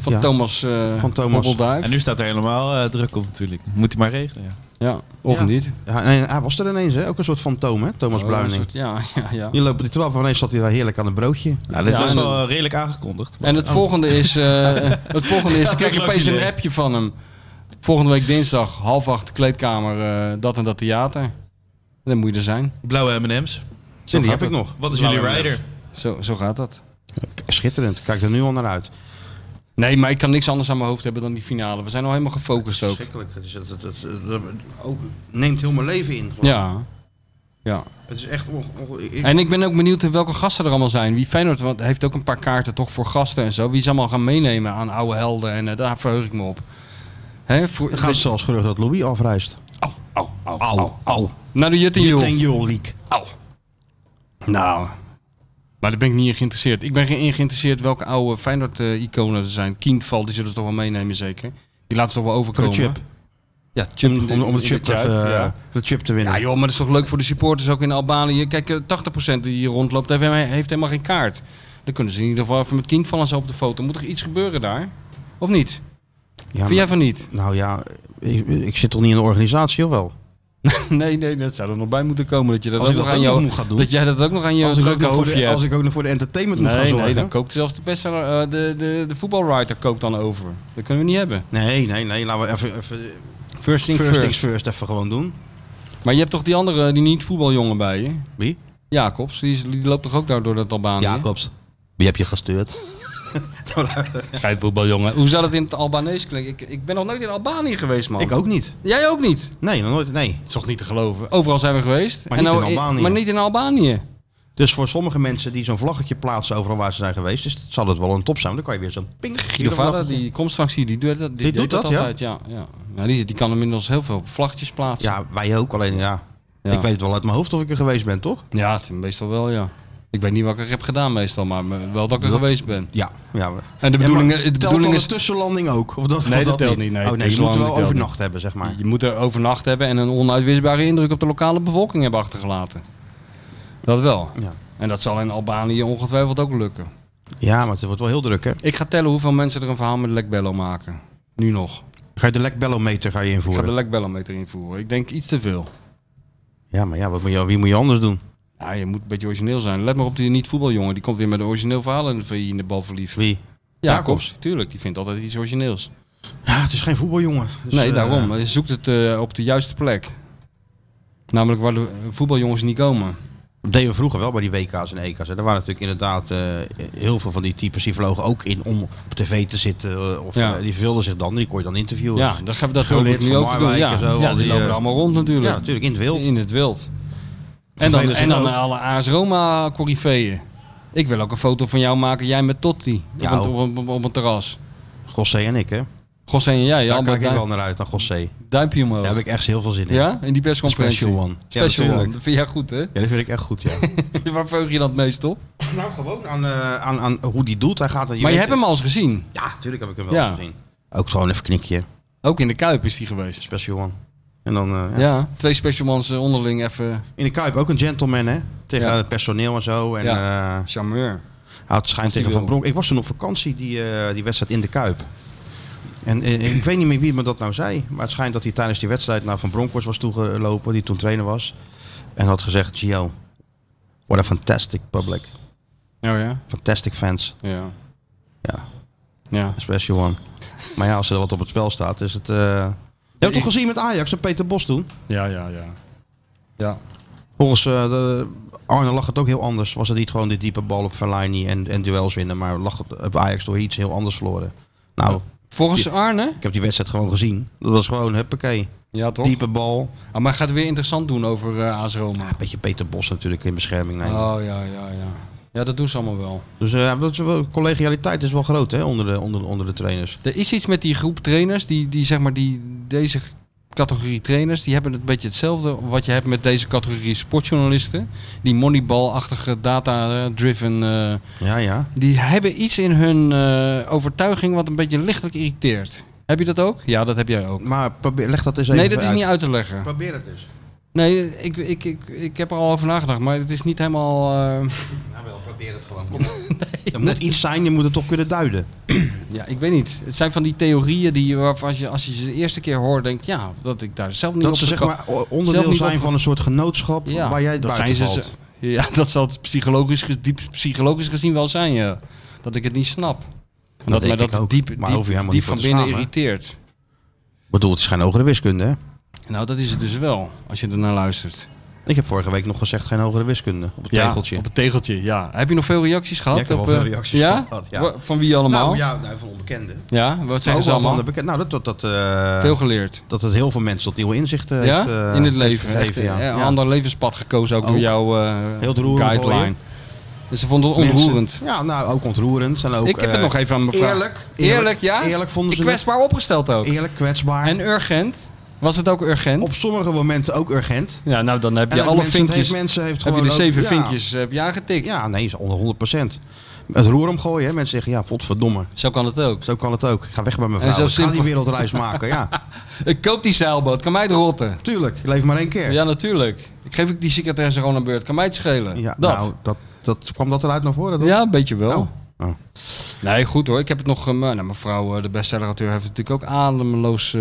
S3: Van
S2: Ja.
S3: Thomas, eh
S2: Van Thomas.
S3: Hobbelduif.
S4: En nu staat er helemaal eh, druk op natuurlijk. Moet hij maar regelen, ja.
S3: Ja, of
S2: Ja.
S3: niet.
S2: Ja, nee, hij was er ineens, hè? ook een soort fantoom, hè? Thomas
S3: Oh, een
S2: Bruining.
S3: soort- Ja, ja, ja.
S2: Je loopt op die trap en ineens zat hij daar heerlijk aan een broodje.
S4: Nou, dit
S3: Ja,
S4: was
S3: en
S4: wel eh, redelijk aangekondigd.
S3: En het volgende is, eh, het volgende is,
S4: Oh. Ja,
S3: krijg je
S4: dat
S3: opeens
S4: was
S3: een
S4: idee.
S3: appje van hem. Volgende week dinsdag, half acht, kleedkamer, eh, dat en dat theater. Dan moet je er zijn.
S4: Blauwe M&M's.
S2: Zin, die
S3: gaat
S2: heb ik
S3: het.
S2: nog.
S4: Wat is jullie rider?
S3: Zo, zo gaat dat.
S2: Schitterend, kijk er nu al naar uit.
S3: Nee, maar ik kan niks anders aan mijn hoofd hebben dan die finale. We zijn al helemaal gefocust ook.
S2: Verschrikkelijk. Het, is, het, het, het- het- ook- neemt heel mijn leven in. gewoon.
S3: Ja. ja.
S2: Het is echt onge- onge- ik-
S3: En ik ben ook benieuwd welke gasten er allemaal zijn. Wie Feyenoord want heeft ook een paar kaarten toch voor gasten en zo. Wie ze allemaal gaan meenemen aan oude helden. En eh, daar verheug ik me op. Hè, voor, dus- oh,
S2: Er gaat zelfs gerucht dat Louis afreist.
S3: Au, au, au, au, au. Naar oh. Nou, de Jut en Jul.
S2: Ten Jol League.
S3: Au. Nou, maar daar ben ik niet in geïnteresseerd. Ik ben in geïnteresseerd welke oude Feyenoord-iconen er zijn. Kindval, die zullen ze toch wel meenemen zeker. Die laten ze toch wel
S2: Voor de
S3: overkomen.
S2: chip.
S3: Ja, chip.
S2: Om, om, om de,
S3: in
S2: chip
S3: chat,
S2: te-
S3: ja.
S2: de chip te winnen.
S3: Ja joh, maar dat is toch leuk voor de supporters ook in Albanië. Kijk, eh, 80% die hier rondloopt heeft helemaal- heeft helemaal geen kaart. Dan kunnen ze in ieder geval even met kindvallen zo op de foto. Moet er iets gebeuren daar? Of niet?
S2: Ja,
S3: Vind jij van niet?
S2: maar- nou ja, ik, ik zit toch niet in de organisatie, of wel?
S3: Nee, nee, dat zou er nog bij moeten komen. Dat, je dat,
S2: Als
S3: ook
S2: ik dat
S3: nog aan
S2: ook nog
S3: jou,
S2: moet gaan doen.
S3: dat jij dat ook nog aan je
S2: Als ik, ook
S3: drukke
S2: nog voor
S3: hoofdje
S2: de,
S3: hebt.
S2: als ik ook nog voor de entertainment moet gaan
S3: Nee, nee,
S2: zorgen.
S3: dan kookt zelfs de bestseller, eh, de, de, de voetbalwriter kookt dan over. Dat kunnen we niet hebben.
S2: nee, nee, nee. Laten we even, even
S3: First thing
S2: first,
S3: first.
S2: things first even gewoon doen.
S3: Maar je hebt toch die andere, die niet voetbaljongen bij je?
S2: Wie?
S3: Ah, Jacobs, die, is- die loopt toch ook daar door dat Albanië?
S2: Jacobs. Wie heb je gestuurd?
S3: Geen voetbaljongen. Hoe zou dat in het Albanees klinken? Ik, ik ben nog nooit in Albanië geweest, man.
S2: Ik ook niet.
S3: Jij ook niet?
S2: Nee, nog nooit. Nee.
S3: Het is toch niet te geloven? Overal zijn we geweest. nou,
S2: Maar niet in Albanië.
S3: Maar niet in Albanië.
S2: Dus voor sommige mensen die zo'n vlaggetje plaatsen overal waar ze zijn geweest, is, zal het wel een top zijn. Dan kan je weer zo'n ping.
S3: Guido Vader, die komt straks hier, die, doet dat, die,
S2: doet
S3: deed
S2: dat, ja?
S3: altijd. Ja, ja. Ja, die, die kan inmiddels heel veel vlaggetjes plaatsen.
S2: Ja, wij ook. Alleen ja.
S3: Ja.
S2: Ik weet het wel uit mijn hoofd of ik er geweest ben, toch?
S3: Ja, het- meestal wel, ja. Ik weet niet wat ik er heb gedaan meestal, maar me- wel dat ik er geweest ben.
S2: Ja. ja. En
S3: En de bedoeling, de
S2: telt
S3: bedoeling
S2: dan
S3: is,
S2: een tussenlanding ook? Of dat,
S3: Nee,
S2: of
S3: dat telt niet, nee.
S2: oh, nee je moet
S3: Tussenlanding
S2: wel
S3: telt niet.
S2: overnacht hebben, zeg maar.
S3: je moet er overnacht hebben en een onuitwisbare indruk op de lokale bevolking hebben achtergelaten. Dat wel.
S2: Ja.
S3: En dat zal in Albanië ongetwijfeld ook lukken.
S2: ja, maar het wordt wel heel druk, hè?
S3: Ik ga tellen hoeveel mensen er een verhaal met Lekbello maken. Nu nog.
S2: Ga je de lekbellometer ga je
S3: Ik ga
S2: invoeren?
S3: de Lekbellometer invoeren. Ik denk iets te veel.
S2: Ja, maar ja, wat moet je, wie moet je anders doen?
S3: Ja, je moet een beetje origineel zijn. Let maar op die niet-voetbaljongen. Die komt weer met een origineel verhaal in de, VI in de bal verliefd.
S2: Wie?
S3: Jacobs, tuurlijk. Die vindt altijd iets origineels.
S2: Ja, het is geen voetbaljongen. Dus,
S3: nee,
S2: eh,
S3: daarom. Je zoekt het eh, op de juiste plek. Namelijk waar de voetbaljongens niet komen.
S2: Dat deden we vroeger wel bij die WK's en EK's. Hè. Er waren natuurlijk inderdaad eh, heel veel van die types die vlogen ook in om op tv te zitten. eh, Of
S3: Ja.
S2: eh, die verveelden zich dan. Die kon je dan interviewen.
S3: Ja, dat gaan we dat
S2: Gullit,
S3: hoop ik nu
S2: Van
S3: ook te doen.
S2: Marwijk
S3: Ja,
S2: en zo,
S3: ja
S2: al
S3: die
S2: die,
S3: lopen
S2: eh,
S3: allemaal rond
S2: Ja,
S3: natuurlijk.
S2: natuurlijk. In het wild.
S3: In het wild. En dan,
S2: Vervelend
S3: en dan
S2: ook.
S3: alle AS Roma coryfeeën. Ik wil ook een foto van jou maken, jij met Totti.
S2: Ja,
S3: op, een, op, op, op een terras.
S2: Gossé en ik, hè.
S3: José en jij,
S2: Daar Oh.
S3: allemaal
S2: kijk ik
S3: duim,
S2: wel naar uit, naar Gossé.
S3: duimpje omhoog.
S2: Daar heb ik echt heel veel zin in.
S3: Ja, in die persconferentie.
S2: Special one. Ja,
S3: Special one.
S2: natuurlijk.
S3: Dat vind jij goed, hè?
S2: Ja, dat vind ik echt goed, ja.
S3: Waar veug je dan het meest op?
S2: nou, gewoon aan, eh, aan, aan hoe die doet. Hij gaat...
S3: maar je hebt hem al eens gezien.
S2: Ja, natuurlijk heb ik hem wel
S3: Ja.
S2: eens gezien. Ook gewoon even knikje.
S3: Ook in de Kuip is die geweest.
S2: Special one. En dan eh, ja.
S3: Ja, twee specialmans eh, onderling even
S2: in de Kuip ook een gentleman, hè? Tegen
S3: Ja.
S2: het personeel en zo. En eh
S3: charmeur.
S2: hij had schijn
S3: Als die
S2: tegen Van
S3: wil.
S2: Bronk. Ik was toen op vakantie, die, eh, die wedstrijd in de Kuip. En eh, ik weet niet meer wie me dat nou zei. Maar het schijnt dat hij tijdens die wedstrijd naar Van Bronckhorst was toegelopen, die toen trainer was. En had gezegd, Gio, what a fantastic public.
S3: Oh ja?
S2: Fantastic fans.
S3: Ja.
S2: Ja,
S3: Ja.
S2: special one. Maar ja, als er wat op het spel staat, is het... eh, Je hebt toch gezien met Ajax en Peter Bos toen?
S3: Ja, ja, ja. Ja.
S2: Volgens eh, de- Arne lag het ook heel anders. Was het niet gewoon de diepe bal op Verlaini en, en duels winnen, maar lag het op Ajax door iets heel anders verloren. Nou,
S3: Volgens Arne?
S2: ik heb die wedstrijd gewoon gezien. Dat was gewoon, huppakee,
S3: Ja, toch?
S2: diepe bal.
S3: Ah, maar hij gaat het weer interessant doen over eh AS Roma.
S2: Beetje Peter Bos natuurlijk in bescherming nemen.
S3: Oh ja, ja, ja. Ja, dat doen ze allemaal wel.
S2: Dus eh, ja, dat is wel- collegialiteit is wel groot hè, onder, de, onder, onder de trainers.
S3: Er is iets met die groep trainers, die, die zeg maar die, deze categorie trainers, die hebben een beetje hetzelfde wat je hebt met deze categorie sportjournalisten. Die moneyball-achtige, data-driven, eh,
S2: Ja, ja.
S3: die hebben iets in hun eh, overtuiging wat een beetje lichtelijk irriteert. Heb je dat ook? Ja, dat heb jij ook.
S2: Maar probeer, leg dat eens even
S3: Nee, dat is
S2: uit.
S3: niet uit te leggen.
S2: Probeer het eens.
S3: Nee, ik, ik, ik, ik heb er al over nagedacht, maar het is niet helemaal... eh,
S2: Nou wel, probeer het gewoon. Kom. er moet iets zijn, je moet het toch kunnen duiden.
S3: Ja, ik weet niet. Het zijn van die theorieën die je- waarvan als je, als je ze de eerste keer hoort, denkt ja, dat ik daar zelf niet op
S2: Dat ze zeg
S3: gekomen-
S2: maar o-
S3: Zelf
S2: onderdeel
S3: niet
S2: zijn
S3: opge-
S2: van een soort genootschap
S3: ja,
S2: waar jij
S3: dat zijn ze.
S2: valt.
S3: ze- Ja, dat zal het psychologisch, ge- diep psychologisch gezien wel zijn, ja. Dat ik het niet snap. En
S2: denk
S3: dat mij
S2: ik
S3: dat
S2: ook.
S3: diep,
S2: Maar
S3: diep,
S2: daar hoef je helemaal
S3: diep
S2: niet voor
S3: van
S2: te
S3: binnen
S2: schamen.
S3: irriteert.
S2: Ik bedoel, het is geen hogere wiskunde, hè?
S3: Nou, dat is het dus wel, als je ernaar luistert.
S2: Ik heb vorige week nog gezegd geen hogere wiskunde op het tegeltje.
S3: op het tegeltje, ja. Heb je nog veel reacties gehad?
S2: ik heb
S3: op,
S2: wel veel
S3: eh,
S2: reacties
S3: ja?
S2: gehad, ja.
S3: Wa- Van wie allemaal?
S2: nou
S3: ja.
S2: ja, nou, van onbekenden.
S3: wat
S2: Ook
S3: zeggen ze
S2: wel van
S3: allemaal?
S2: de bekend. Nou, dat, dat, dat, eh,
S3: Veel geleerd.
S2: dat het heel veel mensen tot nieuwe inzichten
S3: ja?
S2: heeft eh,
S3: in het
S2: heeft
S3: leven.
S2: gegeven,
S3: Echt, eh,
S2: ja.
S3: Een
S2: Ja.
S3: ander levenspad gekozen ook,
S2: Ook.
S3: door jouw eh,
S2: Heel het roeren voor je.
S3: guideline. Dus ze vonden het
S2: Mensen-
S3: onroerend.
S2: Ja, nou, ook ontroerend. En ook,
S3: ik heb het
S2: eh,
S3: nog even aan mevrouw.
S2: eerlijk.
S3: Eerlijk, ja?
S2: Eerlijk vonden
S3: Ik
S2: ze het.
S3: kwetsbaar opgesteld ook.
S2: Eerlijk, kwetsbaar.
S3: En urgent. Was het ook urgent?
S2: op sommige momenten ook urgent.
S3: Ja, nou dan heb
S2: En
S3: je
S2: ook
S3: alle
S2: mensen- het
S3: vinkjes.
S2: Heeft, mensen heeft
S3: heb je
S2: gewoon
S3: de zeven
S2: ook- ja.
S3: vinkjes eh, heb je aangetikt.
S2: Ja, nee, is onder 100 Het roer omgooien, hè. mensen zeggen, ja, potverdomme.
S3: Zo kan het ook.
S2: Zo kan het ook. Ik ga weg bij mijn
S3: En
S2: vrouw. Ik
S3: zo
S2: ga die
S3: simpel.
S2: wereldreis maken, ja.
S3: Ik koop die zeilboot, kan mij het rotten.
S2: Tuurlijk, je leeft maar één keer.
S3: Ja, natuurlijk. Ik geef ik die secretaresse gewoon een beurt, kan mij het schelen.
S2: Ja,
S3: dat.
S2: Nou, dat, dat kwam dat eruit naar voren. toch?
S3: ja, een beetje wel.
S2: Oh. Oh.
S3: Nee, goed hoor. Ik heb het nog. eh, nou, mevrouw, eh, de bestsellerauteur, heeft natuurlijk ook ademloos eh,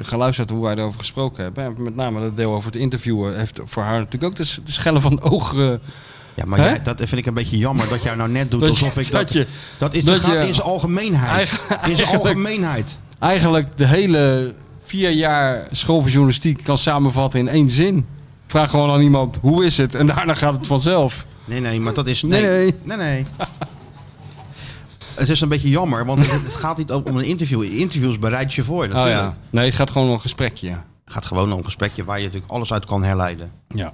S3: geluisterd hoe wij erover gesproken hebben. En met name dat deel over het interviewen heeft voor haar natuurlijk ook de, s- de schellen van ogen.
S2: Ja, maar
S3: Hè?
S2: jij, dat vind ik een beetje jammer dat jij nou net doet
S3: Dat
S2: alsof
S3: je-
S2: ik
S3: dat
S2: dat...
S3: je-
S2: dat is,
S3: dat
S2: gaat
S3: je-
S2: in zijn algemeenheid.
S3: Eigen-
S2: in zijn
S3: eigenlijk-
S2: algemeenheid.
S3: Eigenlijk de hele vier jaar school voor journalistiek kan samenvatten in één zin. Vraag gewoon aan iemand hoe is het en daarna gaat het vanzelf.
S2: Nee, nee, maar dat is...
S3: Nee,
S2: Nee, nee. nee, het is een beetje jammer, want het, het gaat niet om een interview. Interviews bereid je voor,
S3: Oh
S2: natuurlijk.
S3: ja. Nee, het gaat gewoon om een gesprekje.
S2: Het gaat gewoon om een gesprekje waar je natuurlijk alles uit kan herleiden.
S3: Ja.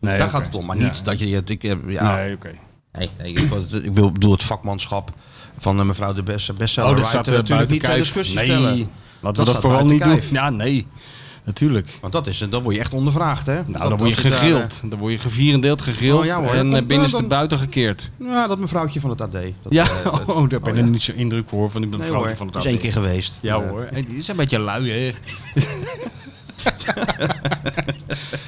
S3: Nee,
S2: Daar
S3: oké.
S2: gaat het om, maar niet
S3: Ja.
S2: dat je... het- Ik, heb- ja, nee.
S3: Nee, oké.
S2: nee, ik, wil- ik wil, bedoel het vakmanschap van eh, mevrouw de beste bestseller.
S3: Oh, dat
S2: writer
S3: staat er
S2: eh, natuurlijk
S3: buiten
S2: niet ter
S3: kijf.
S2: discussie
S3: nee,
S2: stellen.
S3: laten
S2: Dat
S3: we dat
S2: staat
S3: vooral
S2: buiten
S3: niet doen.
S2: kijf.
S3: Ja, nee, natuurlijk.
S2: Want dat is, dan word je echt ondervraagd, hè?
S3: Nou, dan word je gegrild. Dan word je gevierendeeld, gegrild
S2: eh, Oh, ja, hoor.
S3: en
S2: Dan-
S3: eh, binnenste
S2: dan-
S3: buiten gekeerd.
S2: eh, ja, dat mevrouwtje van het AD. Dat,
S3: Ja,
S2: eh, dat-
S3: oh, daar ben ik
S2: ja.
S3: niet zo indruk voor van die
S2: nee,
S3: vrouwtje
S2: hoor,
S3: van het
S2: is
S3: AD.
S2: één keer geweest.
S3: Ja
S2: Eh,
S3: hoor, en die is een beetje lui hè.
S2: nee.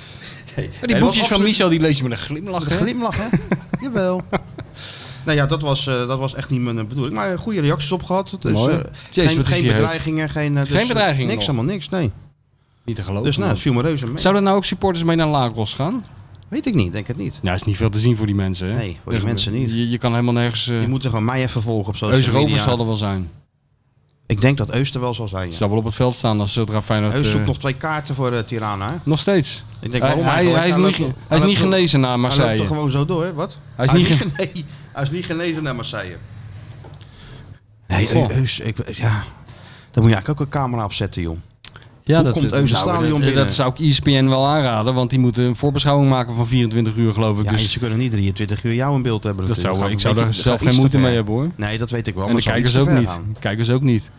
S3: die
S2: Nee, dat was
S3: boekjes van
S2: absoluut
S3: Michel die lees je met een glimlach
S2: Een
S3: hè.
S2: glimlach, hè? Jawel. Nou ja, dat was, eh, dat was echt niet mijn eh, bedoeling. Maar eh, goede reacties op gehad. Dus,
S3: Mooi.
S2: eh,
S3: Jezus,
S2: geen
S3: wat is
S2: geen
S3: die heet.
S2: bedreigingen. Geen, eh, dus,
S3: Geen bedreigingen
S2: Niks,
S3: nog.
S2: helemaal niks, nee.
S3: Niet te geloven.
S2: Dus nou, het viel me reuze mee.
S3: Zouden nou ook supporters mee naar Lagos gaan?
S2: Weet ik niet, denk het niet.
S3: Ja, is niet veel te zien voor die mensen hè.
S2: Nee, voor die
S3: Er-
S2: mensen niet.
S3: Je, je kan helemaal nergens...
S2: Je
S3: Uh,
S2: moet er gewoon mij even volgen op social
S3: Eusrovers
S2: media.
S3: zal er wel zijn.
S2: Ik denk dat Eus er wel zal zijn,
S3: Ze
S2: ja.
S3: Zal wel op het veld staan als zodra Feyenoord...
S2: Eus zoekt
S3: eh,
S2: nog twee kaarten voor eh, Tirana, hè?
S3: Nog steeds.
S2: Ik denk,
S3: Hij,
S2: waarom
S3: hij,
S2: eigenlijk?
S3: hij is
S2: Hij
S3: niet,
S2: loopt-
S3: hij is
S2: hij
S3: niet
S2: loopt-
S3: genezen na
S2: Hij loopt er
S3: Marseille.
S2: gewoon zo door, hè? Wat?
S3: Hij is niet
S2: gene- hij is niet genezen naar Marseille. Nee,
S3: Goh.
S2: Eus, ik, ja. Daar moet je eigenlijk ook een camera op zetten, joh.
S3: Ja,
S2: Hoe komt Eus het stadion
S3: dat,
S2: binnen?
S3: dat zou ik E ESPN wel aanraden, want die moeten een voorbeschouwing maken van 24 uur, geloof ik.
S2: Ja,
S3: dus
S2: ze kunnen niet 23 uur jou in beeld hebben.
S3: dat
S2: natuurlijk.
S3: zou, ik
S2: Gaat
S3: zou
S2: een
S3: daar
S2: beetje-
S3: zelf
S2: gaat iets
S3: geen
S2: te
S3: moeite
S2: ver.
S3: mee hebben hoor.
S2: Nee, dat weet ik wel.
S3: en
S2: maar
S3: de
S2: het
S3: kijkers
S2: zal
S3: ook
S2: iets te
S3: niet.
S2: ver gaan.
S3: Kijkers ook niet.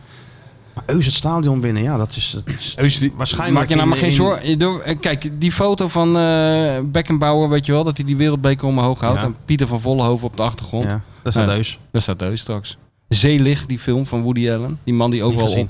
S2: Maar Eus het stadion binnen, ja, dat is... Dat is Waarschijnlijk
S3: Maak je nou maar
S2: in-
S3: geen
S2: in-
S3: zorgen. eh, Kijk, die foto van eh Beckenbauer, weet je wel, dat hij die wereldbeker omhoog houdt.
S2: Ja.
S3: En Pieter van Vollenhoven op de achtergrond.
S2: ja, dat is
S3: Ja.
S2: Eus.
S3: Daar staat Eus straks. Zeelig, die film van Woody Allen. Die man die overal,
S2: gezien.
S3: op,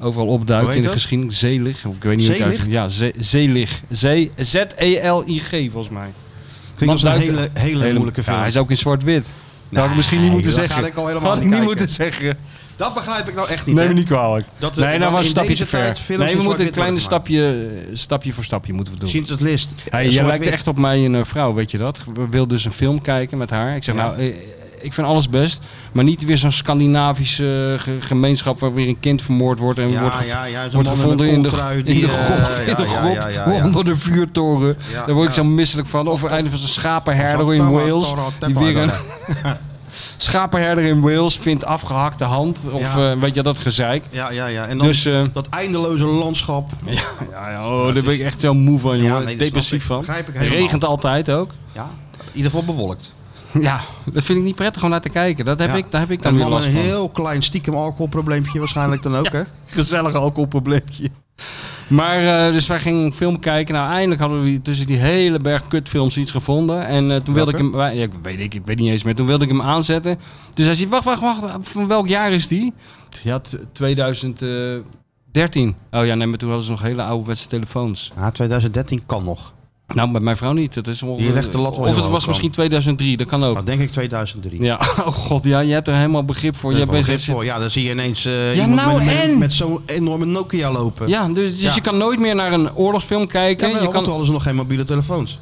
S3: overal
S2: Hoe
S3: opduikt
S2: heet
S3: in de
S2: dat?
S3: geschiedenis. Zelig, of ik weet niet hoe het
S2: Zeelicht?
S3: uit. Ja, Ze- Zeelig. Ze- Z-E-L-I-g volgens mij.
S2: Vind ik dat een
S3: Want
S2: hele,
S3: duikt-
S2: hele,
S3: Hele-
S2: moeilijke film.
S3: Ja, hij is ook in zwart-wit. dat had ik
S2: Nee,
S3: misschien niet moeten
S2: dat
S3: zeggen.
S2: ga ik al helemaal
S3: had ik
S2: niet
S3: niet
S2: kijken.
S3: moeten zeggen.
S2: Dat begrijp ik nou echt niet.
S3: Neem
S2: hè?
S3: me niet kwalijk.
S2: Dat, eh,
S3: nee,
S2: dat
S3: nou was een
S2: in
S3: stapje
S2: deze
S3: te ver.
S2: tijd films
S3: Nee,
S2: in
S3: we moeten een
S2: zwart-wit
S3: kleine
S2: worden gemaakt.
S3: stapje, eh, stapje voor stapje moeten we doen.
S2: Ziet het list.
S3: Hey, jij
S2: Zwart-wit.
S3: lijkt echt op mij en een eh, vrouw, weet je dat? We wilden dus een film kijken met haar. Ik zeg,
S2: Ja.
S3: nou, eh, ik vind alles best. Maar niet weer zo'n Scandinavische eh, ge- gemeenschap waar weer een kind vermoord wordt. En
S2: Ja,
S3: wordt, ge-
S2: ja, ja. zo'n
S3: wordt
S2: man
S3: gevonden
S2: met een
S3: in de,
S2: kooltrui
S3: in
S2: die,
S3: de
S2: eh,
S3: grot,
S2: ja,
S3: in de
S2: ja,
S3: grot
S2: ja, ja, ja.
S3: onder de vuurtoren.
S2: Ja,
S3: Daar word ik
S2: ja.
S3: zo misselijk van. Of einde van zo'n schapenherder in Wales. Die weer een schapenherder in Wales vindt afgehakte hand. Of
S2: Ja.
S3: eh, weet je dat gezeik.
S2: Ja, ja, ja. En dan
S3: Dus, eh,
S2: dat eindeloze landschap.
S3: Ja, ja, ja, oh, daar ben ik echt zo moe van, jongen.
S2: nee, dat
S3: Depressief
S2: snap
S3: van.
S2: ik. Begrijp ik
S3: Het
S2: helemaal.
S3: regent altijd ook.
S2: Ja, in ieder geval bewolkt.
S3: Ja, dat vind ik niet prettig om naar te kijken. Dat heb
S2: Ja.
S3: ik, daar heb ik dan
S2: En
S3: weer
S2: man,
S3: last
S2: een
S3: van.
S2: heel klein stiekem alcoholprobleempje waarschijnlijk dan ook, hè?
S3: gezellig alcoholprobleempje. Maar eh, dus wij gingen een film kijken. Nou, eindelijk hadden we tussen die hele berg kutfilms iets gevonden. En eh, toen wilde ik hem. wij- Ja, ik, weet, ik, ik weet niet eens meer. Toen wilde ik hem aanzetten. Dus hij zei: Wacht, wacht, wacht. Van welk jaar is die? eh, Ik zeg, Ja, t- 2013. eh, Oh ja, nee, maar toen hadden ze nog hele ouderwetse telefoons.
S2: Ja, 2013 kan nog.
S3: Nou, bij mijn vrouw niet. Dat is ongeveer-
S2: Je legt de lat wel heel
S3: of het
S2: hoog
S3: was
S2: dan.
S3: misschien 2003. Dat kan ook.
S2: Maar denk ik 2003.
S3: Ja, oh god, ja, je hebt er helemaal begrip voor.
S2: Daar
S3: Je
S2: heb ik wel
S3: bent
S2: begrip voor. Ja, dan zie je ineens eh,
S3: Ja,
S2: iemand
S3: nou
S2: met, met-
S3: en?
S2: met zo'n enorme Nokia lopen.
S3: Ja, dus, dus
S2: Ja.
S3: je kan nooit meer naar een oorlogsfilm kijken.
S2: Ja, wel,
S3: je
S2: want
S3: kan
S2: toen hadden ze nog geen mobiele telefoons.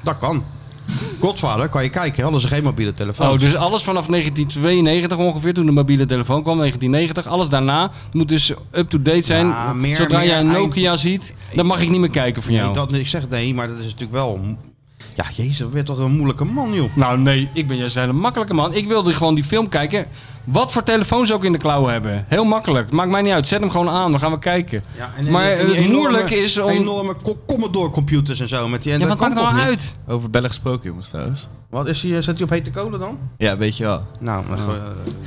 S2: Dat kan. Godvader, kan je kijken, hadden ze geen mobiele telefoon.
S3: Oh, dus alles vanaf 1992 ongeveer, toen de mobiele telefoon kwam, 1990. Alles daarna moet dus up-to-date zijn.
S2: Ja, meer-
S3: Zodra
S2: meer
S3: jij een
S2: eind-
S3: Nokia ziet, dan mag ik niet meer kijken van jou.
S2: nee, dat, ik zeg nee, maar dat is natuurlijk wel... Ja, jezus, dat werd toch een moeilijke man, joh.
S3: Nou nee, ik ben juist een hele makkelijke man. Ik wilde gewoon die film kijken. Wat voor telefoon ze ook in de klauwen hebben. Heel makkelijk. Maakt mij niet uit. Zet hem gewoon aan. Dan gaan we kijken.
S2: Ja,
S3: Maar eh,
S2: die
S3: het
S2: enorme-
S3: moeilijke is om-
S2: Enorme co- Commodore computers en zo. Met die, en
S3: ja,
S2: dat
S3: wat maakt
S2: kan
S3: nou
S2: toch niet?
S3: uit?
S4: Over bellen gesproken, jongens, trouwens.
S2: Wat is die, eh, zet hij op hete kolen dan?
S4: Ja, weet je wel.
S2: Nou, eh, eh,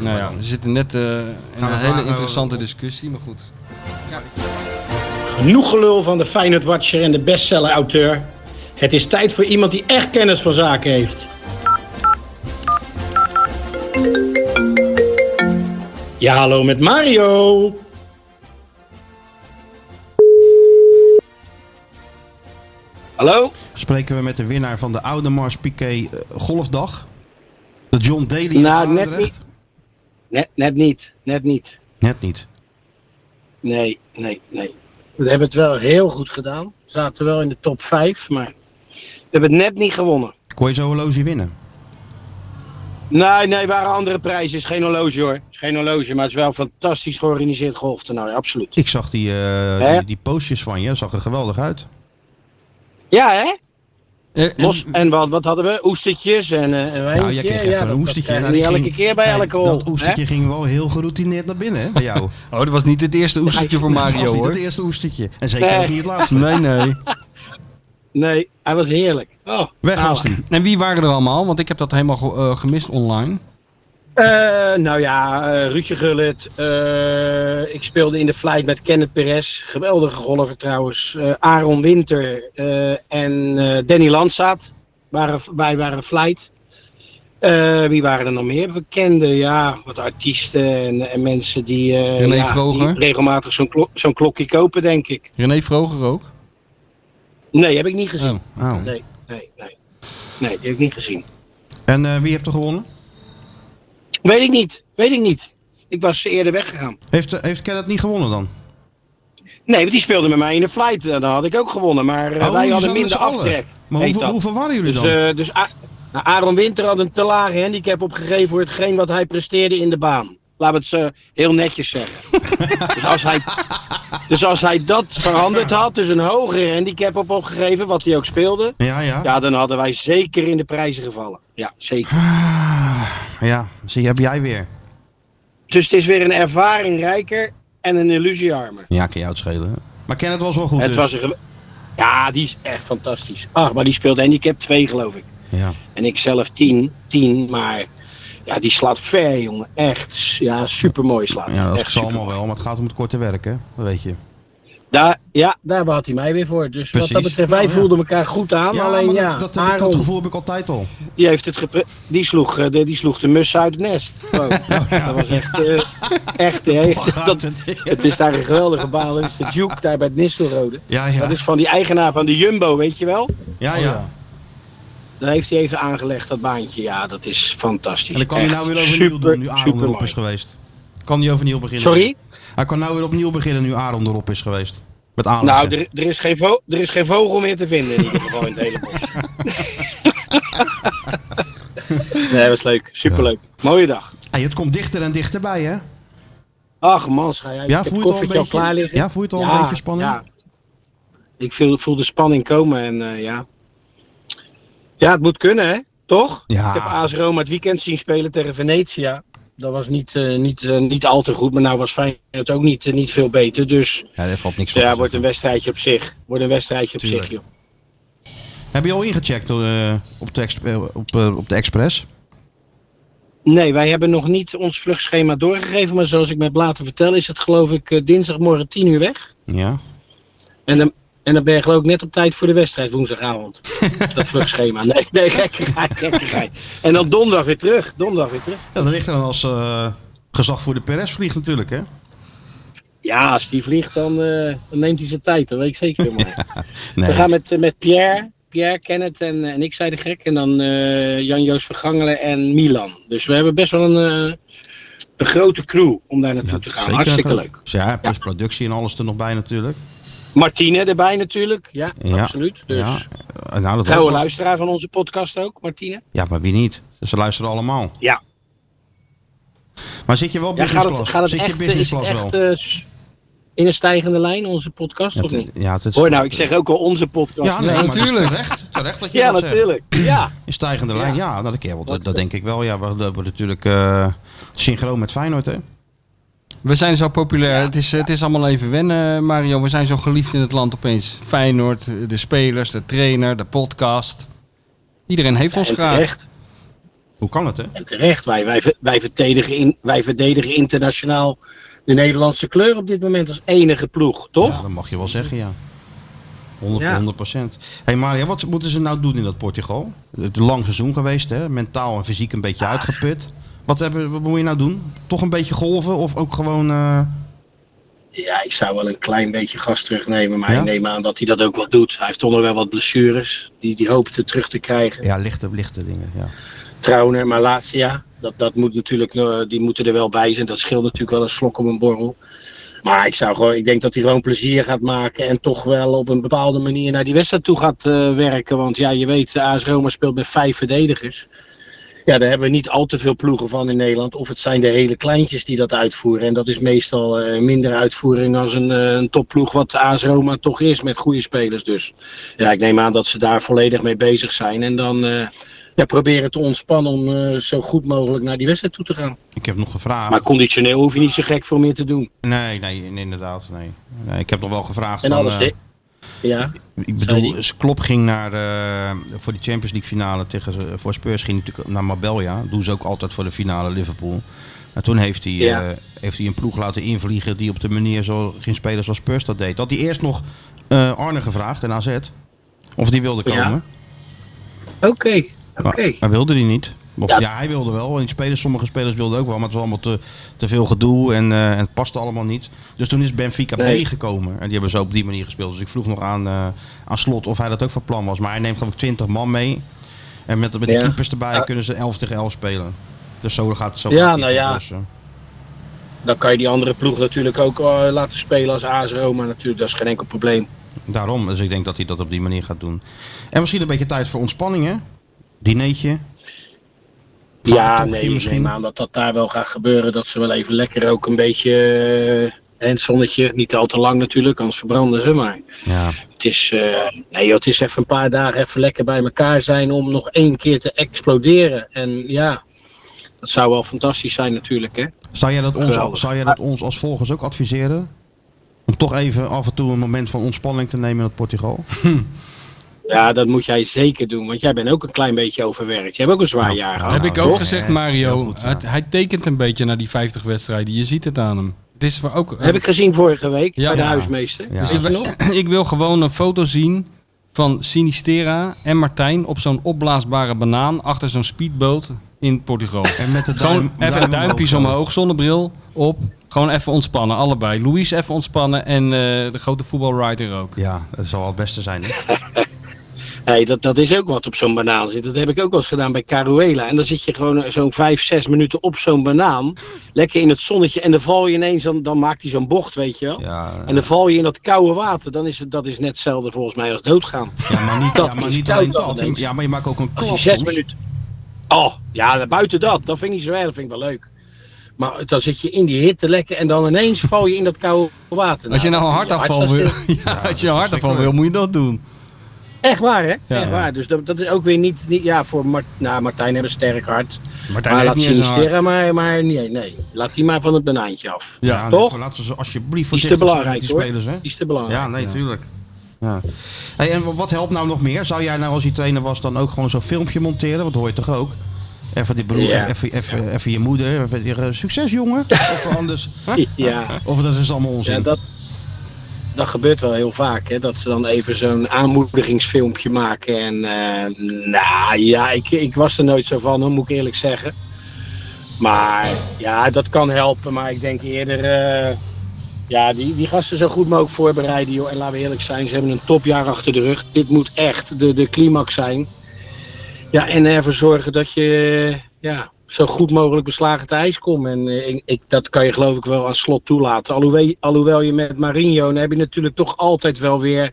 S3: Nou ja, we zitten net eh, in
S2: we
S3: een hele
S2: vragen-
S3: interessante discussie, maar goed.
S5: Genoeg gelul van de Feyenoord-watcher en de bestseller-auteur. Het is tijd voor iemand die echt kennis van zaken heeft. Ja, hallo met Mario.
S6: Hallo?
S2: spreken we met de winnaar van de Oudemars Piqué eh, Golfdag. De John Daly uit
S6: Nou, net
S2: Barendrecht?
S6: Net, net niet, net niet.
S2: Net niet.
S6: Nee, nee, nee. We hebben het wel heel goed gedaan. We zaten wel in de top 5, maar we hebben het net niet gewonnen.
S2: Kon je zo'n horloge winnen?
S6: Nee, nee, waren andere prijzen. Is geen horloge hoor. Is geen horloge, maar het is wel fantastisch georganiseerd golftoernooi, absoluut.
S2: Ik zag die, eh,
S6: Hè?
S2: die, die postjes van je, zag er geweldig uit.
S6: Ja, hè?
S3: Eh, eh,
S6: Los, en wat, wat hadden we? Oestertjes en eh
S2: Nou,
S6: een
S2: jij
S6: wijntje.
S2: kreeg even
S6: Ja,
S2: een
S6: dat- dat
S2: oestertje.
S6: krijgen
S2: Nou,
S6: we
S2: die
S6: niet
S2: ging-
S6: elke keer bij
S2: Kijk,
S6: elke hol.
S2: dat
S6: hè?
S2: oestertje ging wel heel geroutineerd naar binnen hè, bij jou.
S3: Oh, dat was niet het eerste oestertje voor
S2: dat was
S3: Mario
S2: niet
S3: hoor.
S2: het eerste oestertje. En zeker
S6: Nee. Nou,
S2: ook niet het laatste.
S3: Nee, nee.
S6: Nee, hij was heerlijk. Oh.
S2: Weg
S6: nou,
S2: was die.
S3: En wie waren er allemaal? Want ik heb dat helemaal ge- eh, gemist online.
S6: Eh, nou ja, eh, Ruudje Gullit. eh, ik speelde in de flight met Kenneth Perez. Geweldige golfer trouwens. Eh, Aaron Winter eh, en eh, Danny Landsaat. Waren, wij waren flight. Eh, wie waren er nog meer? Bekende, ja, wat artiesten en, en mensen die, eh,
S3: René
S6: ja,
S3: Vroger.
S6: die regelmatig zo'n klok, zo'n klokje kopen, denk ik.
S3: René Vroger ook.
S6: Nee, heb ik niet gezien.
S3: Oh.
S2: Oh.
S6: Nee, nee, nee. Nee, die heb ik niet gezien.
S2: En eh, wie heeft er gewonnen?
S6: Weet ik niet, weet ik niet. Ik was eerder weggegaan.
S2: Heeft, eh, heeft Kenneth niet gewonnen dan?
S6: Nee, want die speelde met mij in de flight. Dan had ik ook gewonnen. Maar eh,
S2: Oh,
S6: wij
S2: die
S6: hadden
S2: zaten met
S6: minder
S2: z'n allen.
S6: aftrek.
S2: Maar
S6: heet
S2: hoeveel,
S6: dat.
S2: hoeveel waren jullie
S6: Dus,
S2: dan?
S6: eh, dus A- nou, Aaron Winter had een te lage handicap opgegeven voor hetgeen wat hij presteerde in de baan. Laten we het eh, heel netjes zeggen. dus, als hij, dus als hij dat veranderd had, dus een hogere handicap op opgegeven, wat hij ook speelde.
S2: ja, ja.
S6: eh, Ja, dan hadden wij zeker in de prijzen gevallen. Ja, zeker.
S2: Ja, zie heb jij weer.
S6: Dus het is weer een ervaring rijker en een illusie armer.
S2: Ja, kan jou het schelen. hè? Maar Kenneth was wel goed
S6: Het
S2: dus.
S6: was een gew- ja, die is echt fantastisch. Ach, maar die speelt handicap 2, geloof ik.
S2: Ja.
S6: En ik zelf 10, 10, maar ja, die slaat ver, jongen. Echt, ja, supermooi slaat. hij.
S2: Ja, dat
S6: echt
S2: zal
S6: supermooi.
S2: allemaal wel, maar het gaat om het korte werk, hè? Dat weet je.
S6: Daar, ja, daar had hij mij weer voor. Dus wat
S2: Precies. Oh,
S6: dat betreft, wij
S2: Ja, ja.
S6: voelden elkaar goed aan. alleen
S2: maar
S6: ja,
S2: dat, dat, heb ik,
S6: Aaron,
S2: dat gevoel heb ik altijd al.
S6: die, heeft het gepre- die, sloeg, eh, de, die sloeg de mus uit het nest. Gewoon. Dat was echt, eh, echt hè. dat, het is daar een geweldige baan. Het is de Duke daar bij het Nistelrode.
S2: Ja, ja.
S6: Dat is Oh, van die eigenaar van de Jumbo, weet je wel?
S2: ja, ja.
S6: Dan heeft hij even aangelegd dat baantje. Ja, dat is fantastisch.
S2: En dan kan hij
S6: Echt
S2: nou weer overnieuw
S6: super,
S2: doen, nu Aaron
S6: super
S2: erop is
S6: leuk.
S2: geweest. Kan hij overnieuw beginnen?
S6: Sorry?
S2: Hij kan nou weer opnieuw beginnen nu Aaron erop is geweest. Met Aaron.
S6: Nou, er, er, is geen vo- er is geen vogel meer te vinden in ieder geval in het hele bos. nee, was leuk. Superleuk. Mooie dag.
S2: hey, het komt dichter en dichterbij, hè?
S6: Ach man, ga jij.
S2: Ja,
S6: ik heb
S2: voel je het al een
S6: koffertje al
S2: beetje?
S6: klaar liggen.
S2: Ja, voel je het al een beetje spanning?
S6: Ja. Ik voel, voel de spanning komen en eh, ja. Ja, het moet kunnen, hè? Toch?
S2: Ja.
S6: Ik heb AS Roma het weekend zien spelen tegen Venetia. Dat was niet, eh, niet, eh, niet al te goed, maar nou was Feyenoord ook niet, eh, niet veel beter. Dus
S2: Ja, daar valt niks van.
S6: ja,
S2: te
S6: wordt een
S2: zeggen.
S6: wedstrijdje op zich. Wordt een wedstrijdje op
S2: Tuurlijk.
S6: zich, joh.
S2: Heb je al ingecheckt eh, op, de ex- eh, op, eh, op de Express?
S6: Nee, wij hebben nog niet ons vluchtschema doorgegeven. Maar zoals ik met Blater vertel, is het geloof ik eh, dinsdagmorgen 10 uur weg.
S2: Ja.
S6: En dan, en dan ben je geloof ik net op tijd voor de wedstrijd woensdagavond. Dat vluchtschema. Nee, nee, gekkigheid, gekkigheid. En dan donderdag weer terug. Donderdag weer terug.
S2: Ja, dat ligt er dan als eh, gezag voor de Perez vliegt natuurlijk, hè?
S6: Ja, als die vliegt, dan, eh, dan neemt hij zijn tijd. Dat weet ik zeker. Maar.
S2: Nee.
S6: We gaan met, eh, met Pierre, Pierre, Kenneth en, eh, en ik, zei de gek. En dan eh Jan-Joos Vergangelen en Milan. Dus we hebben best wel een, eh, een grote crew om daar naartoe
S2: Ja,
S6: te gaan.
S2: zeker.
S6: Hartstikke leuk.
S2: Ja, plus productie en alles er nog bij natuurlijk.
S6: Martine erbij natuurlijk, ja,
S2: Ja,
S6: absoluut. Dus
S2: Ja, eh, nou, dat
S6: trouwe
S2: hoort wel.
S6: luisteraar van onze podcast ook, Martine.
S2: Ja, maar wie niet? Dus Ze luisteren allemaal.
S6: Ja.
S2: Maar zit je wel
S6: Ja,
S2: business
S6: gaat
S2: class?
S6: het, gaat het
S2: zit
S6: echt,
S2: je business
S6: is het
S2: class
S6: echt
S2: wel?
S6: eh, s- in een stijgende lijn, onze podcast, of
S2: Ja,
S6: niet?
S2: het- ja, het is-
S6: Hoor nou, ik zeg ook al onze podcast.
S2: Ja, nee,
S3: Ja,
S2: maar het is
S3: natuurlijk.
S2: Terecht, terecht dat je
S6: Ja,
S2: dat zegt.
S6: natuurlijk. Ja.
S2: In stijgende lijn, ja, nou, dat, keer wel, dat, dat denk ik wel. Ja, we lopen natuurlijk eh, synchroon met Feyenoord, hè?
S3: We zijn zo populair. het, is, het is allemaal even wennen, Mario. We zijn zo geliefd in het land opeens. Feyenoord, de spelers, de trainer, de podcast. Iedereen heeft ons
S6: En
S3: graag.
S6: terecht,
S2: Hoe kan het, hè?
S6: en terecht. Wij, wij, ver- wij, verdedigen in, wij verdedigen internationaal de Nederlandse kleur op dit moment als enige ploeg,
S2: Ja,
S6: toch?
S2: dat mag je wel zeggen, ja. 100,
S6: Ja.
S2: 100 hey Maria, wat moeten ze nou doen in dat Portugal? Het is lang seizoen geweest, hè? Mentaal en fysiek een
S6: Ah.
S2: beetje uitgeput. Wat, hebben, wat moet je nou doen? Toch een beetje golven of ook gewoon... eh,
S6: Ja, ik zou wel een klein beetje gas terugnemen, maar
S2: Ja?
S6: ik neem aan dat hij dat ook wel doet. Hij heeft onder wel wat blessures, die hij hoopte terug te krijgen.
S2: Ja, lichte, lichte dingen, ja.
S6: Trauner, Malasia. Dat, dat moet natuurlijk, eh, die moeten er wel bij zijn. Dat scheelt natuurlijk wel een slok op een borrel. Maar ik, zou gewoon, ik denk dat hij gewoon plezier gaat maken. En toch wel op een bepaalde manier naar die wedstrijd toe gaat eh, werken. Want ja, je weet, de AS Roma speelt met vijf verdedigers. Ja, daar hebben we niet al te veel ploegen van in Nederland. Of het zijn de hele kleintjes die dat uitvoeren. En dat is meestal eh, minder uitvoering als een, eh, een topploeg wat de AS Roma toch is met goede spelers. Dus ja, ik neem aan dat ze daar volledig mee bezig zijn. En dan... eh, ja, proberen te ontspannen om eh, zo goed mogelijk naar die wedstrijd toe te gaan.
S2: Ik heb nog gevraagd.
S6: Ah. Maar conditioneel hoef je niet zo gek veel meer te doen.
S2: Nee, nee, nee, inderdaad, nee. nee. Ik heb nog wel gevraagd
S6: En
S2: van,
S6: alles,
S2: eh,
S6: hè? Ja,
S2: Ik
S6: Zei
S2: bedoel,
S6: die?
S2: Klop ging naar eh, voor die Champions League finale tegen eh, voor Spurs ging hij natuurlijk naar Marbella. Dat doen ze ook altijd voor de finale Liverpool. En toen heeft hij,
S6: Ja.
S2: eh, heeft hij een ploeg laten invliegen die op de manier zo geen spelers als Spurs dat deed. Had hij eerst nog eh, Arne gevraagd en AZ of die wilde komen.
S6: Ja, oké. Oké.
S2: Maar hij wilde die niet. Of, ja.
S6: Ja.
S2: hij wilde wel. En die spelers, sommige spelers wilden ook wel, maar het was allemaal te, te veel gedoe en, eh, en het paste allemaal niet. Dus toen is Benfica
S6: Nee.
S2: meegekomen. En die hebben zo op die manier gespeeld. Dus ik vroeg nog aan, eh, aan Slot of hij dat ook van plan was. Maar hij neemt geloof ik 20 man mee. En met, met de
S6: Ja.
S2: keepers erbij
S6: Ja.
S2: kunnen ze 11 tegen 11 spelen. Dus zo gaat zo
S6: Ja,
S2: gaat die
S6: nou ja.
S2: dus, eh,
S6: Dan kan je die andere ploeg natuurlijk ook eh, laten spelen als AS Roma natuurlijk. Dat is geen enkel probleem.
S2: daarom. Dus ik denk dat hij dat op die manier gaat doen. En misschien een beetje tijd voor ontspanning, hè? Dineetje.
S6: ja,
S2: Vaartochtje
S6: nee, ik
S2: misschien.
S6: neem aan dat dat daar wel gaat gebeuren. Dat ze wel even lekker ook een beetje... eh, en het zonnetje, niet al te lang natuurlijk, anders verbranden ze maar.
S2: Ja.
S6: Het is, eh, nee, joh, het is even een paar dagen even lekker bij elkaar zijn om nog één keer te exploderen. En ja, dat zou wel fantastisch zijn natuurlijk. Hè?
S2: Zou jij, dat ons,
S6: Geweldig. Ah.
S2: zou jij dat ons als volgers ook adviseren? Om toch even af en toe een moment van ontspanning te nemen in het Portugal?
S6: Ja, dat moet jij zeker doen, want jij bent ook een klein beetje overwerkt. Je hebt ook een zwaar jaar
S2: nou,
S6: gehad.
S3: Heb
S2: Nou,
S3: ik ook
S2: toch?
S3: gezegd,
S2: Ja, heel
S3: Mario.
S2: goed, ja.
S3: het, hij tekent een beetje naar die 50 wedstrijden. Je ziet het aan hem. Het is voor ook.
S6: Heb ik gezien vorige week
S3: Ja.
S6: bij de
S2: Ja.
S6: huismeester.
S2: Ja.
S6: Weet je
S3: Dus ik, wil,
S6: nog?
S3: ik wil gewoon een foto zien van Sinistera en Martijn op zo'n opblaasbare banaan achter zo'n speedboot in Portugal.
S2: En met de
S3: Gewoon
S2: duim,
S3: even duimpjes omhoog, zonnebril op. Gewoon even ontspannen, allebei. Louis even ontspannen en eh, de grote voetbalwriter ook.
S2: Ja, dat zal wel het beste zijn. Hè?
S6: Hey, dat, dat is ook wat op zo'n banaan zit. Dat heb ik ook wel eens gedaan bij Caruela. En dan zit je gewoon eh, zo'n vijf, zes minuten op zo'n banaan. Lekker in het zonnetje. En dan val je ineens, dan, dan maakt hij zo'n bocht, weet je wel.
S2: Ja,
S6: En dan val je in dat koude water. Dan is het, dat is net hetzelfde volgens mij als doodgaan.
S2: ja, maar niet,
S6: dat
S2: ja, maar
S6: is
S2: niet
S6: koud
S2: alleen
S6: dan
S2: dat.
S6: ineens.
S2: Ja, maar je maakt ook een
S6: Als je
S2: klap
S6: zes
S2: soms.
S6: minuten. Oh, ja, buiten dat. Dat vind ik niet zo erg. Dat vind ik wel leuk. Maar dan zit je in die hitte lekker. En dan ineens val je in dat koude water.
S3: Als je nou een hartafval wil,
S6: wil.
S3: ja, als je een
S2: is
S3: hartafval
S2: verschrikkelijk.
S3: wil, moet je dat doen.
S6: Echt waar, hè?
S3: Ja.
S6: Echt waar. Dus dat, dat is ook weer niet... niet ja, voor Mart, nou, Martijn hebben een sterk hart.
S3: Martijn
S6: maar
S3: heeft
S6: laat
S3: niet eens een
S6: Sinistera
S3: hart.
S6: maar, maar nee, nee. Laat die maar van het banaantje af.
S3: Ja,
S2: Ja,
S6: toch?
S2: Laten ze alsjeblieft
S6: Die is
S2: voorzichtig
S6: te
S2: zijn met
S6: belangrijk,
S2: die
S6: hoor.
S2: spelers. Hè?
S6: Die is te belangrijk.
S2: Ja, nee, tuurlijk. Ja. Hey, en wat helpt nou nog meer? Zou jij nou als je trainer was dan ook gewoon zo'n filmpje monteren? Want dat hoor je toch ook? Even, die broer,
S6: Ja.
S2: even, even, even je moeder. even zeggen, Succes jongen. Of anders.
S6: Ja, ja.
S2: Of dat is allemaal onzin.
S6: dat, dat gebeurt wel heel vaak, hè. Dat ze dan even zo'n aanmoedigingsfilmpje maken. En eh, nou ja, ik, ik was er nooit zo van, hoor, moet ik eerlijk zeggen. Maar ja, dat kan helpen. Maar ik denk eerder... eh, ja, die, die gasten zo goed mogelijk voorbereiden, joh. En laten we eerlijk zijn, ze hebben een topjaar achter de rug. Dit moet echt de, de climax zijn. Ja, en ervoor zorgen dat je eh, ja, zo goed mogelijk beslagen te ijs komt. En eh, ik, ik, dat kan je geloof ik wel aan slot toelaten. Alhoewel, alhoewel je met Marinho, dan heb je natuurlijk toch altijd wel weer...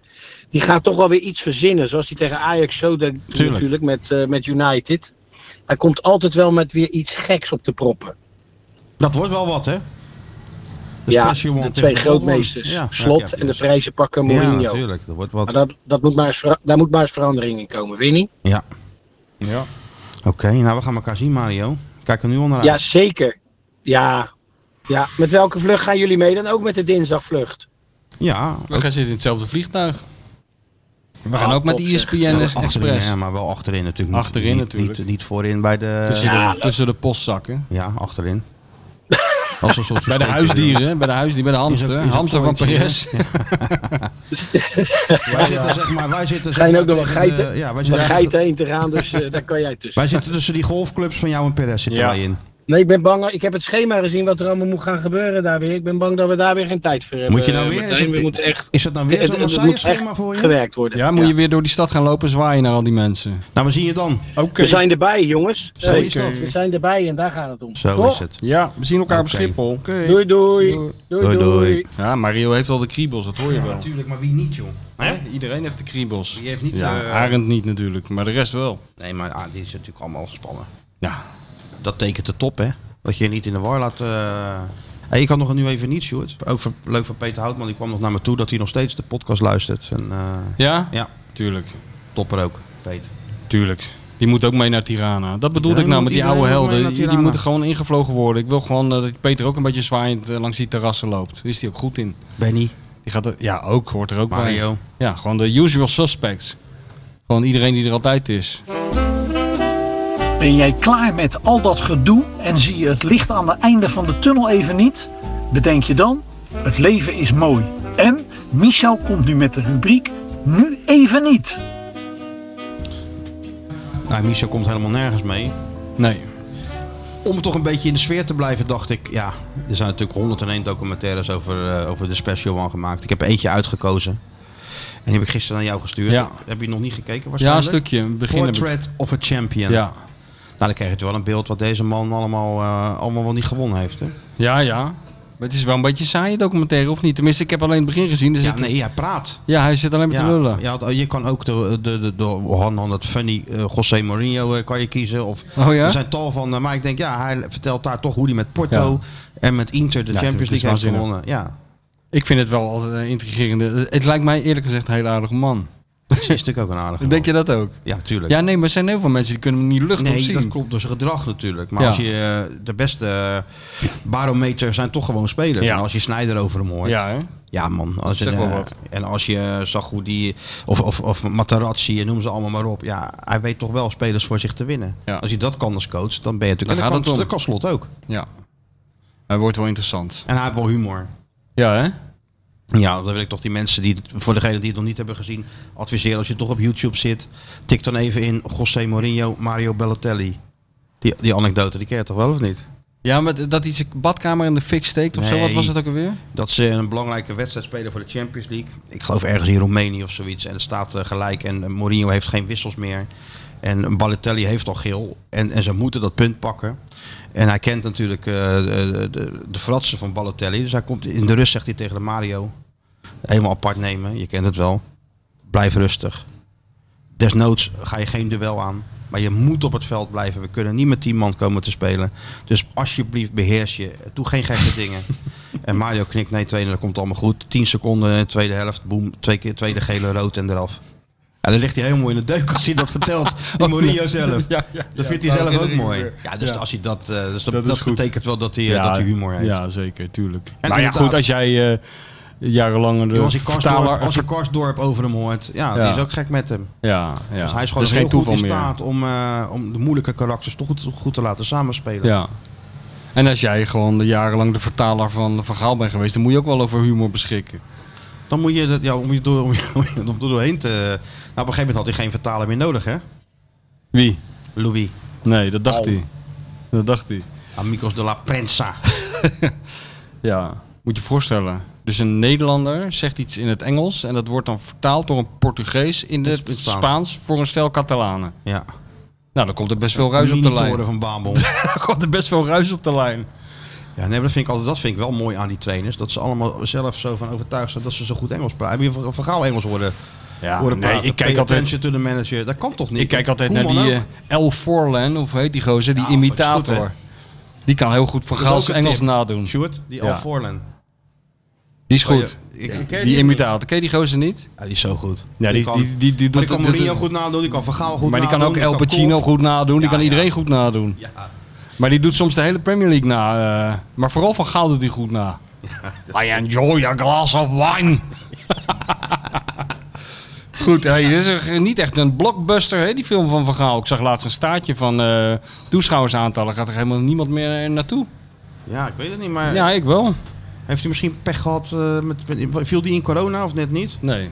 S6: Die gaat toch wel weer iets verzinnen. Zoals hij tegen Ajax zo deed
S2: Tuurlijk.
S6: natuurlijk met, eh, met United. Hij komt altijd wel met weer iets geks op te proppen.
S2: Dat wordt wel wat, hè? De
S6: ja,
S2: special one
S6: de
S2: tegen
S6: twee grootmeesters.
S2: Goldman. Ja,
S6: Slot
S2: ja, ja,
S6: en de
S2: dus-
S6: prijzenpakker
S2: Ja,
S6: Mourinho.
S2: natuurlijk. Dat wordt wat.
S6: Maar dat, dat moet maar eens vera- daar moet maar eens verandering in komen, Winnie.
S2: Ja.
S4: Ja.
S2: Oké, nou we gaan elkaar zien, Mario. Kijk er nu onderuit.
S6: Ja, zeker. Ja. ja. Met welke vlucht gaan jullie mee? Dan ook met de dinsdagvlucht.
S2: Ja.
S3: We gaan zitten in hetzelfde vliegtuig. We gaan
S6: Ah,
S3: ook met
S6: top,
S3: de E
S6: zeg.
S3: ESPN
S2: achterin,
S3: Express.
S2: hè, maar wel achterin natuurlijk. Niet-
S3: dus Achterin
S2: niet,
S3: natuurlijk.
S2: Niet, niet voorin bij de...
S3: Tussen,
S6: Ja.
S3: de, tussen de postzakken.
S2: Ja, achterin. Als een soort
S3: Bij de
S2: versteker,
S3: huisdieren, hè, bij de huisdieren, bij de hamster.
S2: is een
S3: hamster van
S2: kooitje, hè?
S3: Perez.
S2: joh. Wij zitten zeg maar... Wij zitten, zeg
S6: Er zijn
S2: maar
S6: ook nog wel
S2: tegen
S6: geiten,
S2: de- ja, wij
S6: Om
S2: zitten,
S6: geiten heen te gaan, dus eh, daar kan jij tussen.
S2: wij zitten tussen die golfclubs van jou en Perez zitten
S3: Ja.
S2: wij in.
S6: Nee, ik ben bang. Ik heb het schema gezien wat er allemaal moet gaan gebeuren daar weer. Ik ben bang dat we daar weer geen tijd voor hebben.
S2: Moet je nou weer?
S6: Martijn, we moeten echt,
S2: Is dat nou weer
S6: het,
S2: zo'n
S6: het
S2: Marseille
S6: moet echt
S2: schema voor je?
S6: gewerkt worden.
S3: Ja, moet je weer door die stad gaan lopen zwaaien naar al die mensen.
S2: Nou, we zien je dan.
S3: Oké.
S6: We zijn erbij, jongens.
S2: Zo is
S6: Eh,
S2: dat.
S6: We zijn erbij en daar gaat het om.
S2: Zo
S6: Toch?
S2: is het.
S3: Ja, we zien elkaar
S2: Oké.
S3: op Schiphol.
S6: Doei doei.
S3: Doei.
S2: Doei, doei.
S6: Doei doei.
S3: Ja, Mario heeft al de kriebels, dat hoor je wel.
S2: natuurlijk, maar wie niet, joh?
S3: Hè? Iedereen heeft de kriebels.
S2: Die heeft niet,
S3: Ja,
S2: eh,
S3: Arend niet natuurlijk, maar de rest wel.
S2: Nee, maar ah, dit is natuurlijk allemaal spannend.
S3: Ja.
S2: Dat tekent de top, hè? Dat je je niet in de war laat. eh. Hey, ik had nog nu even niet, Sjoerd. Ook voor, leuk van Peter Houtman. Die kwam nog naar me toe dat hij nog steeds de podcast luistert. En, eh,
S3: Ja?
S2: ja,
S3: Tuurlijk,
S2: topper ook, Peter.
S3: tuurlijk. Die moet ook mee naar Tirana. Dat bedoelde
S2: Ja,
S3: ik nou
S2: moet
S3: met die oude
S2: iedereen mee
S3: helden.
S2: naar
S3: Die, die
S2: Tirana.
S3: moeten gewoon ingevlogen worden. Ik wil gewoon eh, dat Peter ook een beetje zwaaiend eh, langs die terrassen loopt. Daar Is die ook goed in?
S2: Benny,
S3: Die gaat er, ja, ook hoort er ook bij.
S2: Mario.
S3: Ja, gewoon de usual suspects. Gewoon iedereen die er altijd is.
S7: Ben jij klaar met al dat gedoe en zie je het licht aan het einde van de tunnel even niet? Bedenk je dan, het leven is mooi. En Michel komt nu met de rubriek Nu even niet.
S2: Nou, Michel komt helemaal nergens mee.
S3: Nee.
S2: Om toch een beetje in de sfeer te blijven, dacht ik. Ja, er zijn natuurlijk 101 documentaires over, eh, over de Special One gemaakt. Ik heb er eentje uitgekozen. En die heb ik gisteren aan jou gestuurd.
S3: Ja.
S2: Heb je nog niet gekeken?
S3: Ja, een
S2: Waarschijnlijk?
S3: stukje. een Begin heb ik-
S2: Portrait of a Champion.
S3: Ja.
S2: Nou, dan krijg je wel een beeld wat deze man allemaal, eh, allemaal wel niet gewonnen heeft. Hè?
S3: ja, ja. Maar het is wel een beetje een saaie documentaire, of niet? Tenminste, ik heb alleen het begin gezien. Dus
S2: Ja,
S3: het-
S2: nee, hij praat.
S3: ja, hij zit alleen maar te
S2: Ja,
S3: lullen.
S2: ja, eh, je kan ook de, de, de, de Han Han, het funny eh, José Mourinho eh, kan je kiezen. Of,
S3: Oh ja?
S2: Er zijn tal van, eh, maar ik denk, ja, hij vertelt daar toch hoe hij met Porto en met Inter de
S3: Ja, het-
S2: Champions
S3: het is
S2: League heeft
S3: waanzinnig.
S2: gewonnen. Ja,
S3: Ik vind het wel altijd een intrigerende. Het lijkt mij eerlijk gezegd een heel aardige man.
S2: dat is natuurlijk ook een aardige
S3: Denk je
S2: man.
S3: dat ook?
S2: Ja, tuurlijk.
S3: Ja, nee, maar er zijn heel veel mensen die kunnen hem niet lucht op
S2: Nee,
S3: zien.
S2: dat klopt door zijn gedrag natuurlijk. Maar
S3: Ja.
S2: als je eh, de beste eh, barometer zijn toch gewoon spelers.
S3: Ja.
S2: En als je Snijder over hem hoort.
S3: Ja, hè?
S2: Ja, man. Als
S3: zegt
S2: je,
S3: wel
S2: eh,
S3: wat.
S2: En als je zag hoe die. Of, of, of Materazzi en noem ze allemaal maar op. Ja, hij weet toch wel spelers voor zich te winnen.
S3: Ja.
S2: Als je dat kan als coach, dan ben je natuurlijk.
S3: Daar
S2: en
S3: gaat
S2: dat
S3: het
S2: kan,
S3: om.
S2: dat kan slot ook.
S3: ja. Hij wordt wel interessant.
S2: En hij heeft wel humor.
S3: Ja, hè?
S2: Ja, dan wil ik toch die mensen die, het- voor degenen die het nog niet hebben gezien, adviseren. Als je toch op YouTube zit, tik dan even in José Mourinho, Mario Balotelli. Die, die anekdote, die ken je toch wel of niet?
S3: Ja, maar dat iets badkamer in de fik steekt of zo. Wat
S2: Nee.
S3: was het ook alweer?
S2: Dat ze een belangrijke wedstrijd spelen voor de Champions League. Ik geloof ergens in Roemenië of zoiets. En het staat eh, gelijk en eh, Mourinho heeft geen wissels meer. En Balotelli heeft al geel. En, en ze moeten dat punt pakken. En hij kent natuurlijk eh, de, de, de fratsen van Balotelli. Dus hij komt in de rust, zegt hij tegen de Mario. Helemaal apart nemen, je kent het wel. Blijf rustig. Desnoods ga je geen duel aan. Maar je moet op het veld blijven. We kunnen niet met 10 man komen te spelen. Dus alsjeblieft beheers je. Doe geen gekke dingen. En Mario knikt, nee trainer, dat komt allemaal goed. 10 seconden, tweede helft, boem, twee keer tweede gele rood en eraf. En dan ligt hij helemaal in de deuk als hij dat vertelt. Die Mourinho zelf.
S3: Ja, ja,
S2: Dat
S3: ja,
S2: vindt hij zelf
S3: dat
S2: ook
S3: herinner ik me
S2: mooi.
S3: weer.
S2: Ja, dus
S3: Ja.
S2: als hij dat, eh, dus dat,
S3: Dat is
S2: dat
S3: goed.
S2: betekent wel dat hij, eh, dat hij humor heeft.
S3: Ja, zeker, tuurlijk.
S2: En
S3: maar ja,
S2: inderdaad-
S3: goed, als jij eh, jarenlang de
S2: Als je
S3: vertaler...
S2: Karsdorp, als je Karsdorp over hem hoort, ja,
S3: Ja.
S2: die is ook gek met hem.
S3: Ja, ja.
S2: Dus hij is
S3: Dat
S2: gewoon heel goed in
S3: meer.
S2: staat om, eh, om de moeilijke karakters toch goed, goed te laten samenspelen.
S3: Ja. En als jij gewoon de jarenlang de vertaler van Van Gaal bent geweest, dan moet je ook wel over humor beschikken.
S2: Dan moet je, dat- ja, om je, door, om je, om je er doorheen te... Nou, op een gegeven moment had hij geen vertaler meer nodig, hè?
S3: Wie?
S2: Louis.
S3: Nee, dat
S2: Oh.
S3: dacht hij. Dat dacht hij.
S2: Amigos de la Prensa.
S3: Ja, moet je voorstellen. Dus een Nederlander zegt iets in het Engels en dat wordt dan vertaald door een Portugees in het
S2: het Spaans.
S3: Spaans voor een stel Catalanen.
S2: Ja.
S3: Nou, dan komt er best veel ruis op de lijn.
S2: Minitoren van Babel.
S3: Dan komt er best veel ruis op de lijn.
S2: ja, nee, maar dat vind, ik altijd, dat vind ik wel mooi aan die trainers. Dat ze allemaal zelf zo van overtuigd zijn dat ze zo goed Engels praten. Heb je van van Gaal Engels horen,
S3: Ja,
S2: horen praten?
S3: nee, ik
S2: Pay
S3: kijk altijd,
S2: attention to the manager. Dat kan toch niet?
S3: ik kijk altijd naar
S2: Koeman
S3: die
S2: ook.
S3: eh, L. Forlan, of hoe heet die gozer, die
S2: Ja, dat is
S3: imitator.
S2: goed, hè?
S3: die kan heel goed Van
S2: Dat is
S3: Gaals
S2: ook een
S3: Engels
S2: tip.
S3: nadoen.
S2: Stuart, die
S3: eh, Ja.
S2: Al Forlan.
S3: Die is goed.
S2: Oh, ja. Ik- ik ken
S3: die
S2: die
S3: imitator. Ken je die gozer niet?
S2: Ja, die is zo goed.
S3: Ja, die,
S2: kan,
S3: die, die,
S2: maar
S3: die, doet
S2: die kan
S3: het- het-
S2: Mourinho goed nadoen, die kan Van Gaal goed
S3: Maar die
S2: nadoen.
S3: kan ook El Pacino
S2: Kool.
S3: goed nadoen. Die
S2: Ja,
S3: kan
S2: ja.
S3: iedereen goed nadoen.
S2: Ja,
S3: Maar die doet soms de hele Premier League na. eh, maar vooral Van Gaal doet hij goed na. I enjoy a glass of wine. Goed, hey, dit is echt niet echt een blockbuster, hè, die film van Van Gaal. Ik zag laatst een staartje van eh, toeschouwersaantallen. Gaat er helemaal niemand meer eh, naartoe?
S2: ja, ik weet het niet, maar
S3: Ja, ik wel.
S2: heeft hij misschien pech gehad? eh, met, met- viel die in corona of net niet?
S3: Nee.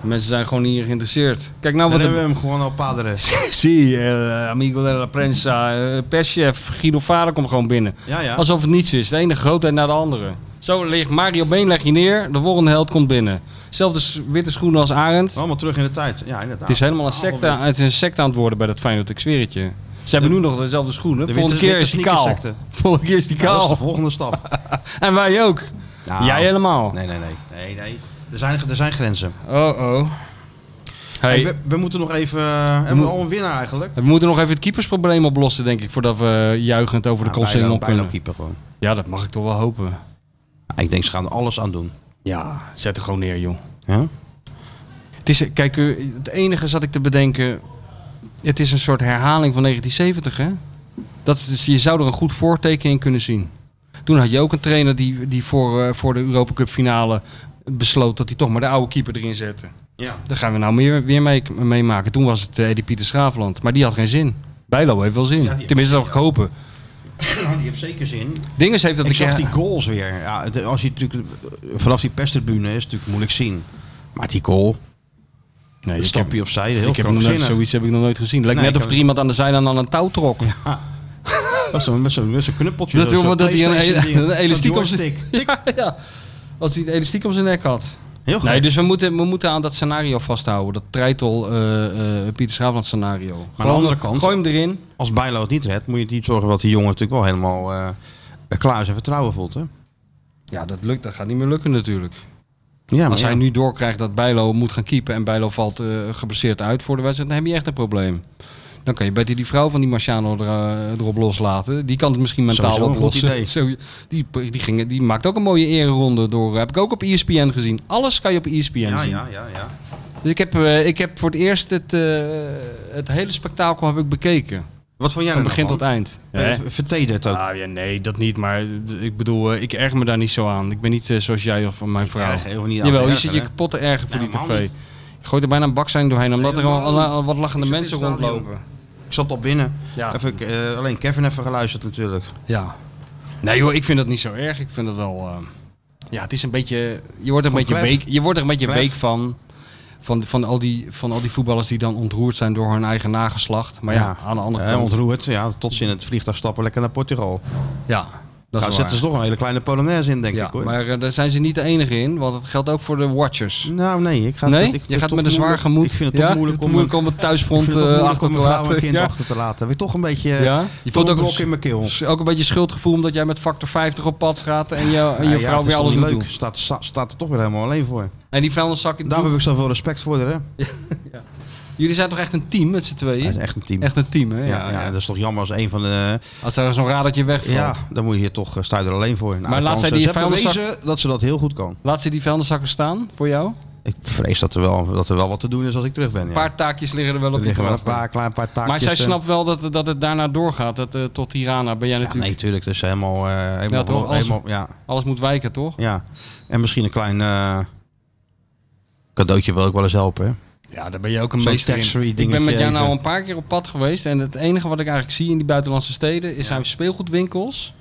S3: Mensen zijn gewoon niet geïnteresseerd. Kijk nou
S2: Dan
S3: wat
S2: hebben
S3: de
S2: we hem gewoon al paderen.
S3: Zie, eh, Amigo de la Prensa, eh, perschef, Guido Vader komt gewoon binnen.
S2: Ja, ja.
S3: Alsof het niets is. De ene grootheid naar de andere. Zo ligt Mario Been leg je neer, de volgende held komt binnen. Zelfde s- witte schoenen als Arend.
S2: Allemaal terug in de tijd. Ja, inderdaad.
S3: het is helemaal een secte, eh,
S2: Allemaal
S3: het is een secte aan het worden bij dat Feyenoord, ik zweer het je. Ze hebben nu nog dezelfde schoenen.
S2: de
S3: volgende
S2: witte-
S3: keer
S2: witte
S3: is die kaal.
S2: sneakersecte.
S3: Volgende keer is die
S2: Ja, Nou, dat is de
S3: kaal.
S2: volgende stap.
S3: En wij ook.
S2: Nou,
S3: Jij helemaal.
S2: Nee, nee, nee. nee, nee. Er, zijn, er zijn grenzen.
S3: Oh oh. Hey,
S2: Hey, we, we moeten nog even... eh, we hebben
S3: moet-
S2: al een winnaar eigenlijk.
S3: we moeten nog even het keepersprobleem oplossen, denk ik, voordat we juichend over de
S2: Nou,
S3: crossing
S2: Bijlo-
S3: op kunnen.
S2: Bijlo keeper gewoon.
S3: Ja, dat mag ik toch wel hopen.
S2: Ik denk, ze gaan er alles aan doen.
S3: Ja, zet er gewoon neer, joh.
S2: Ja?
S3: Het is, kijk, eh, het enige zat ik te bedenken. Het is een soort herhaling van 1970, hè? Dat is, dus je zou er een goed voorteken in kunnen zien. Toen had je ook een trainer die, die voor, eh, voor de Europa Cup finale besloot dat hij toch maar de oude keeper erin zette.
S2: Ja.
S3: Daar gaan we nou meer, weer mee- meemaken. Toen was het eh, Eddie Pieter Schaafland, maar die had geen zin. Bijlo heeft wel zin.
S2: die heeft-
S3: Tenminste, dat mag ik hopen.
S2: Nou, die heeft zeker zin.
S3: Dinges heeft dat
S2: Ik
S3: een
S2: zag
S3: keer-
S2: die goals weer. Ja, het- als je natuurlijk, eh, vanaf die perstribune is het natuurlijk moeilijk zien. Maar die goal,
S3: Nee,
S2: een
S3: ik heb-
S2: stapje opzij, heel
S3: ik heb nog nooit,
S2: krankzinnig.
S3: zoiets heb ik nog nooit gezien. Lijkt
S2: Nee,
S3: net
S2: ik
S3: of er
S2: heb-
S3: iemand aan de zijlijn aan een touw trok.
S2: Met zo'n met zo'n- met zo'n knuppeltje.
S3: Dat
S2: zo,
S3: wil
S2: zo'n
S3: maar dat hij een,
S2: PlayStation
S3: een,
S2: ding, zo'n
S3: elastiek om zijn
S2: joystick.
S3: ja, ja. Als hij een elastiek om zijn nek had.
S2: Heel goed.
S3: Nee, dus we moeten, we moeten aan dat scenario vasthouden. Dat Treitel eh, eh, Pieter Schaafland scenario. Maar
S2: aan de andere kant-
S3: Gooi hem erin.
S2: Als Bijlo het niet redt, moet je het niet zorgen dat die jongen natuurlijk wel helemaal eh, klaar is en vertrouwen voelt. Hè?
S3: Ja, dat lukt. Dat gaat niet meer lukken natuurlijk.
S2: Ja,
S3: Als
S2: ja.
S3: hij nu doorkrijgt dat Bijlo moet gaan keepen en Bijlo valt eh, geblesseerd uit voor de wedstrijd, dan heb je echt een probleem. Dan kan je beter die vrouw van die Marciano er, eh, erop loslaten. Die kan het misschien mentaal
S2: Sowieso een goed
S3: oplossen.
S2: idee.
S3: Zo, die, die, ging, die maakt ook een mooie ereronde door. Heb ik ook op E ESPN gezien. Alles kan je op E ESPN
S2: ja,
S3: zien.
S2: ja, ja, ja.
S3: Dus ik heb, eh, ik heb voor het eerst het, eh, het hele spektakel heb ik bekeken.
S2: Wat vond jij
S3: Van
S2: er
S3: begin
S2: nou
S3: tot eind.
S2: van? Eh, Verteder het ook.
S3: Ah, ja, nee, dat niet. Maar eh, ik bedoel, eh, ik erg me daar niet zo aan. Ik ben niet eh, zoals jij of mijn vrouw.
S2: erg, helemaal niet aan
S3: Jawel,
S2: te
S3: je
S2: ergeren,
S3: zit je
S2: hè?
S3: kapot te ergen voor
S2: Nee,
S3: die
S2: helemaal
S3: tv. Je gooit er bijna een bakzijn doorheen, omdat er al,
S2: helemaal
S3: al- al wat lachende
S2: Ik zit
S3: mensen
S2: in het stadion.
S3: rondlopen.
S2: Ik zat op binnen.
S3: Ja.
S2: Even, eh, alleen Kevin even geluisterd natuurlijk.
S3: Ja. Nee joh, ik vind dat niet zo erg. Ik vind dat wel... eh, ja, het is een beetje... Je wordt er een beetje
S2: Gewoon klef.
S3: week, je wordt er een beetje
S2: Klef.
S3: week van. Van, van, al die, van al die voetballers die dan ontroerd zijn door hun eigen nageslacht. Maar ja, aan de andere
S2: Eh,
S3: kant...
S2: ontroerd, ja, tot ze in het vliegtuig stappen, lekker naar Portugal.
S3: Ja, dat
S2: Daar
S3: is
S2: zetten ze
S3: waar.
S2: toch een hele kleine Polonaise in, denk
S3: Ja,
S2: ik hoor.
S3: maar eh, daar zijn ze niet de enige in. Want dat geldt ook voor de watchers.
S2: Nou nee, ik ga
S3: nee,
S2: ik vind
S3: je
S2: het
S3: gaat
S2: toch
S3: met een zwaar
S2: moeilijk-
S3: gemoed.
S2: Ik vind het toch
S3: Ja,
S2: moeilijk om
S3: het
S2: een-
S3: om het
S2: ik
S3: thuisfront
S2: vind het
S3: eh,
S2: toch moeilijk
S3: achter
S2: om
S3: te
S2: mijn vrouw en
S3: laten.
S2: kind
S3: Ja.
S2: achter te laten. Weer toch een beetje
S3: Ja?
S2: ja?
S3: Je
S2: toch eh,
S3: voelt
S2: een
S3: ook een
S2: blok
S3: s-
S2: in mijn keel.
S3: Dus ook een beetje schuldgevoel omdat jij met factor 50 op pad gaat en je, en je
S2: Ja, ja,
S3: vrouw
S2: het is toch
S3: weer alles
S2: niet
S3: moet
S2: leuk.
S3: doen.
S2: Staat, sta- staat er toch weer helemaal alleen voor.
S3: En die vuilniszak in de
S2: Daarom
S3: doek.
S2: heb ik zoveel respect voor haar. Hè?
S3: Jullie zijn toch echt een team met z'n tweeën?
S2: Hij is echt een team.
S3: Echt een team, hè?
S2: ja,
S3: Ja,
S2: ja,
S3: ja.
S2: dat is toch jammer als een van de...
S3: Als er zo'n radertje wegvalt.
S2: ja, dan moet je toch, eh, sta je er alleen voor. Nou,
S3: Maar laat
S2: kan
S3: zij
S2: ze-
S3: die
S2: ze hebben
S3: vuilniszak-
S2: bewezen dat ze dat heel goed kan.
S3: Laat ze die vuilniszakken staan voor jou? Een
S2: Ik vrees dat er wel, dat er wel wat te doen is als ik terug ben. Ja.
S3: paar taakjes liggen er wel op
S2: er
S3: je te
S2: liggen wel een
S3: wachten.
S2: paar, klein paar taakjes.
S3: Maar zij
S2: eh,
S3: snapt wel dat, dat het daarna doorgaat. Dat, eh, tot Tirana ben jij
S2: Ja,
S3: natuurlijk...
S2: nee, tuurlijk. Dus helemaal... eh, helemaal,
S3: Ja, toch? Als-
S2: helemaal ja,
S3: Alles moet wijken, toch?
S2: ja. En misschien een klein... eh, cadeautje wil ik wel eens helpen. Hè?
S3: Ja, daar ben je ook een
S2: Zo'n
S3: meester
S2: tax-free
S3: in. Ik ben
S2: dingetje
S3: met jou nou
S2: even.
S3: een paar keer op pad geweest. En het enige wat ik eigenlijk zie in die buitenlandse steden... is zijn speelgoedwinkels,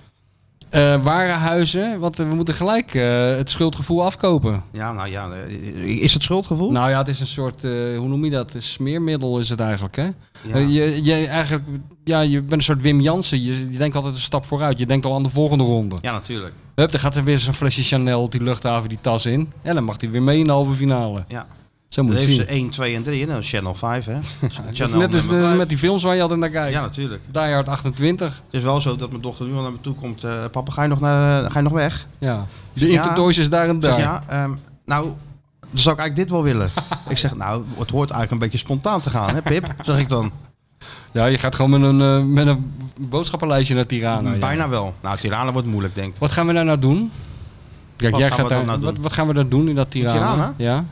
S3: eh warenhuizen. Want eh, we moeten gelijk eh, het schuldgevoel afkopen.
S2: Ja, nou ja. eh, Is het schuldgevoel?
S3: Nou ja, het is een soort, eh, hoe noem je dat? Een smeermiddel is het eigenlijk, hè?
S2: Ja.
S3: Eh, Je, je, eigenlijk, ja, je bent een soort Wim Jansen. Je, je denkt altijd een stap vooruit. Je denkt al aan de volgende ronde.
S2: ja, natuurlijk.
S3: Hup, dan gaat er weer zo'n flesje Chanel op die luchthaven die tas in. En dan mag hij weer mee in de halve finale.
S2: Ja.
S3: Zo moet
S2: Dan
S3: je het
S2: heeft
S3: zien.
S2: ze 1, 2 en 3. Nou, Channel 5, hè?
S3: Dat is
S2: Channel
S3: net als
S2: nummer
S3: eh,
S2: vijf.
S3: met die films waar je altijd naar kijkt.
S2: Ja, natuurlijk.
S3: Die Hard 28.
S2: Het is wel zo dat mijn dochter nu al naar me toe komt. eh, papa, ga je nog, naar, eh, ga je nog weg?
S3: Ja. De
S2: Ja.
S3: Intertoys is daar en
S2: Ik zeg,
S3: daar.
S2: ja, ehm, nou, dan zou ik eigenlijk dit wel willen. ik zeg, nou, het hoort eigenlijk een beetje spontaan te gaan, hè Pip? Zeg ik dan.
S3: Ja, je gaat gewoon met een, eh, met een boodschappenlijstje naar Tirana. ja.
S2: Bijna wel. Nou, Tirana wordt moeilijk, denk ik.
S3: Wat gaan we daar nou doen? Kijk,
S2: Wat
S3: jij
S2: gaan
S3: gaat
S2: we dan
S3: daar,
S2: nou doen?
S3: Wat, wat gaan we daar doen in dat Tirana?
S2: Tirana?
S3: Ja,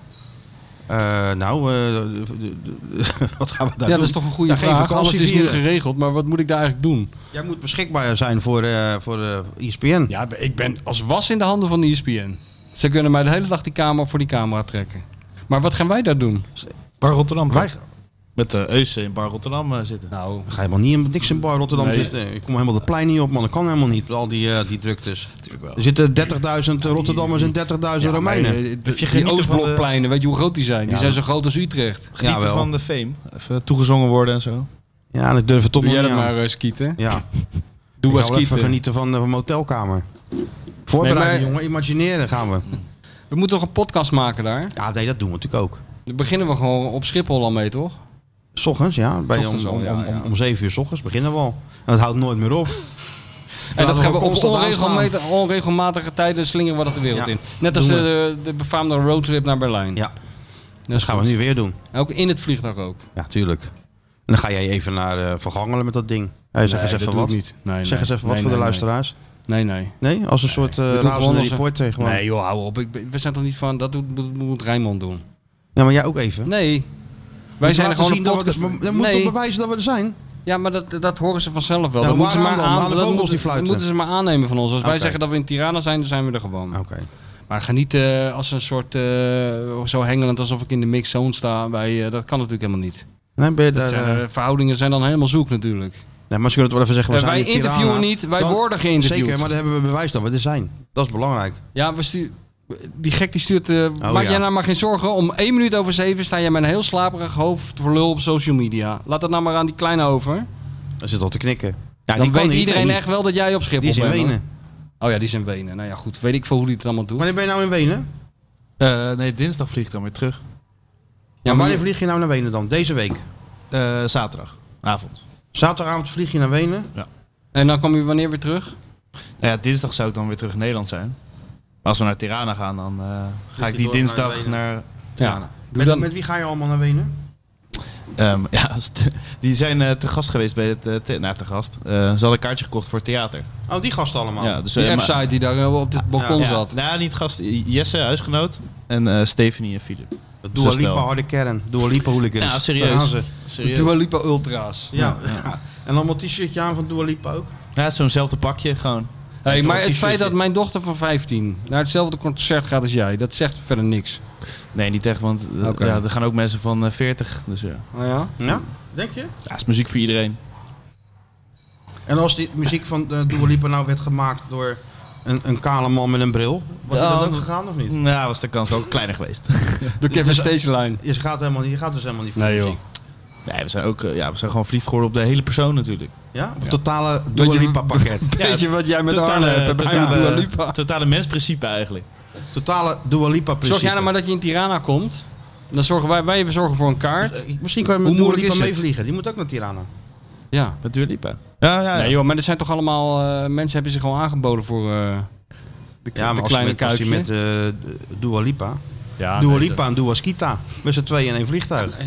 S2: Eh, nou, eh, de- de- de- wat gaan we daar
S3: ja
S2: doen?
S3: dat is toch een goede
S2: Ja, geen
S3: vraag.
S2: vakantie
S3: Alles is nu
S2: vieren.
S3: geregeld, maar wat moet ik daar eigenlijk doen?
S2: Jij moet beschikbaar zijn voor, eh voor eh, ESPN.
S3: Ja, ik ben als was in de handen van de E ESPN. Ze kunnen mij de hele dag die camera voor die camera trekken. Maar wat gaan wij daar doen?
S4: Bar Rotterdam.
S2: Wij,
S4: Met de Eusen in Bar Rotterdam eh, zitten.
S3: Nou,
S2: ga helemaal niet in niks in Bar Rotterdam
S3: Nee.
S2: zitten. Ik kom helemaal de plein niet op, man. Dat kan helemaal niet, met al die, eh, die druktes.
S4: natuurlijk wel.
S2: Er zitten 30.000 Rotterdammers en 30.000 Romeinen.
S4: Heb je
S3: die
S4: genieten van eh, de-
S3: Oostblokpleinen, weet je hoe groot die zijn? Die
S2: eh. Ja,
S3: zijn zo
S2: dat-
S3: groot als Utrecht.
S4: Genieten
S2: Jawel.
S4: van de fame. Even toegezongen worden en zo.
S2: Ja, dat durf het toch
S3: Doe
S2: nog
S3: jij
S2: niet
S3: dat
S2: aan.
S3: maar, eh, Skieten.
S2: Ja,
S3: Doe
S2: ik ga
S3: maar
S2: wel even
S3: Skieten.
S2: genieten van eh, van mijn hotelkamer. Voorbereiden,
S3: Nee, maar-
S2: jongen. Imagineren gaan we.
S3: We moeten toch een podcast maken daar?
S2: Ja, nee, dat doen we natuurlijk ook.
S3: Dan beginnen we gewoon op Schiphol al mee, toch?
S2: S ochtends, ja. Bij om,
S3: Ochtends al,
S2: om,
S3: ja,
S2: om,
S3: ja.
S2: om 7 uur s ochtends beginnen we al. En dat houdt nooit meer op.
S3: En dat
S2: Laten
S3: gaan we op
S2: constant aanslaan.
S3: onregelmatig- onregelmatige tijden slingeren we dat de wereld
S2: Ja,
S3: in. Net als
S2: doen
S3: de, de befaamde roadtrip naar Berlijn.
S2: Ja,
S3: dat
S2: dat gaan we nu weer doen.
S3: Ook in het vliegtuig ook.
S2: Ja, tuurlijk. En dan ga jij even naar eh Vergangelen met dat ding. Hey, zeg eens even wat.
S3: Niet. Nee,
S2: Zeg
S3: nee.
S2: eens even
S3: eh, Nee,
S2: wat voor
S3: nee,
S2: de luisteraars.
S3: Nee, nee. nee.
S2: Nee? Als een soort
S3: We
S2: eh
S3: doen gewoon
S2: razende
S3: onze-
S2: reporter gewoon.
S3: Nee, joh, hou op. Ik, ben- we zijn toch niet van, dat doet, moet- moet Rijnmond doen.
S2: Ja, maar jij ook even.
S3: Nee. Wij zijn er
S2: laten
S3: gewoon een
S2: zien dat we-
S3: podcast...
S2: maar- Dan moet
S3: nee.
S2: toch bewijzen dat we er zijn?
S3: Ja, maar dat, dat horen ze vanzelf wel.
S2: Ja,
S3: dat moeten ze
S2: waarom
S3: maar
S2: dan?
S3: aan,
S2: Aan de
S3: dat
S2: vogels
S3: moeten,
S2: die fluiten.
S3: dat moeten ze maar aannemen van ons. Als wij
S2: Oké.
S3: zeggen dat we in Tirana zijn, dan zijn we er gewoon.
S2: Oké.
S3: Maar ga niet eh, als een soort eh, zo hengelend alsof ik in de mix zone sta. Bij, eh, dat kan natuurlijk helemaal niet.
S2: Nee, ben je daar,
S3: Dat zijn,
S2: eh,
S3: eh, verhoudingen zijn dan helemaal zoek natuurlijk.
S2: nee, maar ze kunnen het wel even zeggen. We
S3: Eh,
S2: zijn
S3: wij
S2: in Tirana.
S3: interviewen niet, wij
S2: Dan-
S3: worden geïnterviewd.
S2: Zeker, maar dan hebben we bewijs dat we er zijn. Dat is belangrijk.
S3: Ja, we stu- die gek die stuurt... eh, maak
S2: Oh, ja.
S3: jij nou maar geen zorgen. Om één minuut over zeven sta jij met een heel slaperig hoofd voor lul op social media. Laat dat nou maar aan die kleine
S2: Ah,
S3: over.
S2: Daar zit al te knikken. Ja,
S3: dan weet
S2: niet.
S3: iedereen
S2: Nee,
S3: echt wel dat jij op Schiphol
S2: Die is in
S3: bent. hoor.
S2: Wenen.
S3: Oh ja, die zijn Wenen. Nou ja, goed. Weet ik veel hoe die het allemaal doet.
S2: Wanneer ben je nou in Wenen?
S4: Eh, nee, dinsdag vlieg ik dan weer terug.
S3: ja,
S2: En
S3: maar
S2: wanneer vlieg je nou naar Wenen dan? Deze week.
S4: Eh, zaterdagavond.
S2: Zaterdagavond vlieg je naar Wenen.
S3: En dan kom je wanneer weer terug?
S4: Nou ja, dinsdag zou ik dan weer terug in Nederland zijn. Maar als we naar Tirana gaan, dan eh, ga ik die
S2: door naar
S4: dinsdag
S2: Wenen.
S4: naar...
S3: Ja. nou, Doe
S2: Met,
S3: dan,
S2: met wie ga je allemaal naar Wenen?
S4: Ehm, ja, als t- die zijn eh, te gast geweest bij het... eh, the- nou, te gast. Eh, ze hadden een kaartje gekocht voor het theater.
S2: Oh, die gasten allemaal.
S4: Ja, dus, eh,
S3: die
S4: maar-
S3: F-site die daar eh, op dit balkon
S2: ja.
S3: zat.
S4: Nou, niet gast. Jesse, huisgenoot. En eh, Stephanie en Filip.
S2: Dat
S3: dus
S2: Dua
S4: Zo
S2: Lipa
S4: stel.
S2: harde kern. Dua Lipa hooligans.
S4: Ja, serieus.
S2: Daar gaan ze.
S4: Serieus.
S3: Dua Lipa Ultra's.
S2: Ja. ja. En allemaal t-shirtje aan van Dua Lipa ook.
S4: Ja, het is zo'nzelfde pakje gewoon.
S3: Hey, maar het
S2: t-shirtje.
S3: feit dat mijn dochter van 15 naar hetzelfde concert gaat als jij, dat zegt verder niks.
S4: Nee, niet echt, want eh,
S3: Oké.
S4: ja, er gaan ook mensen van eh, 40. Dus ja.
S3: Oh ja?
S2: Ja? Denk je?
S4: ja, het is muziek voor iedereen.
S2: En als die muziek van eh Dua Lipa nou werd gemaakt door een, een kale man met een bril, was die dat
S4: Dan-
S2: ook gegaan of niet?
S4: Nou, was de kans wel kleiner geweest.
S3: Door Kevin Stageline.
S2: Je gaat, helemaal, niet- je gaat dus helemaal niet voor
S3: Nee
S2: muziek.
S3: joh.
S4: Nee, we zijn, ook, eh, ja, we zijn gewoon verliefd geworden op de hele persoon natuurlijk.
S2: Ja? Op totale
S3: Weet
S2: Dua
S3: je-
S2: Lipa pakket.
S3: Weet je wat jij met Arne hebt? Bij mij met Dua
S4: totale,
S3: Lipa.
S4: totale mensprincipe eigenlijk.
S2: Totale Dua Lipa principe.
S3: Zorg jij nou maar dat je in Tirana komt. Dan zorgen wij, wij zorgen voor een kaart.
S2: Eh, Misschien kan je met
S3: Hoe
S2: Dua
S3: moeilijk
S2: Lipa
S3: is het?
S2: meevliegen. Die moet ook naar Tirana.
S3: Ja.
S4: Met Dua Lipa. Ja, ja, ja.
S3: Nee joh, maar dat zijn toch allemaal... eh, mensen hebben zich gewoon aangeboden voor... eh de,
S2: Ja,
S3: de
S2: maar als je
S3: kleine
S2: met, als je
S3: kuifje.
S2: met eh, Dua Lipa.
S3: ja,
S2: Dua
S3: nee,
S2: Lipa en Dua Skita. Met z'n tweeën in één vliegtuig.
S3: dat-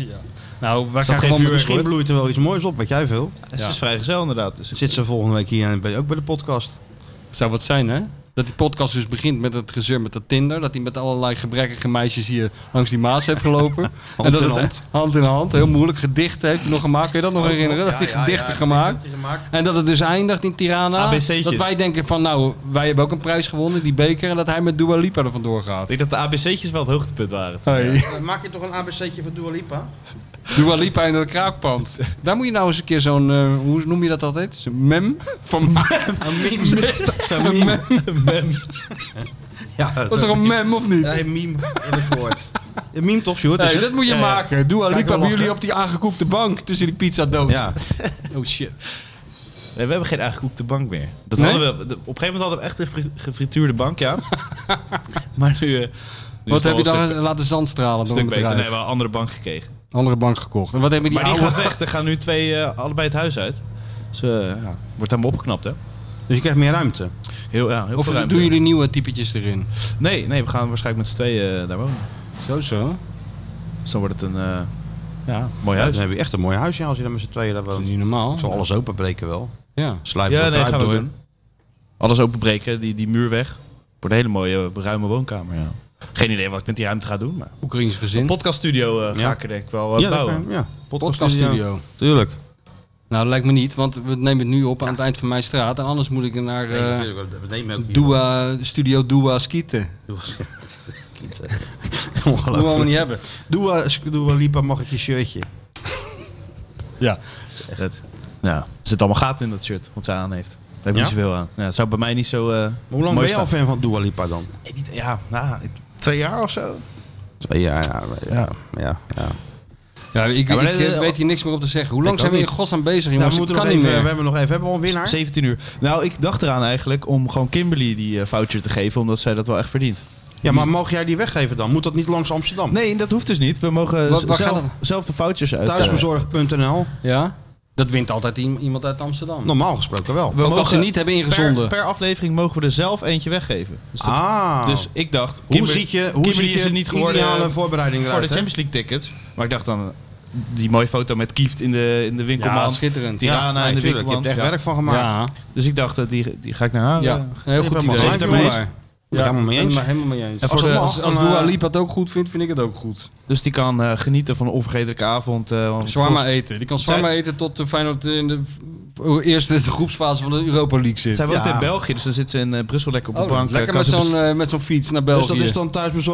S3: Nou, wij
S4: dat
S3: gaan
S4: geen
S3: gewoon... met-
S4: vuurwerk?
S2: Misschien
S4: hoor.
S2: bloeit er wel iets moois op, wat jij veel.
S4: Ze is vrijgezel inderdaad. Dus
S2: Zit ze volgende week hier en ben je ook bij de podcast.
S3: zou wat zijn hè? Dat die podcast dus begint met het gezeur met dat Tinder. Dat hij met allerlei gebrekkige meisjes hier langs die Maas heeft gelopen.
S2: Hand
S3: dat
S2: in
S3: het-
S2: hand. Oh,
S3: hand in hand. Heel moeilijk. Gedichten heeft hij nog gemaakt. Kun je dat nog herinneren? dat
S2: Ja,
S3: hij
S2: ja,
S3: gedichten
S2: ja,
S3: gemaakt.
S2: gedichten gemaakt.
S3: En dat het dus eindigt in Tirana.
S4: ABC'tjes.
S3: Dat wij denken van nou, wij hebben ook een prijs gewonnen, die beker. En dat hij met Dua Lipa er vandoor gaat.
S4: Ik denk dat de ABC'tjes wel het hoogtepunt waren.
S3: Hey.
S2: Dan Eh, Maak je toch een ABC'tje van Dua Lipa?
S3: Dua Lipa in dat kraakpand. Daar moet je nou eens een keer zo'n, eh, hoe noem je dat altijd? Zo'n mem? Van
S2: Een meme. Zo'n meme. Ja,
S3: Was er een mem of niet?
S2: Ja, een meme heb ik gehoord. Een meme toch, Sjoerd?
S3: Nee,
S2: Is
S3: dat
S2: het?
S3: moet je maken. Dua
S2: dus- Kijk,
S3: Lipa
S2: we
S3: bij
S2: lachen.
S3: jullie op die aangekoekte bank tussen die pizza dood.
S2: Ja.
S3: Oh shit.
S4: Nee, we hebben geen aangekoekte bank meer. Dat
S3: Nee?
S4: hadden we, de- op een gegeven moment hadden we echt een fri- gefrituurde bank, ja. maar nu, eh, nu is het
S3: Wat
S4: wel
S3: heb je
S4: een
S3: dan
S4: stuk,
S3: laten zandstralen
S4: een
S3: door een
S4: stuk beter? Nee,
S3: bedrijf?
S4: we hebben een andere bank gekregen.
S3: Andere bank gekocht. En wat hebben die
S4: maar die
S3: oude...
S4: gaat weg. Er gaan nu twee eh, allebei het huis uit. Dus eh, ja, wordt helemaal opgeknapt, hè?
S2: Dus je krijgt meer ruimte.
S4: Heel, ja, heel
S3: Of
S4: veel
S3: doen
S4: ruimte.
S3: jullie nieuwe typetjes erin?
S4: Nee, nee, we gaan waarschijnlijk met z'n tweeën eh, daar wonen.
S3: Zo zo.
S4: Dus dan wordt het een eh, ja, mooi
S2: Ja,
S4: huis.
S2: dan heb je echt een mooi huisje als je dan met z'n tweeën daar
S3: Dat is
S2: woont.
S3: niet normaal.
S2: Ik zal alles openbreken wel.
S3: Ja.
S2: Slijpen
S4: ja,
S2: door,
S4: nee, gaan we
S2: door.
S4: doen. Alles openbreken, die, die muur weg. Wordt een hele mooie, eh, ruime woonkamer, ja. Geen idee wat ik met die ruimte ga doen, maar...
S3: Oekraïns gezin.
S4: Podcaststudio eh, ga
S2: Hm? Ja.
S4: ik er denk ik wel eh,
S2: Ja, Eh, dat
S4: bouwen.
S2: kan, ja.
S3: Podcaststudio.
S2: Tuurlijk.
S3: Nou, dat lijkt me niet, want we nemen het nu op aan het eind van mijn straat. En anders moet ik naar
S2: Nee,
S3: eh,
S2: natuurlijk, dat nemen we ook hier.
S3: Dua, Studio Dua skieten. Dat moeten we allemaal
S2: Ongelooflijk.
S3: niet hebben.
S2: Doe, eh, doe Lipa, mag ik je shirtje?
S3: Ja.
S4: Echt het. Ja, er zit allemaal gaten in dat shirt wat zij aan heeft. Daar heb ik
S2: Ja?
S4: niet zoveel aan. Ja, het zou bij mij niet zo. eh,
S2: Hoe lang
S4: mooi
S2: ben je al
S4: staan.
S2: fan van Dua Lipa dan?
S4: Ik niet- Ja, nou, ik- twee jaar of zo.
S2: Twee jaar, ja. ja, ja, ja.
S3: Ja, ik,
S4: maar
S3: ik,
S4: dit-
S3: eh, weet hier niks meer op te zeggen. Hoe lang
S2: Ik
S3: zijn we
S2: ook
S3: hier in godsnaam bezig,
S4: Nou,
S3: jongens?
S2: Nou, we,
S3: Ik kan niet
S2: even, we
S3: meer.
S2: hebben nog even. Hebben we al een winnaar?
S4: 17 uur. Nou, ik dacht eraan eigenlijk om gewoon Kimberly die eh, voucher te geven, omdat zij dat wel echt verdient.
S2: Ja, maar mag jij die weggeven dan? Moet dat niet langs Amsterdam?
S4: Nee, eh, dat hoeft dus niet. We mogen
S3: Wat-
S4: z-
S3: waar gaat
S4: zelf,
S3: het?
S4: zelf de vouchers uit.
S2: Thuisbezorgd.nl.
S3: Ja? Dat wint altijd i- iemand uit Amsterdam.
S2: Normaal gesproken wel.
S4: Nou, We
S3: Ook als ze
S4: mogen
S3: niet hebben
S4: per,
S3: ingezonden.
S4: per aflevering mogen we er zelf eentje weggeven. Dus, dat-
S2: Ah.
S4: dus ik dacht,
S2: hoe
S4: Kimber-
S2: ziet je, hoe
S4: Kimberly
S2: ziet je
S4: is er niet geworden eh,
S2: ideale voorbereiding
S4: voor de
S2: eruit? hè?
S4: Champions League tickets. Maar ik dacht dan, eh, die mooie foto met Kieft in de, in de
S3: Ja,
S4: winkelmand.
S3: schitterend. Ja,
S4: Tirana
S2: nee,
S4: in de
S2: tuurlijk, Je
S4: winkelmand.
S2: hebt er echt
S4: ja.
S2: werk van gemaakt.
S3: ja.
S4: Dus ik dacht, eh, die, die ga ik naar haar. eh.
S3: heel
S2: Ik ben
S3: goed
S2: maar
S3: idee.
S2: gelijk,
S3: Doe
S2: jongens.
S3: maar.
S2: ben het helemaal mee eens.
S3: ben helemaal mee eens.
S2: En
S3: Als,
S2: voor de-
S3: als, als
S2: dan, eh,
S3: Dua Lipa het ook goed vindt, vind ik het ook goed.
S4: Dus die kan eh, genieten van een onvergetelijke avond. eh, want
S3: Zwarma
S4: volgens-
S3: eten. Die kan zwarma eten tot de Feyenoord in de v- eerste groepsfase van de Europa League zit.
S4: Zij woont
S2: Ja.
S4: in België, dus dan zit ze in eh, Brussel lekker op
S3: Oh,
S4: de bank.
S3: lekker
S4: eh,
S3: met
S4: kan ze
S3: zo'n, eh, met zo'n fiets naar België.
S2: Dus dat is dan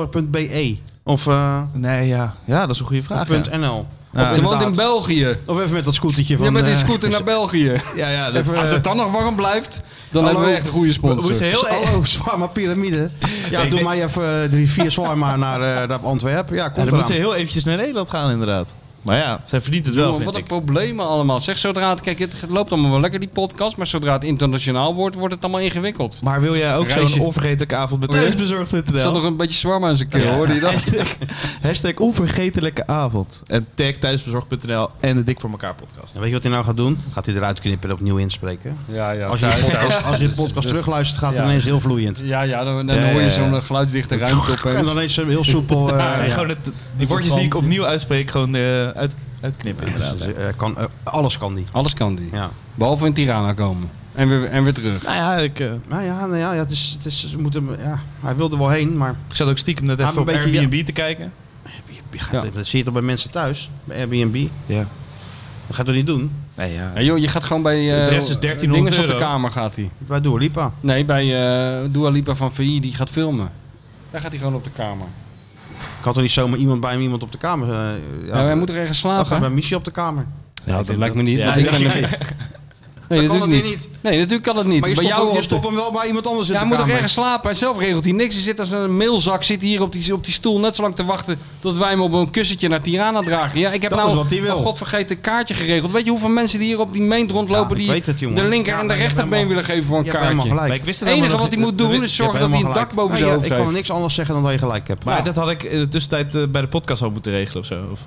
S2: thuisbezorgd.be of, eh,
S4: bes- Nee, ja. ja, dat is een goede vraag.
S2: of
S4: Ja,
S2: .nl.
S4: Ja.
S2: Of,
S3: Ze woont in
S2: inderdaad.
S3: België.
S2: of even met dat scootertje van...
S3: ja, met die
S2: eh,
S3: scooter naar België.
S4: ja, ja dat-
S2: Even,
S3: Als
S2: eh,
S3: het dan nog warm blijft, dan
S2: hallo.
S3: hebben we echt een goede
S4: we moeten
S3: sponsor.
S4: heel
S2: Heel
S4: erg-
S2: Hallo, Zwarma Pyramide. Ja,
S4: Ik
S2: doe
S4: denk-
S2: mij even eh, drie, vier Zwarma naar, eh, naar Antwerpen. Ja,
S4: ja,
S2: komt
S4: dan moet ze
S2: eraan.
S4: heel eventjes naar Nederland gaan, inderdaad. Maar ja, zij verdient het wel,
S3: Jongen,
S4: vind
S3: wat een
S4: ik.
S3: problemen allemaal. Zeg, zodra het, kijk, het het loopt allemaal wel lekker, die podcast. Maar zodra het internationaal wordt, wordt het allemaal ingewikkeld.
S4: Maar wil jij ook
S3: Reisje.
S4: zo'n onvergetelijke avond met
S3: Oh, ja? Er zat
S4: thuisbezorgd.nl?
S3: nog een beetje zwarma in zijn keel, hoorde je dat?
S4: Hashtag, hashtag onvergetelijke avond. En tag thuisbezorgd.nl en de Dik voor elkaar podcast.
S2: En weet je wat hij nou gaat doen? Gaat hij eruit knippen en opnieuw inspreken.
S3: Ja, ja.
S2: Als je de podcast, als je de podcast terugluistert, gaat het
S3: Ja.
S2: ineens heel vloeiend.
S3: Ja, ja, dan, dan
S4: Ja, ja,
S3: hoor je
S4: ja.
S3: zo'n eh, geluidsdichte ruimte
S2: En
S3: opeens.
S2: dan is ze heel soepel. eh,
S4: Ja,
S2: ja.
S4: Gewoon het, die woordjes die ik opnieuw uitspreek, gewoon eh, uit, uitknippen inderdaad.
S2: Dus, eh, kan, eh, alles kan die.
S3: Alles kan die.
S2: Ja.
S3: Behalve in Tirana komen. En weer, en weer terug.
S4: Nou ja, ik, eh,
S2: Nou ja, nou ja, ja, het is, het is, ze moeten, ja, hij wilde wel heen, maar
S4: ik zat ook stiekem net even
S2: Ah, maar
S4: op
S2: een beetje-
S4: Airbnb te kijken.
S2: je- je gaat,
S3: Ja.
S2: even- dat zie je toch bij mensen thuis, bij Airbnb.
S4: Ja.
S2: Dat gaat toch niet doen?
S4: Nee, ja.
S3: Ja, joh, je gaat gewoon bij... eh,
S4: De rest is 1300
S3: dinges op de
S4: euro.
S3: kamer gaat hij.
S2: Bij Dua Lipa.
S3: Nee, bij eh Dua Lipa van VI, die gaat filmen. Daar gaat hij gewoon op de kamer.
S2: Ik had toch niet zomaar iemand bij hem, iemand op de kamer. eh, ja,
S3: Ja, hij moet er ergens
S2: dan
S3: slapen.
S2: gaat
S3: hè?
S2: bij Michie op de kamer.
S3: Nou, dat lijkt me niet.
S4: ja,
S3: want ik
S4: dat-
S3: ben een-
S2: kan
S3: Nee, natuurlijk
S2: het
S3: niet.
S2: niet.
S3: Nee, natuurlijk kan het niet.
S2: Maar je
S3: bij
S2: stopt,
S3: jou
S2: hem, je
S3: op de-
S2: stopt hem wel bij iemand anders in
S3: Ja,
S2: de
S3: hij moet er
S2: kamer.
S3: ergens slapen. Hij zelf regelt hij niks. Hij zit als een meelzak zit hier op die, op die stoel net zo lang te wachten tot wij hem op een kussentje naar Tirana dragen. Ja, ik heb
S2: Dat
S3: nou
S2: is wat hij wil.
S3: oh, god vergeten een kaartje geregeld. Weet je hoeveel mensen die hier op die meent
S2: Ja, ik
S3: rondlopen
S2: weet
S3: die
S2: het, jongen.
S3: de linker
S2: Ja,
S3: en de
S2: je hebt
S3: rechterbeen
S2: helemaal-
S3: willen geven voor een
S2: Je hebt helemaal
S3: kaartje?
S2: gelijk.
S4: Maar ik wist
S3: Het
S4: helemaal nog
S3: enige wat hij
S4: niet.
S3: moet
S4: Dat
S3: doen
S4: wist-
S3: is
S2: Je hebt
S3: zorgen dat hij een
S2: helemaal
S3: dak
S2: gelijk.
S3: boven
S2: Nee,
S3: zijn hoofd
S2: Ik kan
S3: heeft.
S2: niks anders zeggen dan dat je gelijk hebt.
S4: Maar
S2: Ja.
S4: dat had ik in de tussentijd eh, bij de podcast al moeten regelen of zo. Of...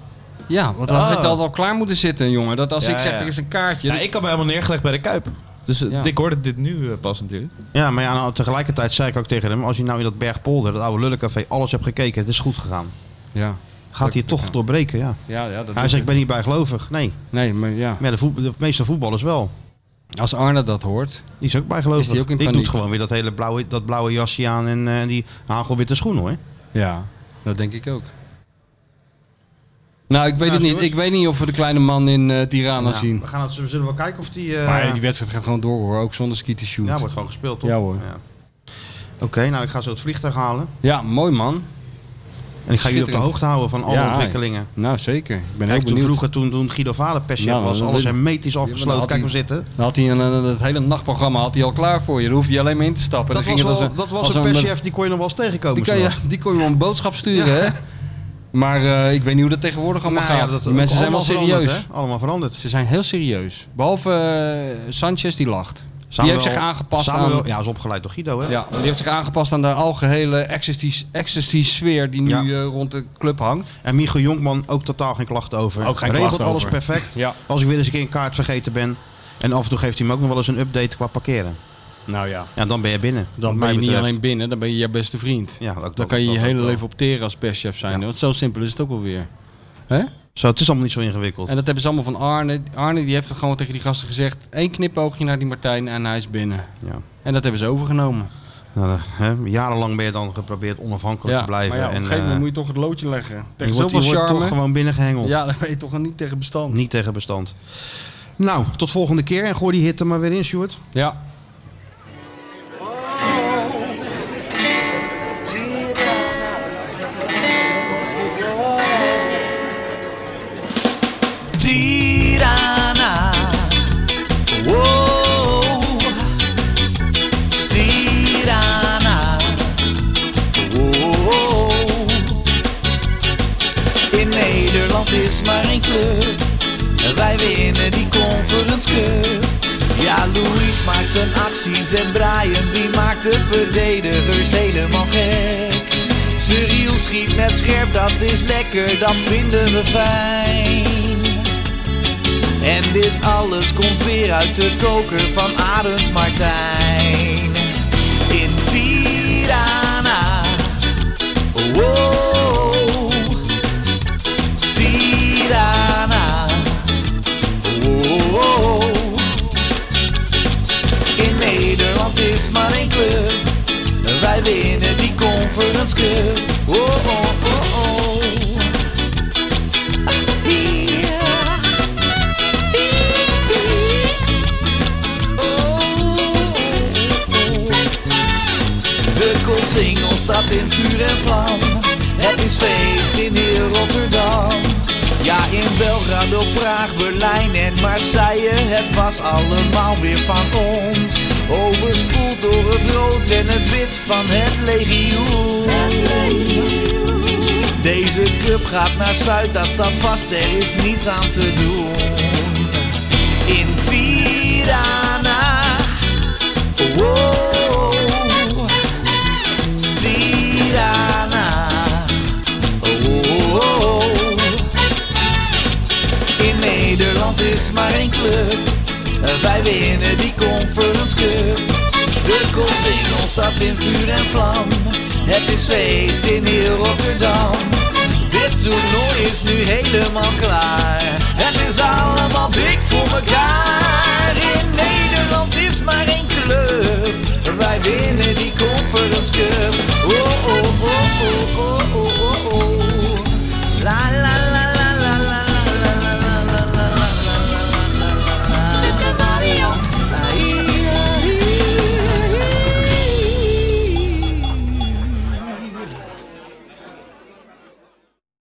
S3: Ja, want dan had ik
S4: Oh.
S3: dat al klaar moeten zitten, jongen. Dat als
S4: Ja,
S3: ik zeg,
S4: ja.
S3: er is een kaartje.
S4: Ja, ik had me helemaal neergelegd bij de Kuip. Dus eh,
S3: Ja.
S4: ik hoorde dit nu eh, pas natuurlijk.
S2: Ja, maar ja, nou, tegelijkertijd zei ik ook tegen hem... als je nou in dat Bergpolder, dat oude lullencafé, alles hebt gekeken... het is goed gegaan.
S3: Ja,
S2: Gaat hij het toch doorbreken, ja.
S3: ja, ja dat
S2: Hij
S3: doet
S2: zei, ik
S3: het.
S2: ben niet bijgelovig. Nee,
S3: Nee, maar ja.
S2: maar ja, de, voet- de meeste voetballers wel.
S3: Als Arne dat hoort.
S2: Die is ook bijgelovig.
S3: Is die ook in
S2: doet
S3: paniek?
S2: gewoon weer dat hele blauwe, dat blauwe jasje aan en eh, die hagelwitte schoen, hoor.
S3: Ja, dat denk ik ook. Nou, ik weet
S2: Nou,
S3: het niet.
S2: Sjoerd?
S3: Ik weet niet of we de kleine man in eh, Tirana
S2: Nou,
S3: zien.
S2: We, gaan, het- we zullen wel kijken of die... eh,
S3: Maar die wedstrijd gaat gewoon door hoor, ook zonder ski te
S2: ja,
S3: shoot. Ja,
S2: wordt gewoon gespeeld, toch?
S3: Ja, hoor.
S2: Oké, nou ik ga zo het vliegtuig halen.
S3: mooi man.
S2: En ik ga jullie op de
S3: Schitterend.
S2: hoogte houden van alle
S3: Ja,
S2: ontwikkelingen.
S3: Nou, zeker. Ik ben
S2: Kijk,
S3: heel
S2: toen
S3: benieuwd.
S2: vroeger, toen, toen Guido Vader per
S3: Nou,
S2: was,
S3: dat
S2: alles
S3: weet ik.
S2: hermetisch
S3: maar
S2: afgesloten.
S3: dan
S2: Kijk
S3: had
S2: maar zitten.
S3: Dan had hij een, een- het hele nachtprogramma had hij al klaar voor je. Daar hoefde hij alleen maar in te stappen.
S2: Dat
S3: Dan
S2: was,
S3: ging het
S2: wel,
S3: als
S2: dat was
S3: als
S2: een perschef, die kon je nog wel eens
S3: Die
S2: tegenkomen.
S3: kon, je,
S2: s'nachts.
S3: die kon je wel een boodschap sturen, hè? Maar eh, ik weet niet hoe dat tegenwoordig allemaal
S2: Nou ja,
S3: gaat.
S2: dat-
S3: Die mensen zijn wel
S2: allemaal veranderd,
S3: serieus.
S2: hè? Allemaal veranderd.
S3: Ze zijn heel serieus. Behalve eh, Sanchez, die lacht.
S2: Samuel-
S3: die heeft zich aangepast
S2: Samuel-
S3: aan...
S2: Ja, is opgeleid door Guido, hè?
S3: Ja, die heeft zich aangepast aan de algehele ecstasy- ecstasy-sfeer die nu
S2: Ja.
S3: eh, rond de club hangt.
S2: En Michel Jonkman ook totaal geen klachten over.
S3: Ook geen
S2: Regelt
S3: klachten
S2: alles
S3: over.
S2: perfect.
S3: Ja.
S2: Als ik weer eens een keer een kaart vergeten ben. En af en toe geeft hij me ook nog wel eens een update qua parkeren.
S3: Nou ja.
S2: Ja, dan ben je binnen.
S3: Dan
S2: wat
S3: ben
S2: mij
S3: je niet
S2: betreft.
S3: alleen binnen, dan ben je je beste vriend.
S2: Ja, ook
S3: dan
S2: dat-
S3: kan je
S2: dat
S3: je
S2: ook
S3: hele
S2: wel.
S3: leven opteren als perschef zijn.
S2: Ja.
S3: Want zo simpel is het ook wel weer. Hè?
S2: Zo, het is allemaal niet zo ingewikkeld.
S3: En dat hebben ze allemaal van Arne. Arne die heeft het gewoon tegen die gasten gezegd. één knipoogje naar die Martijn en hij is binnen.
S2: Ja.
S3: En dat hebben ze overgenomen.
S2: Nou, hè, jarenlang ben je dan geprobeerd onafhankelijk te blijven.
S3: maar ja, op
S2: en,
S3: een gegeven moment
S2: eh,
S3: moet je toch het loodje leggen.
S2: je
S3: Tegen
S2: wordt,
S3: zoveel
S2: je wordt toch
S3: charme.
S2: gewoon binnengehengeld.
S3: Ja, dan ben je toch niet tegen bestand.
S2: Niet tegen bestand. Nou, tot volgende keer. En gooi die hit er maar weer in, Stuart.
S3: Ja.
S1: Tirana. Whoa. Tirana. Whoa. In Nederland is maar één club. Wij winnen die Conference Cup. Ja, Louis maakt zijn acties en Brian die maakt de verdedigers helemaal gek. Cyril schiet net scherp, dat is lekker, dat vinden we fijn. En dit alles komt weer uit de koker van Arend Martijn. In Tirana. Wow. Tirana. Wow. In Nederland is maar één club. Wij winnen die Conference Cup. Oh, oh, oh, oh. Yeah. Oh. De Koolsingel staat in vuur en vlam. Het is feest in heel Rotterdam. Ja, in Belgrado, Praag, Berlijn en Marseille. Het was allemaal weer van ons. Overspoeld door het rood en het wit van het legioen. Deze cup gaat naar Zuid, dat staat vast. Er is niets aan te doen in Tirana. Wow, Tirana. Oh, Wow. In Nederland is maar één club. Wij winnen die Conference Cup. De Koolsingel staat in vuur en vlam. Het is feest in heel Rotterdam. Dit toernooi is nu helemaal klaar. Het is allemaal